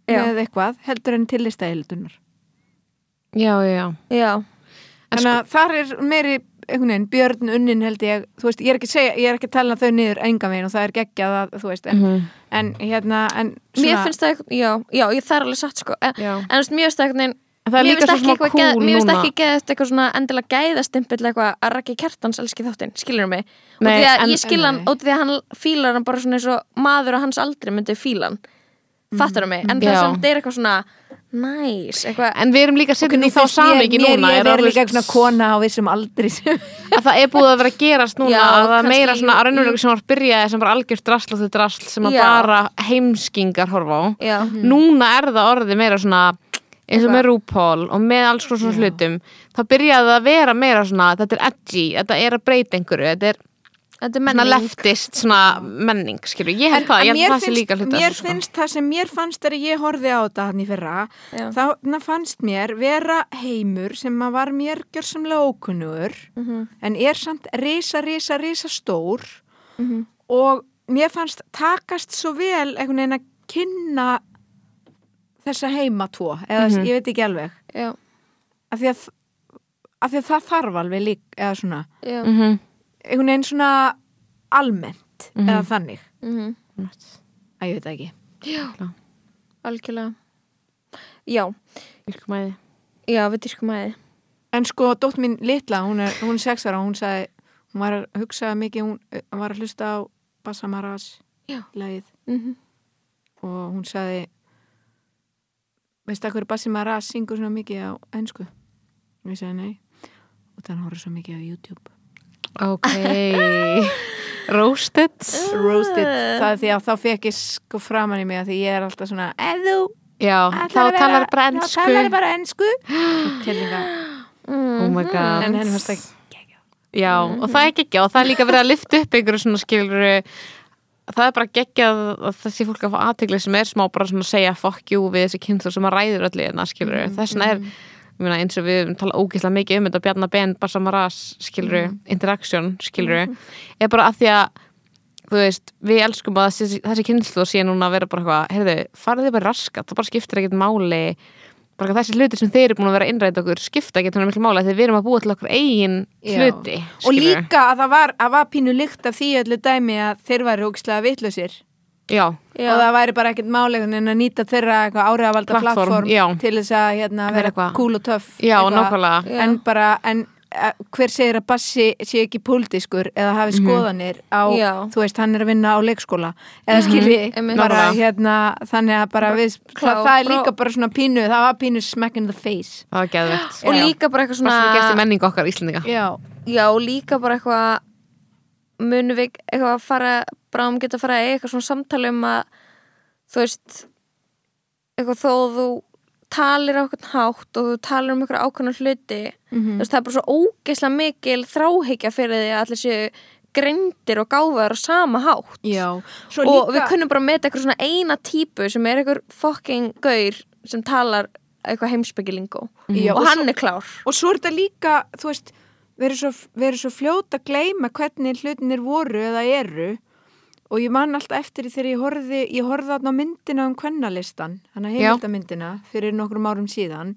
Speaker 3: Já.
Speaker 4: með eitthvað heldur en til listaheildunar
Speaker 2: já, já, já
Speaker 3: já, sko-
Speaker 4: Þannig að þar er meiri einhvern veginn, björn unnin held ég, þú veist, ég er ekki að segja, ég er ekki að tala þau niður enga megin og það er geggjað að, þú veist, en,
Speaker 2: Mhm.
Speaker 4: en hérna, en
Speaker 3: mér finnst það eitthvað, já, já, ég þarf alveg satt sko, en,
Speaker 4: Já.
Speaker 3: en þú veist, mér finnst það eitthvað
Speaker 2: En það er
Speaker 3: mér
Speaker 2: líka
Speaker 3: finnst
Speaker 2: svo
Speaker 3: ekki
Speaker 2: smá
Speaker 3: eitthvað
Speaker 2: cool
Speaker 3: geð- mér finnst
Speaker 2: núna.
Speaker 3: ekki geðast eitthvað svona endilega gæðastimpill eitthvað að rakki kjartans elski þáttinn, skilur mig og
Speaker 2: Nei,
Speaker 3: því að
Speaker 2: en-
Speaker 3: ég skil hann,
Speaker 4: nei.
Speaker 3: og því að hann fílar hann bara svona eins og maður á hans aldri myndi fílan fattar hann mig, en það
Speaker 2: Mm, Já.
Speaker 3: samt er eitthvað svona næs, eitthvað
Speaker 2: En við erum líka sittin í þá samingi núna
Speaker 4: Mér ég
Speaker 2: er
Speaker 4: verið
Speaker 2: orðið-
Speaker 4: líka svona kona á vissum aldri sem
Speaker 2: að það er búið að vera að gerast núna
Speaker 3: Já,
Speaker 2: að það er
Speaker 3: kannski
Speaker 2: meira svona
Speaker 3: í-
Speaker 2: að raunverulega sem var að byrja sem bara algjört drasl og þau drasl sem að
Speaker 3: Já.
Speaker 2: bara heimskingar horfa á
Speaker 3: Já.
Speaker 4: Mhm.
Speaker 2: núna er það orðið meira svona eins og með RuPaul og með alls konar svona hlutum þá byrjaði það að vera meira svona þetta er edgy, þetta er að breyta einhverju þetta er
Speaker 3: Þetta er
Speaker 2: svona
Speaker 3: menning
Speaker 2: leftist svona menning skilur, ég held það, ég held
Speaker 4: mér
Speaker 2: það sé líka hluta
Speaker 4: mér finnst það sem mér fannst þegar ég horfið á þetta hann í fyrra
Speaker 3: Já.
Speaker 4: þannig fannst mér vera heimur sem að var mér gjörsamlega ókunnugur
Speaker 2: Mhm.
Speaker 4: en er samt risa, risa, risa stór
Speaker 2: Mhm.
Speaker 4: og mér fannst takast svo vel einhvern veginn að kynna þessa heima tvo eða
Speaker 2: Mhm.
Speaker 4: ég veit ekki alveg
Speaker 3: Já,
Speaker 4: af því að, af því að það þarf alveg lík eða svona
Speaker 3: já,
Speaker 2: mm -hmm.
Speaker 4: einhvern veginn svona almennt eða þannig
Speaker 3: mhm,
Speaker 4: að ég veit það ekki
Speaker 3: algjörlega Já,
Speaker 2: Yrkmæði.
Speaker 3: já, við diskum aðeins
Speaker 4: En sko, dótt mín litla, hún er, hún er sex ára, hún sagði, hún var að hugsa mikið, hún eh, var að hlusta á Basamaras
Speaker 3: Já.
Speaker 4: lagið
Speaker 3: mm
Speaker 4: og hún sagði, veistu að hverju Basamaras syngur svona mikið á ennsku? Og ég sagði nei og þannig horfði svo mikið á YouTube.
Speaker 2: ok roasted
Speaker 4: Roasted, það er því að þá fekk ég sko framan í mig að því ég er alltaf svona, ef þú
Speaker 2: já, þá
Speaker 4: ætlar að vera-
Speaker 2: talar bara
Speaker 4: Þá
Speaker 2: ennsku
Speaker 4: talar bara ennsku. Kellinga.
Speaker 2: oh my god
Speaker 4: Mm. En henni fannst ekki.
Speaker 2: Já, og það er geggjað og það er líka verið að lifta upp einhverju svona skiluru það er bara geggjað að þessi fólk að fá aðtegli sem er smá bara svona að segja fuck you við þessi kynþur sem að ræður öllu hérna skiluru, mm. þessna er ég meina, eins og við höfum talað ógeðslega mikið um þetta Bjarna Ben, Basamaras skiluru, interaction skiluru, er bara að því að þú veist, við elskum að þessi, þessi kynslu sé núna að vera bara eitthvað, heyrðu, farið þið bara raskat, það bara skiptir ekkert máli bara þessi hluti sem þeir eru búin að vera innrætt okkur skipta ekkert hann miklu máli þegar við erum að búa til okkur eigin
Speaker 4: Já.
Speaker 2: hluti
Speaker 4: Og
Speaker 2: skilurðu.
Speaker 4: líka að það var, að var pínu lykt af því öllu dæmi að þeir væri hókslega vitlausir.
Speaker 2: já,
Speaker 3: Já.
Speaker 4: og það væri bara ekkert málegun en að nýta þeirra eitthvað áriðavalda
Speaker 2: Platform,
Speaker 4: plattform
Speaker 2: já.
Speaker 4: til þess að hérna,
Speaker 2: Vera
Speaker 4: vera
Speaker 2: eitthvað.
Speaker 4: cool og töff
Speaker 2: já
Speaker 4: eitthvað.
Speaker 2: nákvæmlega
Speaker 3: Já.
Speaker 4: en bara en, eh, hver segir að Bassi sé ekki pólitískur eða hafi
Speaker 2: Mhm.
Speaker 4: skoðanir á,
Speaker 3: Já.
Speaker 4: þú veist, hann er að vinna á leikskóla eða skilji
Speaker 3: Einmitt.
Speaker 4: bara
Speaker 2: Mhm. Nákvæmlega.
Speaker 4: hérna, þannig að bara við,
Speaker 3: klá-
Speaker 4: það, það er
Speaker 3: brá-
Speaker 4: líka bara svona pínu það var pínu smack in the face
Speaker 2: það var geðvegt
Speaker 3: Og líka bara eitthvað
Speaker 2: bara sem gerst í
Speaker 3: svona
Speaker 2: menningu okkar Íslendinga
Speaker 4: já,
Speaker 3: Já, og líka bara eitthvað munum við eitthvað að fara bara um geta að fara að eiga eitthvað svona samtali um að þú veist eitthvað þó að þú talir á eitthvað hátt og þú talir um eitthvað ákveðna hluti þú veist, það er bara svo ógeðslega mikil þráhyggja fyrir því að allir séu greindir og gáfaður á sama hátt
Speaker 4: já Svo
Speaker 3: og
Speaker 4: líka-
Speaker 3: við kunnum bara meta eitthvað svona eina típu sem er eitthvað fucking gaur sem talar eitthvað heimsbyggilingo
Speaker 4: Mhm. Já,
Speaker 3: og
Speaker 4: og
Speaker 3: hann
Speaker 4: svo-
Speaker 3: er klár
Speaker 4: og svo er þetta líka, þú veist við erum svo, við erum svo fljóta að gleyma hvernig hlutinir voru eða eru og ég man alltaf eftir því þegar ég horfði ég horfði þarna á myndina um kvennalistan hann að
Speaker 2: Já.
Speaker 4: heimildamyndina fyrir nokkrum árum síðan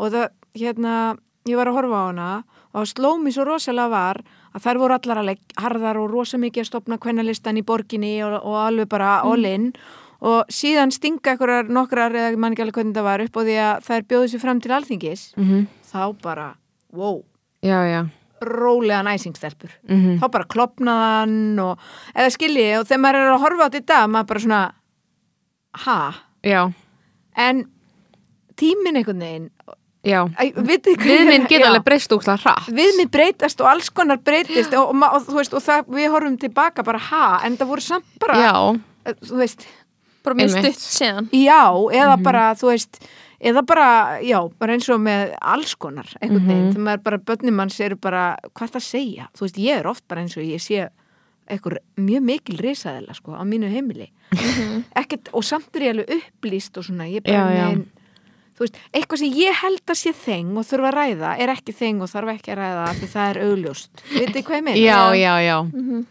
Speaker 4: og það, hérna, ég var að horfa á hana og það sló mig svo rosalega var að þær voru allar alveg harðar og rosa mikið að stopna kvennalistan í borginni og, og alveg bara all in og síðan stinga einhverjar nokkrar eða ég man ekki alveg hvernig það var upp og því að þær bjóðu sér fram til alþingis
Speaker 2: Mhm.
Speaker 4: þá bara, wow,
Speaker 2: já, já,
Speaker 4: rólega næsingstelpur.
Speaker 2: Mhm.
Speaker 4: Þá bara klopnaðan og, eða skiljiði, og þegar maður er að horfa á þetta í dag, maður bara svona, ha,
Speaker 2: já,
Speaker 4: en tíminn einhvern veginn,
Speaker 2: já.
Speaker 4: Æ, vitið hvað ég-
Speaker 2: viðminn
Speaker 4: Já.
Speaker 2: geta alveg breyst úkslega hratt
Speaker 4: Viðmið breytast og alls konar breytist og, og, ma- og, þú veist, og það, við horfum tilbaka bara ha, en það voru samt bara,
Speaker 2: já,
Speaker 4: eh, þú veist,
Speaker 3: bara mjög
Speaker 2: Einmitt.
Speaker 3: stutt síðan
Speaker 4: já, eða
Speaker 2: Mhm.
Speaker 4: bara, þú veist, eða bara, já, bara eins og með alls konar, einhvern veginn,
Speaker 2: Mhm.
Speaker 4: þegar maður bara, börnumanns eru bara, hvað það segja, þú veist, ég er oft bara eins og ég sé einhver mjög mikil risaðela, sko, á mínu heimili, ekkert, og samt er ég alveg upplýst og svona, ég bara,
Speaker 2: Mhm. Já, já.
Speaker 4: nein, þú veist, eitthvað sem ég held að sé þeng og þurfa að ræða, er ekki þeng og þarf ekki að ræða, af því það er augljóst, vitið hvað ég meina?
Speaker 2: já, Mhm. já, já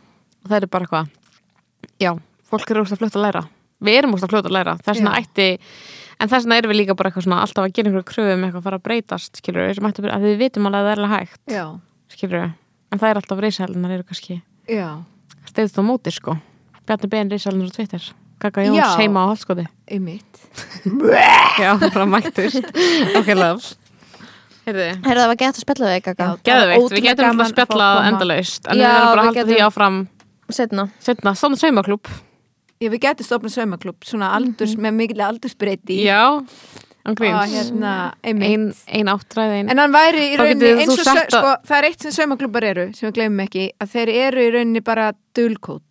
Speaker 2: og það er bara eitthvað já, fólk eru úrst að fljóta að læra við erum úrst að fljóta að læra það er svona
Speaker 4: Já.
Speaker 2: ætti en það er svona erum við líka bara eitthvað svona alltaf að gera einhverju kröfum eitthvað að fara að breytast skilur við, sem ætti að, að við vitum alveg að það er alveg hægt
Speaker 4: Já,
Speaker 2: skilur við, en það er alltaf reisælunar eru kannski
Speaker 4: já,
Speaker 2: steyðist á móti sko Bjarni Ben reisælunar og Twitter Gaga Jóns
Speaker 4: Já.
Speaker 2: heima á halskoti
Speaker 4: einmitt.
Speaker 2: já, bara mættust ok, loves heyrðu
Speaker 3: Herra, það var gett að spjalla við eitthvað
Speaker 2: Geðveikt, við
Speaker 4: ótrúlega
Speaker 2: getum alltaf
Speaker 4: gaman að fá að
Speaker 2: spjallað
Speaker 4: koma.
Speaker 2: endalaust en
Speaker 3: Já,
Speaker 2: við verðum bara að
Speaker 3: við
Speaker 2: halda því
Speaker 3: getum-
Speaker 2: áfram
Speaker 3: setna
Speaker 2: setna, svona saumaklúb Mhm.
Speaker 4: Ég við getum stofna saumaklúb, svona aldurs, með mikil aldursbreyti
Speaker 2: Já, án
Speaker 4: Á,
Speaker 2: gríns.
Speaker 4: hérna, einmitt.
Speaker 2: ein, ein áttræð, ein
Speaker 4: En hann væri
Speaker 2: Þá
Speaker 4: í rauninni
Speaker 2: getur þú
Speaker 4: eins og
Speaker 2: sagt
Speaker 4: sö-
Speaker 2: að-
Speaker 4: sko, það er eitt sem saumaklubbar eru sem við glemum ekki, að þeir eru í rauninni bara dulkót.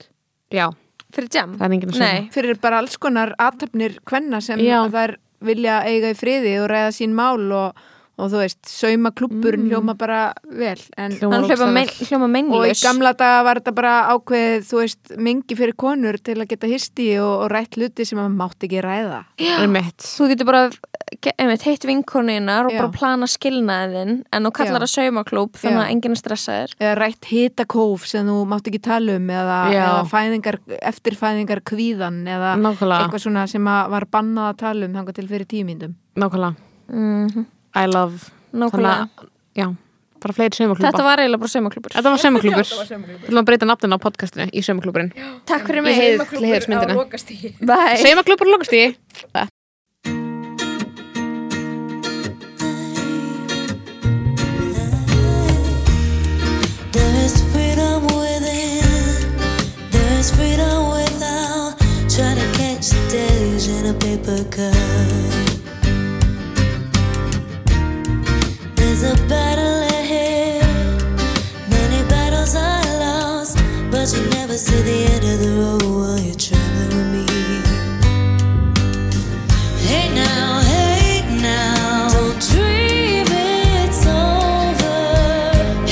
Speaker 2: já,
Speaker 3: Fyrir jam?
Speaker 2: það er enginn að segja
Speaker 3: Nei.
Speaker 4: Þeir eru bara alls konar aðtöfnir kvenna sem
Speaker 2: Já.
Speaker 4: þær vilja eiga í friði og ræða sín mál og, og þú veist, saumaklubburinn
Speaker 2: Mm.
Speaker 4: hljóma bara vel. En,
Speaker 2: Hljómar
Speaker 3: Hann hljóma, mein, hljóma
Speaker 4: og í
Speaker 3: meinlaus.
Speaker 4: gamla daga var þetta bara ákveðið, þú veist, mingi fyrir konur til að geta histi og, og rætt luti sem maður mátt ekki ræða.
Speaker 2: einmitt,
Speaker 3: Þú getur bara ge- einmitt, heitt vinkonunar og
Speaker 4: Já.
Speaker 3: bara plana skilnaðin en þú kallar
Speaker 4: Já.
Speaker 3: það saumaklúb þannig
Speaker 4: Já.
Speaker 3: að enginn er stressaður.
Speaker 4: eða rætt hitakóf sem þú mátt ekki tala um eða,
Speaker 2: Já.
Speaker 4: eða fæðingar, eftirfæðingar kvíðan eða
Speaker 2: nákvæmlega
Speaker 4: eitthvað svona sem að var bannað að tala um þangað til fyrir tímyndum
Speaker 2: nákvæmlega,
Speaker 3: Mm
Speaker 4: Mhm.
Speaker 2: I love
Speaker 3: Nákvæmlega.
Speaker 2: þannig að, já, bara fleiri
Speaker 3: Þetta
Speaker 2: saumaklúpa
Speaker 3: var eiginlega bara saumaklúbur.
Speaker 2: þetta var saumaklúpur, við ætlum að breyta nafninu á podcastinu í saumaklúpurinn,
Speaker 3: Takk fyrir
Speaker 2: ég
Speaker 3: mig.
Speaker 2: heiði til hér myndina
Speaker 3: Bye.
Speaker 2: saumaklúpur lókast í
Speaker 5: There's freedom within, there's freedom without. Trying to catch the days in a paper cup. There's a battle ahead, many battles are lost, but you never see the end of the road while you're traveling with me. Hey now, hey now, don't dream it's over.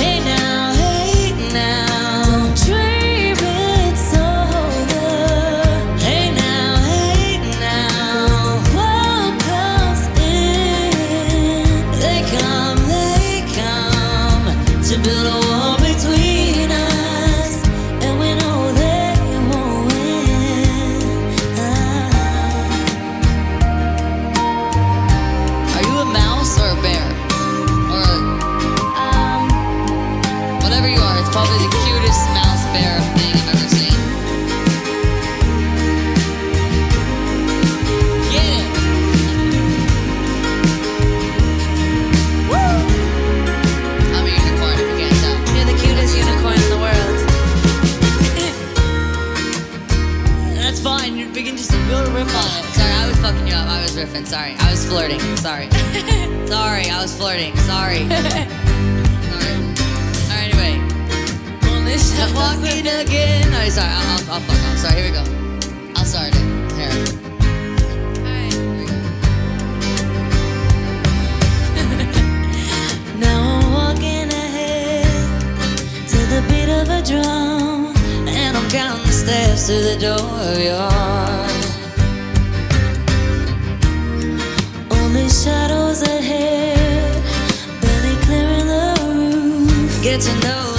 Speaker 5: Hey now, hey now, don't dream it's over. Hey now, hey now, world comes in. They come, they come to build a wall between us, and we know they won't win. Are you a mouse or a bear or a? Um. Whatever you are, it's probably the cutest mouse bear thing I've ever seen. Get it! Woo! I'm a unicorn if you can't tell. You're the cutest unicorn in the world. That's fine, you- we can just build a riff on it. Sorry, I was fucking you up. I was riffing, sorry. I was flirting, sorry. sorry, I was flirting, sorry. sorry. Alright, anyway. I'm walking again. No, sorry, I'll, I'll, I'll fuck off. Sorry, here we go. I'll start it. Here. Alright, here we go. Now I'm walking ahead to the beat of a drum, and I'm counting the steps to the door of your heart. Only shadows ahead, barely clearing the roof. Get to know